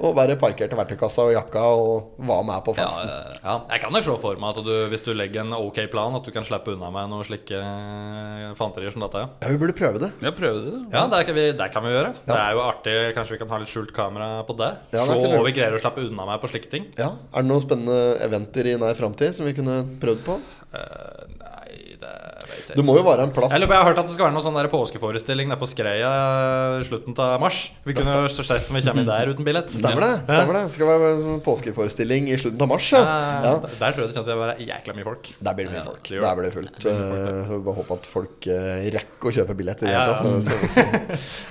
Speaker 2: og bare parkerte verktøykassa og jakka og var med på
Speaker 3: Ja,
Speaker 2: festen.
Speaker 3: eh, ja. Jeg kan jo se for meg at du, hvis du legger en ok plan, at du kan slippe unna med noen slike eh, fanterier som dette. Ja.
Speaker 2: Ja, vi burde prøve det.
Speaker 1: Jeg prøvde det.
Speaker 3: Ja, det kan vi, det kan vi gjøre. Det er jo artig. Kanskje vi kan ha litt skjult kamera på det.
Speaker 2: Ja, det
Speaker 3: Se
Speaker 2: kunne vi
Speaker 3: hva vi
Speaker 2: gjort.
Speaker 3: greier å slappe unna med på slike ting.
Speaker 2: Ja, Er det noen spennende eventer i nær framtid som vi kunne prøvd på?
Speaker 3: Eh, nei, det vet jeg
Speaker 2: Det
Speaker 3: ikke.
Speaker 2: må jo være en plass.
Speaker 3: Jeg lurer på, jeg har hørt at det skal være noen sånn der påskeforestilling nede på Skreia i slutten av mars. Vi kunne jo så slett om vi kommer inn der uten billett.
Speaker 2: Stemmer det? stemmer det Det skal være en påskeforestilling i slutten av mars. Ja. Ja.
Speaker 3: Ja. Der der tror jeg det kommer til å være jækla mye folk.
Speaker 2: Der blir det mye
Speaker 3: Ja,
Speaker 2: folk.
Speaker 3: det gjør
Speaker 2: Der blir det fullt. Eh, så vi bare håpe at folk eh, rekker å kjøpe billett. i det hele
Speaker 3: Ja, ja.
Speaker 2: tatt, så- så-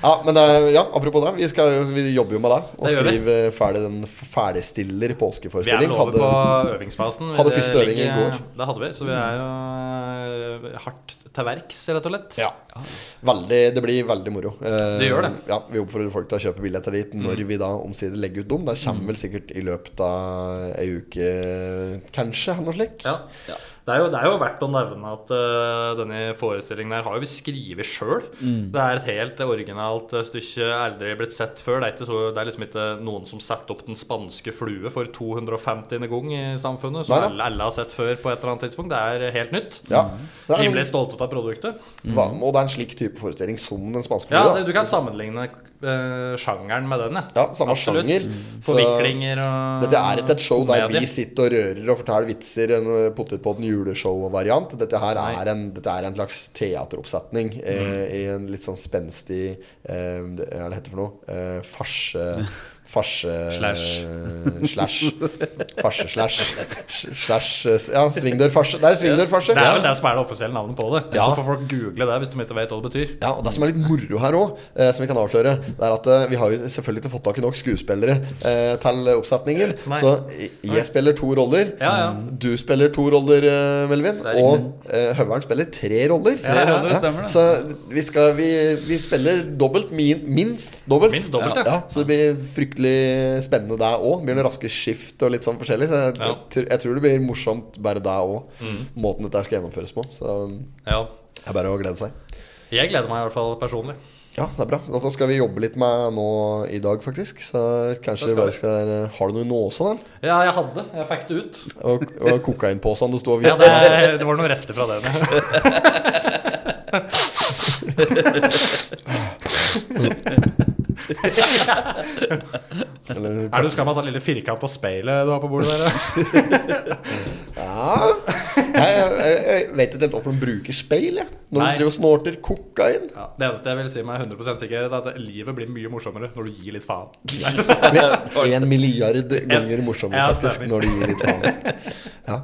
Speaker 2: Ja, men eh, ja, apropos det. Vi, skal, jo- vi jobber jo med det. Og
Speaker 3: Det gjør vi.
Speaker 2: skriver ferdig den ferdigstiller
Speaker 3: Vi er
Speaker 2: påskeforestilling.
Speaker 3: vel over
Speaker 2: Hadde-
Speaker 3: på øvingsfasen.
Speaker 2: hadde
Speaker 3: Det
Speaker 2: første øving i
Speaker 3: ligger-
Speaker 2: går.
Speaker 3: Det hadde vi, så vi er jo eh, hardt til verks, rett og slett.
Speaker 2: Ja. Veldig, det blir veldig moro. Eh,
Speaker 3: Det gjør det. Mm.
Speaker 2: Ja, vi oppfordrer folk til å kjøpe billetter dit når vi da omsider legger ut dem. Det kommer vel sikkert i løpet av ei uke, kanskje, eller noe slikt.
Speaker 3: Ja. Det, er jo, det er jo verdt å nevne at eh, denne forestillingen her har jo vi skrevet sjøl.
Speaker 2: Mm.
Speaker 3: Det er et helt originalt eh, stykke, aldri blitt sett før. Det er, ikke så, det er liksom ikke noen som setter opp Den spanske flue for 250. gang i samfunnet, som
Speaker 2: Nei da.
Speaker 3: alle, alle har sett før på et eller annet tidspunkt. Det er helt nytt.
Speaker 2: Ja. Det er,
Speaker 3: Mm. Rimelig stolte av produktet.
Speaker 2: hva, og det er en slik type forestilling som Den spanske
Speaker 3: Ja,
Speaker 2: flua.
Speaker 3: det, Du kan sammenligne eh, sjangeren med den.
Speaker 2: Ja, samme sjanger.
Speaker 3: Mm.
Speaker 2: Så-
Speaker 3: Forviklinger og
Speaker 2: Dette er ikke et show der
Speaker 3: komedie.
Speaker 2: vi sitter og rører og forteller vitser. En eh, potetpodden juleshow-variant. Dette her
Speaker 3: Nei. Mm.
Speaker 2: er en, dette er en slags teateroppsetning eh, i en litt sånn spenstig eh, det- Hva er det heter for noe? Eh, farse... Farse...
Speaker 3: Slash.
Speaker 2: eh, Slash. Farse-slash. Slash eh, s- Ja, svingdørfarse. Det er svingdørfarse.
Speaker 3: Det er vel
Speaker 2: Ja.
Speaker 3: det som er det offisielle navnet på det.
Speaker 2: Ja.
Speaker 3: Så får folk google det hvis de ikke vet hva det betyr.
Speaker 2: Ja, og Det som er litt moro her òg, eh, som vi kan avsløre, det er at eh, vi har jo selvfølgelig ikke fått tak i nok skuespillere eh, til oppsetningen.
Speaker 3: Nei.
Speaker 2: Så jeg jeg spiller to roller. Mm.
Speaker 3: Ja, ja.
Speaker 2: Du spiller to roller, eh, Melvin.
Speaker 3: Det er
Speaker 2: Og eh, Høveren spiller tre roller.
Speaker 1: Tre roller, det stemmer det.
Speaker 2: Så vi, skal, vi, vi spiller dobbelt, min, minst dobbelt.
Speaker 3: Minst dobbelt, ja.
Speaker 2: ja. Så det blir fryktelig spennende der òg. Blir noen raske skift og litt sånn forskjellig. Så jeg,
Speaker 3: Ja. Mm.
Speaker 2: jeg, tror- jeg tror det blir morsomt bare der òg. Måten dette her skal gjennomføres på. Så det
Speaker 3: Ja.
Speaker 2: er bare å glede seg.
Speaker 3: Jeg gleder meg i hvert fall personlig.
Speaker 2: Ja, det er bra. Dette skal vi jobbe litt med nå i dag, faktisk. Så kanskje vi
Speaker 3: Det skal
Speaker 2: bare skal eh, Har du noe nå også, da?
Speaker 3: Ja, jeg hadde. Jeg fikk det ut.
Speaker 2: Og, og kokainposen du sto og
Speaker 3: Ja,
Speaker 2: vifta
Speaker 3: det,
Speaker 2: med?
Speaker 3: det var noen rester fra den. ja.
Speaker 2: Eller-
Speaker 3: Er du skam av det lille firkanta speilet du har på bordet der? ja?
Speaker 2: Ja. Jeg, jeg, jeg vet ikke helt hvorfor de bruker speil, jeg. Når
Speaker 3: Nei.
Speaker 2: de driver og snorter kokain.
Speaker 3: Ja, det eneste jeg vil si meg 100 sikker, er at livet blir mye morsommere når du gir litt faen.
Speaker 2: Med en milliard ganger morsommere,
Speaker 3: Ja,
Speaker 2: faktisk,
Speaker 3: stemmer.
Speaker 2: når de gir litt faen. Ja.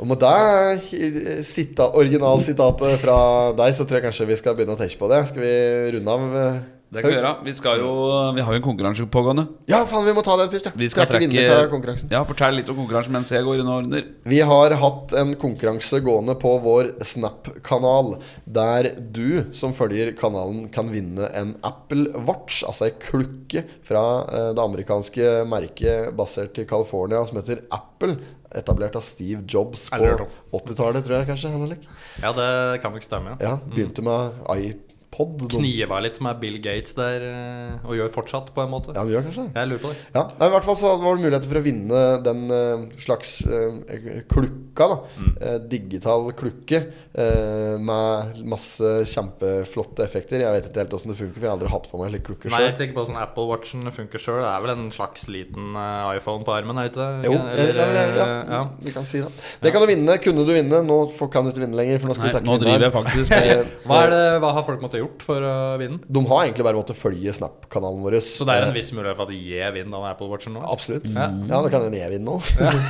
Speaker 2: Og med det eh, sita- originalsitatet fra deg, så tror jeg kanskje vi skal begynne å tenke på det. Skal vi runde av? eh,
Speaker 1: Det kan vi gjøre. Vi, skal jo, vi har jo en konkurranse pågående.
Speaker 2: Ja, faen, vi må ta den først, ja.
Speaker 1: Vi skal trekke,
Speaker 2: vinner til konkurransen.
Speaker 1: Ja, Fortell litt om konkurransen mens jeg går unna og ordner.
Speaker 2: Vi har hatt en konkurranse gående på vår Snap-kanal, der du som følger kanalen kan vinne en Apple Watch, altså ei klukke fra eh, det amerikanske merket basert i California som heter Apple. Etablert av Steve Jobs på
Speaker 3: Aldri hørt om.
Speaker 2: 80-tallet, tror jeg kanskje. eller noe slik.
Speaker 3: Ja, det kan nok stemme. ja.
Speaker 2: Ja, begynte med iPod pod. de-
Speaker 3: Kniva litt med Bill Gates der, eh, og gjør fortsatt, på en måte.
Speaker 2: Ja, de gjør kanskje det.
Speaker 3: Jeg lurer på det.
Speaker 2: Ja, nei, I hvert fall så var det muligheter for å vinne den eh, slags eh, klukka. da
Speaker 3: Mm.
Speaker 2: Eh, Digital klukke eh, med masse kjempeflotte effekter. Jeg vet ikke helt åssen det funker, for jeg har aldri hatt på meg slike klukker
Speaker 3: Nei, jeg er
Speaker 2: sjøl.
Speaker 3: ikke sikker på hvordan Apple Watchen funker sjøl. Det er vel en slags liten eh, iPhone på armen, er det ikke det?
Speaker 2: Jo,
Speaker 3: Eller,
Speaker 2: ja, ja, ja,
Speaker 3: eh, ja.
Speaker 2: vi kan si det. Det kan du vinne. Kunne du vinne? Nå får- kan du ikke vinne lenger. For nå skal
Speaker 1: Nei,
Speaker 2: vi takke
Speaker 1: nå driver jeg faktisk
Speaker 2: vinneren. Eh,
Speaker 3: Hva, er det, hva har folk måttet gjort for å vinne?
Speaker 2: De har egentlig bare måttet følge Snap-kanalen vår. eh,
Speaker 3: Så det er en viss mulighet for at jeg vinner den Apple Watchen nå?
Speaker 2: Absolutt. Ja, da kan hende jeg vinne nå.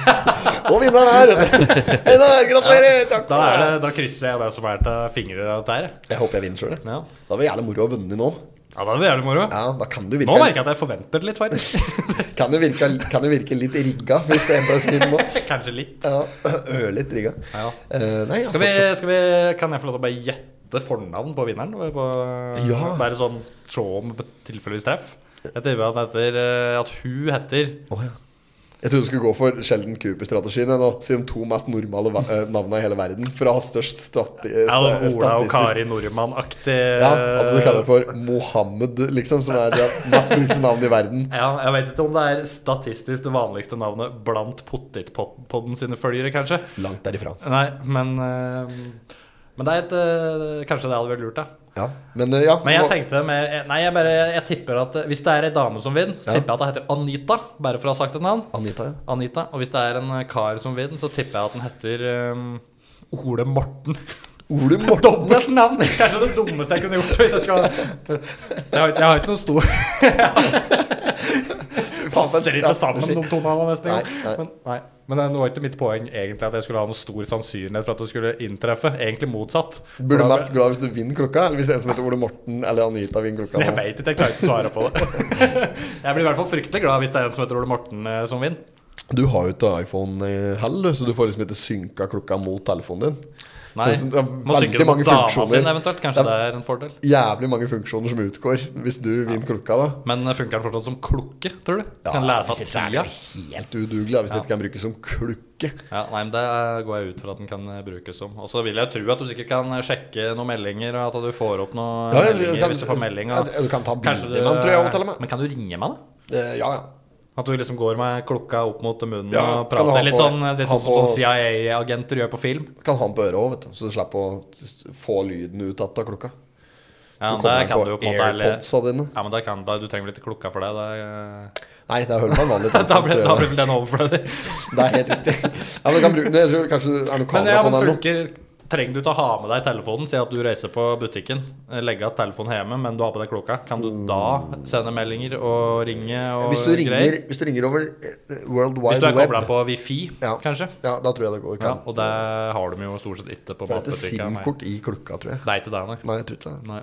Speaker 2: Og vinneren er Einar, Gratulerer! Takk.
Speaker 3: Da, er det, da krysser jeg det som er til fingre der.
Speaker 2: Jeg håper jeg vinner sjøl.
Speaker 3: Ja.
Speaker 2: Da hadde det jævlig moro å ha vunnet nå.
Speaker 3: ja, det blir jævlig moro.
Speaker 2: Ja, da kan du
Speaker 3: Nå
Speaker 2: virke
Speaker 3: merker jeg at jeg forventer det litt, faktisk.
Speaker 2: Kan jo virke, kan jo virke litt rigga, hvis jeg bare sier det nå.
Speaker 3: Kanskje litt.
Speaker 2: Ja, Ørlitt rigga.
Speaker 3: Ja.
Speaker 2: Eh, nei, ja,
Speaker 3: Skal vi,
Speaker 2: fortsatt.
Speaker 3: skal vi, kan jeg få lov til å bare gjette fornavn på vinneren? På,
Speaker 2: Ja.
Speaker 3: Bare sånn se om tilfeldigvis treff. Jeg tipper at, han heter, eh, at hun heter
Speaker 2: Å, ja. Jeg trodde du skulle gå for Sheldon Cooper-strategien. jeg, Nå, si de to mest normale va- eh, navnene i hele verden. For å ha størst strati eh,
Speaker 3: ja,
Speaker 2: sta-
Speaker 3: Ola og
Speaker 2: statistisk-
Speaker 3: Kari Nordmann-aktig.
Speaker 2: Ja, altså Du kaller det for Mohammed, liksom, som er det mest brukte navnet i verden.
Speaker 3: Ja, jeg vet ikke om det er statistisk det vanligste navnet blant Pottitpodden sine følgere, kanskje.
Speaker 2: Langt derifra.
Speaker 3: Nei, men eh, Men det er et eh, Kanskje det hadde vært lurt, da.
Speaker 2: Ja, Men eh, ja
Speaker 3: Men jeg
Speaker 2: nå-
Speaker 3: tenkte med, Nei, jeg bare Jeg tipper at eh, hvis det er ei dame som vinner, så
Speaker 2: Ja.
Speaker 3: tipper jeg at det heter Anita, bare for å ha sagt et navn.
Speaker 2: Anita, ja.
Speaker 3: Anita. Og hvis det er en eh, kar som vinner, så tipper jeg at den heter eh, Ole Morten.
Speaker 2: Ole Morten.
Speaker 3: Dobbelt navn! Kanskje det dummeste jeg kunne gjort. Hvis jeg, skulle... jeg, har, ikke- jeg har ikke noe stor Passer ikke sammen, de to navnene, nesten.
Speaker 2: Nei,
Speaker 3: engang.
Speaker 2: nei.
Speaker 3: Men, nei. Men det var ikke mitt poeng egentlig at jeg skulle ha noe stor sannsynlighet for at det skulle inntreffe. Egentlig motsatt.
Speaker 2: Burde du
Speaker 3: For da-
Speaker 2: mest glad hvis du vinner klokka, eller hvis en som heter Ole Morten eller Anita vinner klokka?
Speaker 3: Jeg
Speaker 2: nå?
Speaker 3: vet ikke, jeg klarer ikke å svare på det. Jeg blir i hvert fall fryktelig glad hvis det er en som heter Ole Morten eh, som vinner.
Speaker 2: Du har jo ikke iPhone eh, heller, så du får liksom ikke synka klokka mot telefonen din.
Speaker 3: Nei,
Speaker 2: Det er sånn- det er
Speaker 3: må
Speaker 2: veldig
Speaker 3: synke det
Speaker 2: mange
Speaker 3: mot dama
Speaker 2: funksjoner.
Speaker 3: sin eventuelt. Kanskje
Speaker 2: Det
Speaker 3: det
Speaker 2: er-
Speaker 3: er en fordel.
Speaker 2: Jævlig mange funksjoner som utgår hvis du vinner klokka, da.
Speaker 3: Men eh, funker den fortsatt som klokke, tror du?
Speaker 2: Ja,
Speaker 3: kan lese av
Speaker 2: hvis
Speaker 3: tida?
Speaker 2: Helt udugelig da, hvis det ikke kan brukes som klukke.
Speaker 3: Ja, nei, men Det eh, går jeg ut fra at den kan eh, brukes som. Og så vil jeg tro at du sikkert kan eh, sjekke noen meldinger, og at du får opp noen
Speaker 2: Ja, eller du
Speaker 3: meldinger
Speaker 2: kan-
Speaker 3: hvis du får melding. Og...
Speaker 2: Ja, du kan ta
Speaker 3: Kanskje
Speaker 2: bilder med den, tror jeg, og til og med.
Speaker 3: Men kan du ringe med den?
Speaker 2: Eh, ja, ja.
Speaker 3: At du liksom går med klokka opp mot munnen
Speaker 2: Ja,
Speaker 3: og
Speaker 2: kan du ha
Speaker 3: prater litt
Speaker 2: på-
Speaker 3: sånn, litt
Speaker 2: ha
Speaker 3: sånn som
Speaker 2: på-
Speaker 3: sånn CIA-agenter gjør på film?
Speaker 2: Kan ha den på øret òg, vet du. Så du slipper å s- få lyden ut att av klokka. Så
Speaker 3: Ja, men
Speaker 2: kommer
Speaker 3: der
Speaker 2: den
Speaker 3: kan
Speaker 2: på
Speaker 3: du jo på en måte eller-
Speaker 2: AirPodsa dine.
Speaker 3: Ja, men der kan, da, du trenger vel ikke klokka for det. det
Speaker 2: Nei, det er man vanlig.
Speaker 3: er- da
Speaker 2: telefon,
Speaker 3: blir
Speaker 2: tror
Speaker 3: da
Speaker 2: jeg.
Speaker 3: blir vel den overflødig.
Speaker 2: Det er helt riktig. Ja, men du kan bruke den. Jeg tror kanskje det er noe
Speaker 3: Men
Speaker 2: kamera
Speaker 3: ja,
Speaker 2: på den
Speaker 3: men
Speaker 2: eller noe.
Speaker 3: funker Trenger du ikke å ha med deg telefonen? Si at du reiser på butikken, eh, legger igjen telefonen hjemme, men du har på deg klokka. Kan du da sende meldinger og ringe og
Speaker 2: Mm. Hvis du ringer,
Speaker 3: greier?
Speaker 2: hvis du ringer over eh, World Wide
Speaker 3: Hvis du er
Speaker 2: Web
Speaker 3: kobla på wifi,
Speaker 2: Ja.
Speaker 3: kanskje.
Speaker 2: Ja, da tror jeg det går.
Speaker 3: Ja,
Speaker 2: Kan.
Speaker 3: og det har de jo stort sett ikke på
Speaker 2: For det er ikke
Speaker 3: matbutikken. nei.
Speaker 2: SIM-kort i klokka, tror jeg.
Speaker 3: Det er ikke det, nei.
Speaker 2: Nei, jeg tror ikke det.
Speaker 3: nei.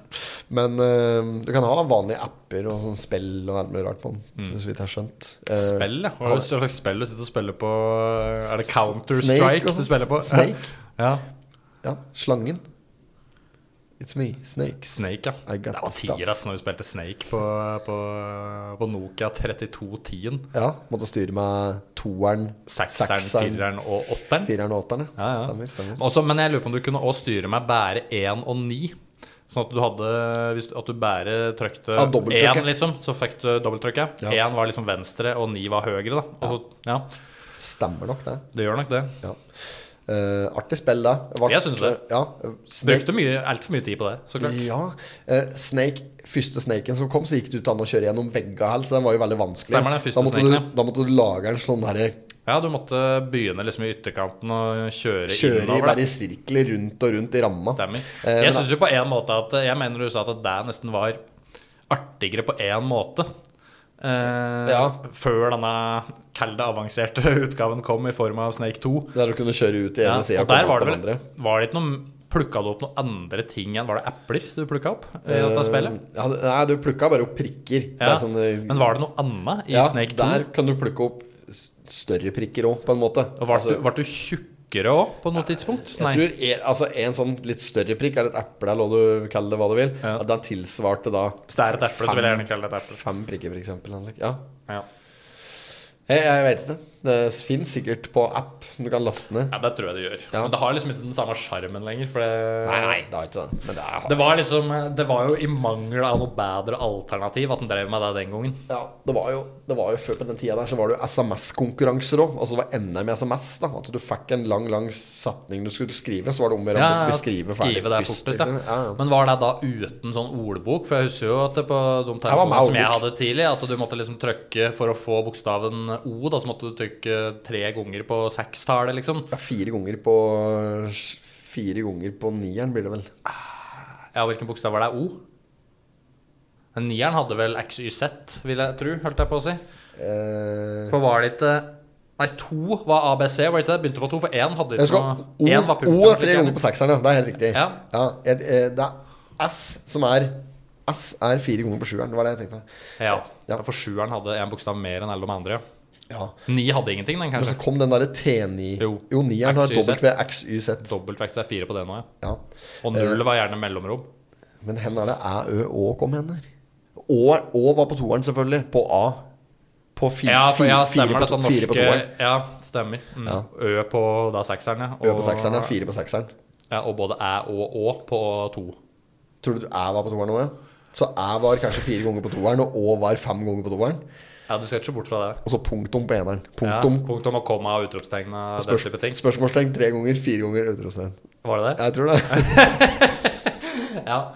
Speaker 2: Men eh, du kan ha vanlige apper og sånn spill og alt mulig rart på den. Så vidt jeg har skjønt. Eh,
Speaker 3: Mm. Spill, ja. Hva er det slags spill du sitter og spiller på? Er det
Speaker 2: Snake
Speaker 3: Counter-Strike
Speaker 2: og
Speaker 3: du
Speaker 2: sånt.
Speaker 3: spiller på?
Speaker 2: Snake.
Speaker 3: Ja.
Speaker 2: Ja, slangen. It's me, Snakes.
Speaker 3: Snake, ja.
Speaker 2: I got
Speaker 3: Det var
Speaker 2: stuff.
Speaker 3: tider ass, når vi spilte Snake på, på, på Nokia 3210-en.
Speaker 2: Ja, måtte styre med toeren,
Speaker 3: Sekseren, fireren og åtteren.
Speaker 2: fireren og åtteren. Ja,
Speaker 3: Ja, ja.
Speaker 2: Stemmer, stemmer.
Speaker 3: Også, men jeg lurer på om du kunne også styre med bare én og ni. Sånn at du hadde hvis, du- At du bare trykte
Speaker 2: Ja, dobbelttrykket.
Speaker 3: én, liksom, så fikk du dobbelttrykket.
Speaker 2: Ja.
Speaker 3: Én var liksom venstre, og ni var høyre. Da. Og så, ja,
Speaker 2: Stemmer nok det.
Speaker 3: det gjør nok det.
Speaker 2: Ja. Eh, artig spill, da. Vart-
Speaker 3: Jeg synes det.
Speaker 2: Ja, eh, Snake,
Speaker 3: Brukte mye- alt for mye tid på det, så klart.
Speaker 2: ja. Eh, Snake, første snaken som kom, så gikk det ut an å kjøre gjennom vegga her, så den var jo veldig vanskelig.
Speaker 3: Stemmer det, første
Speaker 2: da, måtte du,
Speaker 3: snaken, ja.
Speaker 2: da måtte du lage en sånn herre
Speaker 3: Ja, du måtte begynne liksom i ytterkanten og kjøre,
Speaker 2: Kjøre i,
Speaker 3: innover. da.
Speaker 2: bare i sirkler rundt og rundt i ramma.
Speaker 3: Stemmer.
Speaker 2: Eh,
Speaker 3: Jeg
Speaker 2: men-
Speaker 3: synes jo på en måte at eh, Jeg mener du sa at det nesten var artigere på én måte. Eh,
Speaker 2: Ja.
Speaker 3: Før denne kall det avanserte utgaven kom i form av Snake 2.
Speaker 2: Der du kunne kjøre ut i
Speaker 3: Ja,
Speaker 2: ene sida
Speaker 3: og der var det vel Var det ikke noe Plukka du opp noen andre ting enn Var det epler du plukka opp eh, i dette spillet?
Speaker 2: Ja, nei, du plukka bare opp prikker.
Speaker 3: Ja.
Speaker 2: Eh, Det er sånn, eh,
Speaker 3: Men var det noe annet i
Speaker 2: ja,
Speaker 3: Snake 2?
Speaker 2: der kan du plukke opp s- større prikker òg, på en måte.
Speaker 3: Og Ble
Speaker 2: Altså,
Speaker 3: du, vart du tjukkere òg på noe tidspunkt?
Speaker 2: jeg tror en, altså en sånn litt større prikk er et eple, eller hva du kaller det hva du vil.
Speaker 3: Ja.
Speaker 2: at Den tilsvarte da
Speaker 3: Hvis det er et eple, så vil jeg gjerne kalle det et eple.
Speaker 2: fem prikker, for eksempel. Henrik. Ja.
Speaker 3: Ja.
Speaker 2: Jeg, jeg vet ikke. Det finnes sikkert på app som du kan laste ned.
Speaker 3: Ja, det tror jeg det gjør.
Speaker 2: Ja.
Speaker 3: Men det har liksom ikke den samme sjarmen lenger. For det,
Speaker 2: Nei, nei, det har ikke det. Men det er
Speaker 3: Det var liksom Det var jo i mangel av noe bedre alternativ at den drev med det den gangen.
Speaker 2: Ja, det var, jo, det var jo før på den tida der så var det jo SMS-konkurranser òg. Altså det var NM i SMS. da At du fikk en lang lang setning du skulle skrive, så var det om å gjøre å beskrive ferdig
Speaker 3: det
Speaker 2: først,
Speaker 3: fortest, ja.
Speaker 2: liksom. Ja, ja.
Speaker 3: Men var det da uten sånn ordbok? For jeg husker jo at det på de
Speaker 2: var med
Speaker 3: telefonene som jeg
Speaker 2: ordbok.
Speaker 3: hadde tidlig, at du måtte liksom trykke for å få bokstaven O, da så måtte du trykke tre ganger på sekstallet, liksom.
Speaker 2: ja, fire ganger på Fire ganger på nieren blir det vel.
Speaker 3: Ja, hvilken bokstav var det? O? Men Nieren hadde vel XYZ, vil jeg tro, holdt jeg på å si.
Speaker 2: Eh,
Speaker 3: For var det ikke Nei, to var ABC, var det ikke det? Begynte på to, for én hadde
Speaker 2: jeg
Speaker 3: ikke
Speaker 2: skal,
Speaker 3: noe
Speaker 2: o,
Speaker 3: én var
Speaker 2: o
Speaker 3: pulten,
Speaker 2: er tre ganger på sekseren, ja. Det er helt riktig.
Speaker 3: Ja.
Speaker 2: et- eh, det er S som er S er fire ganger på sjueren. Det var det jeg tenkte.
Speaker 3: Ja.
Speaker 2: Ja.
Speaker 3: For sjueren hadde én bokstav mer enn alle de andre. ja.
Speaker 2: Ja.
Speaker 3: Ni hadde ingenting,
Speaker 2: Men
Speaker 3: den,
Speaker 2: så
Speaker 3: kanskje.
Speaker 2: kom den derre T9 Jo,
Speaker 3: Jo.
Speaker 2: nieren har
Speaker 3: XYZ.
Speaker 2: WXYZ.
Speaker 3: Dobbeltvekt, så er fire på det nå, ja.
Speaker 2: Ja.
Speaker 3: Og
Speaker 2: Eh,
Speaker 3: null var gjerne mellomrom.
Speaker 2: Men hen er det æ, ø, å kom hen her? Å, å var på toeren, selvfølgelig. På A. På fire,
Speaker 3: Ja, for, ja
Speaker 2: fire- fire
Speaker 3: stemmer det.
Speaker 2: på,
Speaker 3: Sånn
Speaker 2: fire på
Speaker 3: norske
Speaker 2: toeren.
Speaker 3: Ja, stemmer. Mm.
Speaker 2: Ja.
Speaker 3: Ø på da sekseren, ja.
Speaker 2: Ø på sekseren, ja. Fire på sekseren.
Speaker 3: ja. Og både æ og å på to.
Speaker 2: Tror du æ var på toeren òg, ja? Så æ var kanskje fire ganger på toeren, og å var fem ganger på toeren.
Speaker 3: Ja, du skal ikke se bort fra det.
Speaker 2: Og så punktum på eneren.
Speaker 3: Ja,
Speaker 2: Punktum.
Speaker 3: punktum og komma og utropstegn og den
Speaker 2: Spørs,
Speaker 3: type ting.
Speaker 2: spørsmålstegn tre ganger, fire ganger utropstegn.
Speaker 3: Var det det?
Speaker 2: Jeg tror det.
Speaker 3: Ja.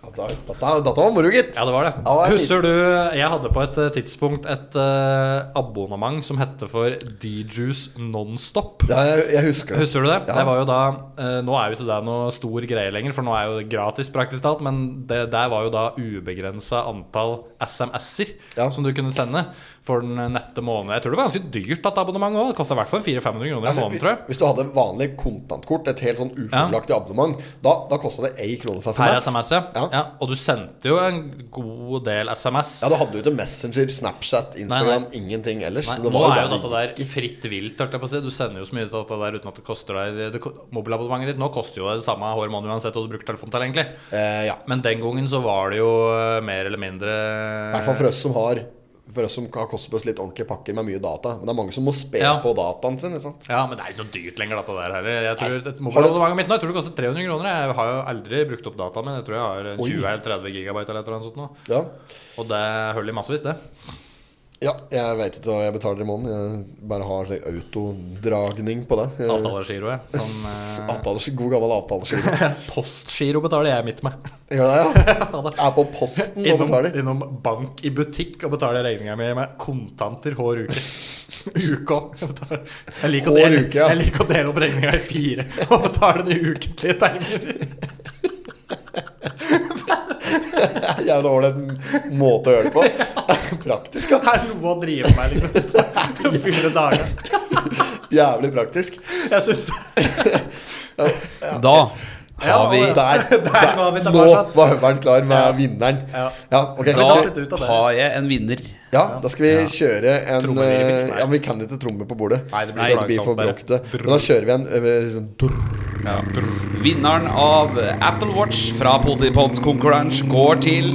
Speaker 2: Ja, da- Dette, dette var moro, gitt.
Speaker 3: ja, det var det.
Speaker 2: Ja, det var
Speaker 3: Husker du Jeg hadde på et eh, tidspunkt et eh, abonnement som hette for D-Juice Nonstop.
Speaker 2: Ja, jeg, jeg husker det.
Speaker 3: Husker du det?
Speaker 2: Ja.
Speaker 3: Det var jo da eh, Nå er jo ikke det noe stor greie lenger, for nå er jo det gratis praktisk talt, men det der var jo da ubegrensa antall SMS-er
Speaker 2: Ja.
Speaker 3: som du kunne sende for den nette måneden. Jeg tror det var ganske dyrt at abonnement òg. Det kosta i hvert fall 400-500 kroner i
Speaker 2: Altså,
Speaker 3: måneden, tror jeg.
Speaker 2: hvis du hadde vanlig kontantkort, et helt sånn ufordelaktig abonnement, da, da kosta det én krone for
Speaker 3: Per
Speaker 2: SMS.
Speaker 3: SMS, ja.
Speaker 2: Ja.
Speaker 3: ja. Og du sendte jo en god del SMS.
Speaker 2: Ja, du hadde jo ikke Messenger, Snapchat, Instagram, ingenting ellers.
Speaker 3: Nei,
Speaker 2: så
Speaker 3: nå
Speaker 2: var
Speaker 3: er jo
Speaker 2: der
Speaker 3: dette der fritt vilt, holdt jeg på å si. Du sender jo så mye til dette der uten at det koster deg det, ko- Mobilabonnementet ditt nå koster jo deg det samme hver måned uansett hva du bruker telefonen til, egentlig.
Speaker 2: Eh, ja.
Speaker 3: Men den gangen så var det jo eh, mer eller mindre
Speaker 2: I hvert fall for oss som har For oss som har kostet oss litt ordentlige pakker med mye data. Men det er mange som må spe
Speaker 3: Ja.
Speaker 2: på dataen sin. Ikke sant?
Speaker 3: Ja, men det er ikke noe dyrt lenger, dette der heller. Jeg
Speaker 2: Nei,
Speaker 3: tror et
Speaker 2: har
Speaker 3: mobilabonnementet mitt nå Jeg tror det koster 300 kroner. Jeg har jo aldri brukt opp dataen min. Jeg tror jeg har en
Speaker 2: Oi.
Speaker 3: 20 eller 30 gigabyte eller et eller annet sånt nå.
Speaker 2: Ja.
Speaker 3: Og det holder i massevis, det.
Speaker 2: ja, jeg vet ikke hva jeg betaler i måneden. Jeg bare har slik autodragning på det. Jeg-
Speaker 3: Avtalegiro, jeg. Sånn eh,
Speaker 2: Avtales, god gammel avtaleskive.
Speaker 3: postgiro betaler jeg mitt med.
Speaker 2: Gjør det, ja?
Speaker 3: Ja, da.
Speaker 2: Er på posten og
Speaker 3: Innom,
Speaker 2: betaler.
Speaker 3: innom bank i butikk og betaler regninga mi med kontanter hver uke. Uke òg. Jeg betaler- jeg liker å
Speaker 2: Hver
Speaker 3: dele-
Speaker 2: uke, ja.
Speaker 3: Jeg liker å dele opp regninga i fire og betale den i ukentlige terminer.
Speaker 2: Jævla ålreit måte å gjøre det på. Praktisk, ja.
Speaker 3: Det er noe å drive med, liksom. Fylle dager.
Speaker 2: Jævlig praktisk.
Speaker 3: Jeg syns
Speaker 1: Da har vi
Speaker 2: Der, der,
Speaker 3: Der var vi
Speaker 2: nå
Speaker 3: tilbake.
Speaker 2: var høveren klar med vinneren.
Speaker 3: sånn. Ja.
Speaker 2: ok.
Speaker 3: Da-
Speaker 2: Skal vi-
Speaker 1: Da har jeg en vinner.
Speaker 2: Ja, da skal vi kjøre en
Speaker 3: Trommer blir det
Speaker 2: eh,
Speaker 3: ikke, nei.
Speaker 2: Ja, men vi kan ikke tromme på bordet.
Speaker 3: Nei, det blir
Speaker 2: Nei,
Speaker 3: for
Speaker 2: blir for
Speaker 3: langsomt,
Speaker 2: bråkete. Men da kjører vi en eh, sånn drrr.
Speaker 1: Vinneren av Apple Watch fra Potipods konkurranse går til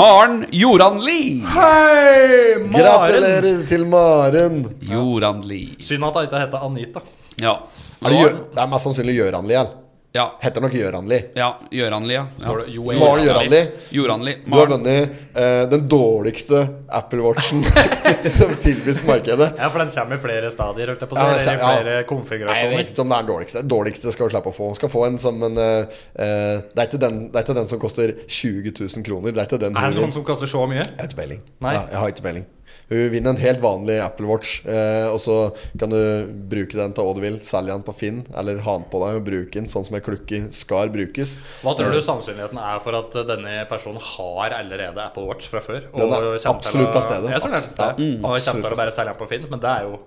Speaker 1: Maren Joranli.
Speaker 3: Hei, Maren!
Speaker 2: Gratulerer til Maren!
Speaker 1: Joranli.
Speaker 3: Synd at hun ikke heter Anita.
Speaker 1: Ja.
Speaker 2: Er det, gjø det er mest sannsynlig Gjøranli. ja.
Speaker 1: Ja.
Speaker 2: Heter nok Gjøranli.
Speaker 1: ja. Gjøranli, ja. ja.
Speaker 3: Var det Jo-
Speaker 2: Maren Gjøranli.
Speaker 1: Joranli.
Speaker 2: Du har
Speaker 1: Maren.
Speaker 2: vunnet eh, den dårligste Apple Watchen som tilbys på markedet.
Speaker 3: Ja, for den kommer i flere stadier, holdt jeg på å
Speaker 2: Ja,
Speaker 3: si.
Speaker 2: den
Speaker 3: eller
Speaker 2: kommer-
Speaker 3: I flere
Speaker 2: Nei, jeg vet
Speaker 3: konfigurasjoner.
Speaker 2: ikke om det er den dårligste. Den dårligste skal du slippe å få. Skal få en som en eh, eh, det, er ikke den, det er ikke den som koster 20 000 kroner. Det er ikke den
Speaker 3: Er det
Speaker 2: horen.
Speaker 3: noen som koster så mye?
Speaker 2: Jeg har ikke peiling.
Speaker 3: Nei.
Speaker 2: Ja, jeg har ikke peiling. Hun vinner en helt vanlig Apple Watch, eh, og så kan du bruke den til hva du vil. Selge den på Finn, eller ha den på deg og bruke den sånn som ei klukke skal brukes.
Speaker 3: Hva
Speaker 2: Eh.
Speaker 3: tror du sannsynligheten er for at denne personen har allerede Apple Watch fra før? og
Speaker 2: Den er
Speaker 3: kommer til
Speaker 2: absolutt
Speaker 3: å-
Speaker 2: til stede.
Speaker 3: Jeg tror den er til
Speaker 2: Ja,
Speaker 3: stede.
Speaker 2: mm,
Speaker 3: og kommer
Speaker 2: absolutt
Speaker 3: til å bare selge den på Finn, men det er jo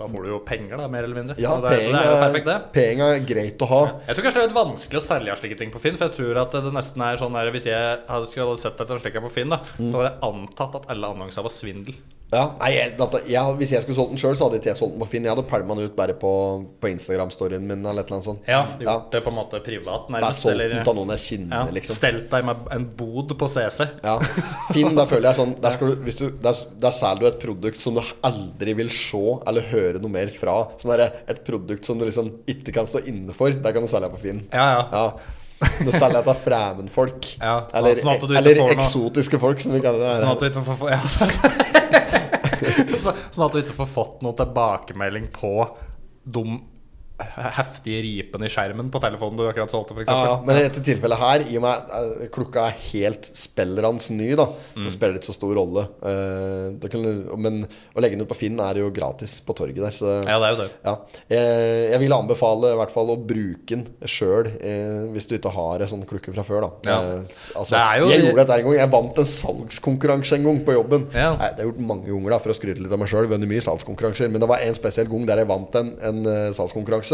Speaker 3: Da får du jo penger, da, mer eller mindre.
Speaker 2: Ja,
Speaker 3: Og det, er- så det er jo perfekt,
Speaker 2: penger
Speaker 3: det.
Speaker 2: penger er greit å ha.
Speaker 3: Jeg tror kanskje det er litt vanskelig å selge slike ting på Finn. For jeg tror at det nesten
Speaker 2: Mm.
Speaker 3: er sånn der, Hvis jeg hadde, skulle hadde sett etter en slik en på Finn, da, så hadde jeg antatt at alle annonser var svindel.
Speaker 2: Ja, nei, jeg, dette, jeg, Hvis jeg skulle solgt den sjøl, så hadde ikke jeg solgt den på Finn. Jeg hadde pælma den ut bare på, på Instagram-storyen min eller et eller annet sånt.
Speaker 3: Ja, gjort det på en måte privat,
Speaker 2: Bare
Speaker 3: nærmest.
Speaker 2: solgt
Speaker 3: Eller
Speaker 2: den til noen jeg kjenner,
Speaker 3: ja,
Speaker 2: liksom.
Speaker 3: stelt deg med en bod på CC.
Speaker 2: Ja. Finn, der føler jeg sånn Der, skal du, hvis du, der, der selger du et produkt som du aldri vil se eller høre noe mer fra. Sånn der, Et produkt som du liksom ikke kan stå inne for. Der kan du selge på Finn.
Speaker 3: Ja, ja.
Speaker 2: Ja. Du selger til fremmedfolk.
Speaker 3: Ja, sånn-
Speaker 2: eller
Speaker 3: sånn at du ikke
Speaker 2: eller
Speaker 3: får noe-
Speaker 2: eksotiske folk, som vi kaller det. her.
Speaker 3: Sånn at du ikke får ja. Så- Sånn at du ikke får fått noen tilbakemelding på de heftige ripene i skjermen på telefonen du akkurat solgte, f.eks.
Speaker 2: Ja, men i dette tilfellet her, i og med at eh, klokka er helt spillerens ny, da, så spiller det ikke så stor rolle. Eh, da kunne, men å legge den ut på Finn er jo gratis på torget der, så
Speaker 3: Ja, det er jo det.
Speaker 2: ja. Eh, Jeg, jeg vil anbefale i hvert fall å bruke den sjøl, eh, hvis du ikke har en sånn klukke fra før. Da.
Speaker 3: Ja.
Speaker 2: Eh, altså,
Speaker 3: Det er jo-
Speaker 2: jeg gjorde dette her en gang. Jeg vant en salgskonkurranse en gang på jobben.
Speaker 3: Ja.
Speaker 2: Nei, det har jeg gjort mange ganger da, for å skryte litt av meg sjøl. Vunnet mye salgskonkurranser. Men det var en spesiell gang der jeg vant en, en eh, salgskonkurranse.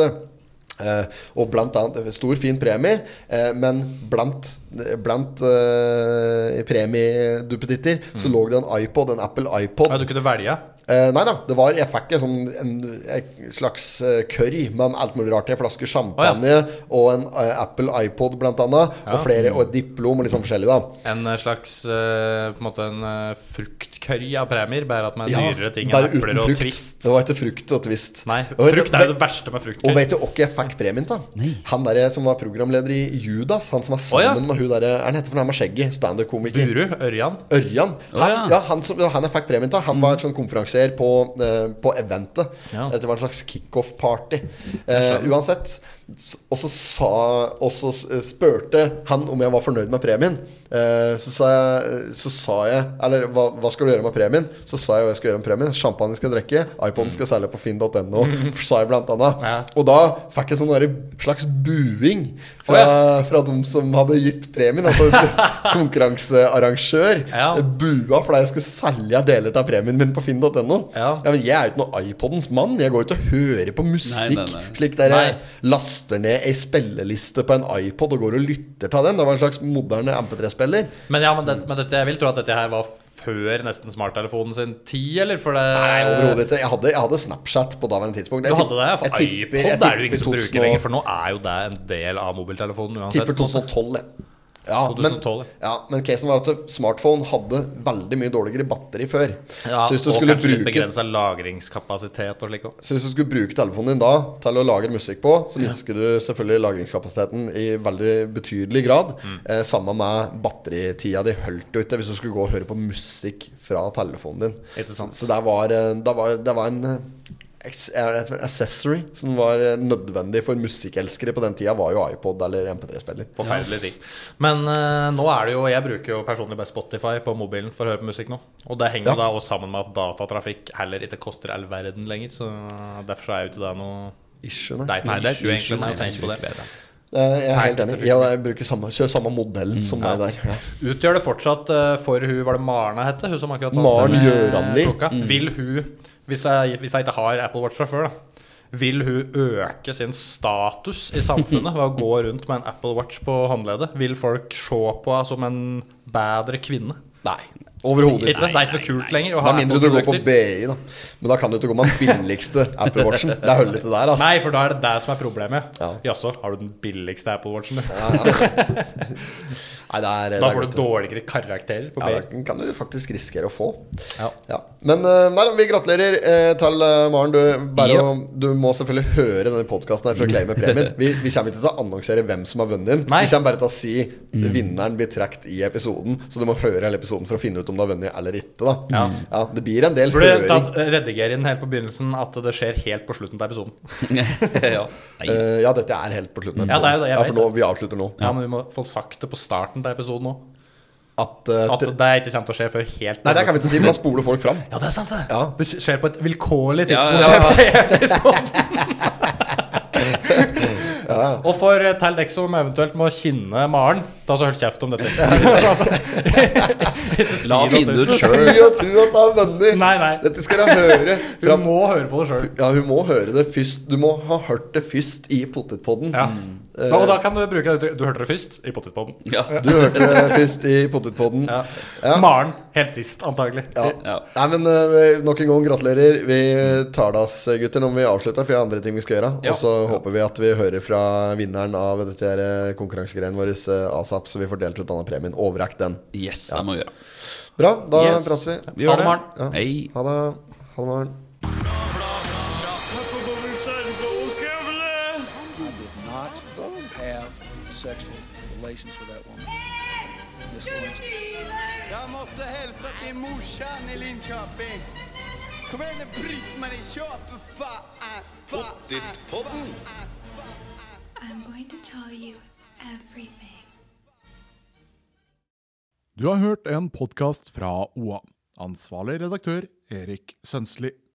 Speaker 2: Eh, og blant annet Stor, fin premie, eh, men blant, blant eh, premieduppeditter så lå det en iPod, en Apple iPod.
Speaker 3: Mm. Ja, du kunne velge.
Speaker 2: Eh, nei da, det var, jeg fikk en, sånn, en, en slags uh, curry med alt mulig rart i. En flaske champagne og en eh, Apple iPod blant annet. Og, flere, og et diplom og litt sånn forskjellig, da.
Speaker 3: En slags eh, på en måte en eh, fruktcurry av premier, bare at med
Speaker 2: Ja,
Speaker 3: dyrere ting enn
Speaker 2: bare uten
Speaker 3: epler og
Speaker 2: frukt.
Speaker 3: twist.
Speaker 2: Det var ikke frukt og twist.
Speaker 3: Nei,
Speaker 2: Og vet du-
Speaker 3: frukt er jo det verste med fruktcurry.
Speaker 2: Og vet du hvem jeg fikk premien til? Han der som var programleder i Judas. Han som var
Speaker 3: Å, ja.
Speaker 2: sammen med hun derre Er han heter for noe med skjegget? Standup-komiker.
Speaker 3: Buru, Ørjan.
Speaker 2: Ørjan. Han,
Speaker 1: ja.
Speaker 2: ja. han, som, han jeg fikk premien til, han var en sånn konferansier på, eh, på eventet.
Speaker 3: Mm. Ja.
Speaker 2: Dette var en slags kickoff-party. Eh, uansett. s- Og så sa Og så s- eh, spurte han om jeg var fornøyd med premien. Eh, så, sa jeg, så sa jeg Eller hva, hva skal du gjøre med premien? Så sa jeg hva jeg skal gjøre med premien. Champagne skal jeg drikke. iPoden skal jeg selge på finn.no, sa jeg blant annet.
Speaker 3: Mm. Ja.
Speaker 2: Og da fikk jeg sånn derre slags buing fra, fra de som hadde gitt premien. Altså konkurransearrangør
Speaker 3: Ja.
Speaker 2: bua fordi jeg skulle selge deler av premien min på finn.no. Ja.
Speaker 3: Ja.
Speaker 2: men jeg er jo ikke noen iPodens mann. Jeg går jo ikke og hører på musikk
Speaker 1: Nei, nei, nei.
Speaker 2: slik der jeg
Speaker 3: Nei.
Speaker 2: laster ned ei spilleliste på en iPod og går og lytter til den. Det var en slags moderne MP3-spiller.
Speaker 3: Men ja, men, det, men dette, jeg vil tro at dette her var før nesten smarttelefonen sin tid, eller? For det
Speaker 2: Nei, overhodet ikke. Jeg hadde, jeg hadde Snapchat på daværende tidspunkt.
Speaker 3: Du
Speaker 2: Jeg
Speaker 3: hadde det?
Speaker 2: tipp-
Speaker 3: For
Speaker 2: jeg tipper-
Speaker 3: iPod
Speaker 2: jeg
Speaker 3: er det jo
Speaker 2: tipper
Speaker 3: ingen som
Speaker 2: 2000 og-
Speaker 3: bruker lenger, for nå er jo det en del av mobiltelefonen uansett.
Speaker 2: Tipper 2012, jeg. Ja,
Speaker 3: 2012,
Speaker 2: men, ja, men casen var at smartphone hadde veldig mye dårligere batteri før.
Speaker 3: Ja,
Speaker 2: så hvis du
Speaker 3: og
Speaker 2: skulle
Speaker 3: kanskje litt
Speaker 2: bruke
Speaker 3: begrensa lagringskapasitet og slik òg.
Speaker 2: Så hvis du skulle bruke telefonen din da til å lagre musikk på, så minsker du selvfølgelig lagringskapasiteten i veldig betydelig grad. Eh, samme med batteritida di holdt jo ikke hvis du skulle gå og høre på musikk fra telefonen din.
Speaker 3: Ikke sant.
Speaker 2: Så det var, eh, det var, det var en eh, ex- er det et accessory som var eh, nødvendig for musikkelskere på den tida, var jo iPod eller MP3-spiller.
Speaker 3: Forferdelig ting. Men eh, nå er det jo Jeg bruker jo personlig bare Spotify på mobilen for å høre på musikk nå. Og det henger
Speaker 2: Ja.
Speaker 3: jo da også sammen med at datatrafikk heller ikke koster all verden lenger. Så derfor så er jo ikke det noe
Speaker 2: Ikke, nei.
Speaker 3: Det er ikke
Speaker 1: Nei,
Speaker 3: noe
Speaker 1: det er
Speaker 3: issue, egentlig,
Speaker 1: issue,
Speaker 3: når
Speaker 1: nei,
Speaker 3: jeg tenker på det.
Speaker 2: Eh, Jeg er helt
Speaker 3: Nei,
Speaker 2: enig.
Speaker 3: dette
Speaker 2: Jeg, jeg bruker samme, kjører samme modellen som deg der. Ja.
Speaker 3: Utgjør det fortsatt eh, for hun Var det Maren jeg hette? Hun som akkurat
Speaker 2: Maren
Speaker 3: denne
Speaker 2: Gjøranli.
Speaker 3: klokka. Vil hun, hvis jeg, hvis jeg ikke har Apple Watch fra før, da vil hun øke sin status i samfunnet ved å gå rundt med en Apple Watch på håndleddet? Vil folk se på henne som en bedre kvinne? Nei.
Speaker 2: Overhodet
Speaker 3: Ikke, det er ikke noe kult lenger å
Speaker 2: Med
Speaker 3: ha
Speaker 2: mindre du går på
Speaker 3: Apple-produkter.
Speaker 2: BI, da. Men da kan du ikke gå med den billigste Apple Watchen. Det er hullet til der, ass.
Speaker 3: Nei, for da er det det som er problemet.
Speaker 2: Ja.
Speaker 3: Jaså, har du den billigste Apple Watchen, du?
Speaker 2: Nei, det er,
Speaker 3: Da får du dårligere karakterer på
Speaker 2: ja,
Speaker 3: BI.
Speaker 2: Den kan du faktisk risikere å få.
Speaker 3: Ja.
Speaker 2: Ja. Men eh, nei, da, vi gratulerer eh, til eh, Maren. Du, bare
Speaker 1: Ja.
Speaker 2: å- du må selvfølgelig høre denne podkasten for å claime premien. Vi, vi kommer ikke til å annonsere hvem som har vunnet den.
Speaker 3: Nei. Mm.
Speaker 2: Vi kommer bare til å si vinneren blir trukket i episoden. Så du må høre hele episoden for å finne ut om du har vunnet eller ikke. Da.
Speaker 3: Ja.
Speaker 2: det blir en del
Speaker 3: Burde
Speaker 2: høring.
Speaker 3: tatt, redigere inn helt på begynnelsen at det skjer helt på slutten av episoden.
Speaker 1: ja. Nei.
Speaker 2: Eh, ja, dette er helt på slutten. av
Speaker 3: Ja, det er jo det,
Speaker 2: episoden.
Speaker 3: jeg
Speaker 2: ja,
Speaker 3: vet
Speaker 2: for nå, vi avslutter nå.
Speaker 3: Ja, men vi må få sagt det på starten av episoden òg.
Speaker 2: At, eh,
Speaker 3: At
Speaker 2: til-
Speaker 3: det ikke kommer til å skje før helt
Speaker 2: Nei, det kan vi ikke si, for da spoler folk fram.
Speaker 3: Ja, det er sant, det.
Speaker 2: Ja.
Speaker 3: Det skjer på et vilkårlig
Speaker 1: Ja,
Speaker 3: tidspunkt.
Speaker 1: ja,
Speaker 3: i episoden. Og for eh, Tal Dexo, som eventuelt må kinne Maren Da så hold kjeft om dette. Ikke si
Speaker 1: La
Speaker 3: noe
Speaker 1: oss finne
Speaker 3: til-
Speaker 1: ut
Speaker 2: Si
Speaker 1: sjøl.
Speaker 2: og tro at det er venner.
Speaker 3: Nei, nei.
Speaker 2: Dette skal hun høre.
Speaker 3: Hun
Speaker 2: Fra,
Speaker 3: må høre på det sjøl.
Speaker 2: ja, hun må høre det først. Du må ha hørt det først i potetpodden.
Speaker 3: Ja. Da, og da kan du bruke det uttrykket, Du hørte det først i potetpodden.
Speaker 1: Ja.
Speaker 2: Du hørte det først i potetpodden.
Speaker 3: Ja.
Speaker 2: Ja.
Speaker 3: Maren helt sist, antagelig.
Speaker 2: Ja.
Speaker 1: Ja.
Speaker 2: Nei, men eh, nok en gang gratulerer. Vi tar det oss, gutter. Nå må vi avslutte, for jeg har andre ting vi skal gjøre.
Speaker 1: Ja.
Speaker 2: Og så håper vi at vi hører fra vinneren av dette her eh, konkurransegreiene våre eh, asap, så vi får delt ut denne premien. Overrekk den.
Speaker 1: Yes, det må vi gjøre.
Speaker 2: Bra, da
Speaker 1: Yes.
Speaker 2: prates vi.
Speaker 1: Vi gjør
Speaker 3: Ha det,
Speaker 1: det.
Speaker 3: Maren.
Speaker 2: Ja.
Speaker 1: Hei.
Speaker 2: Ha det. Ha det, Maren.
Speaker 4: not have sexual relations with that woman. Miss Lewinsky.
Speaker 5: Jag måste hälsa till morsan i Linköping. Kom igen nu Britt-Marie, kör för fan! Pottitpodden!
Speaker 6: I'm going to tell you everything.
Speaker 7: Du har hørt en podkast fra OA. Ansvarlig redaktør Erik Sønsli.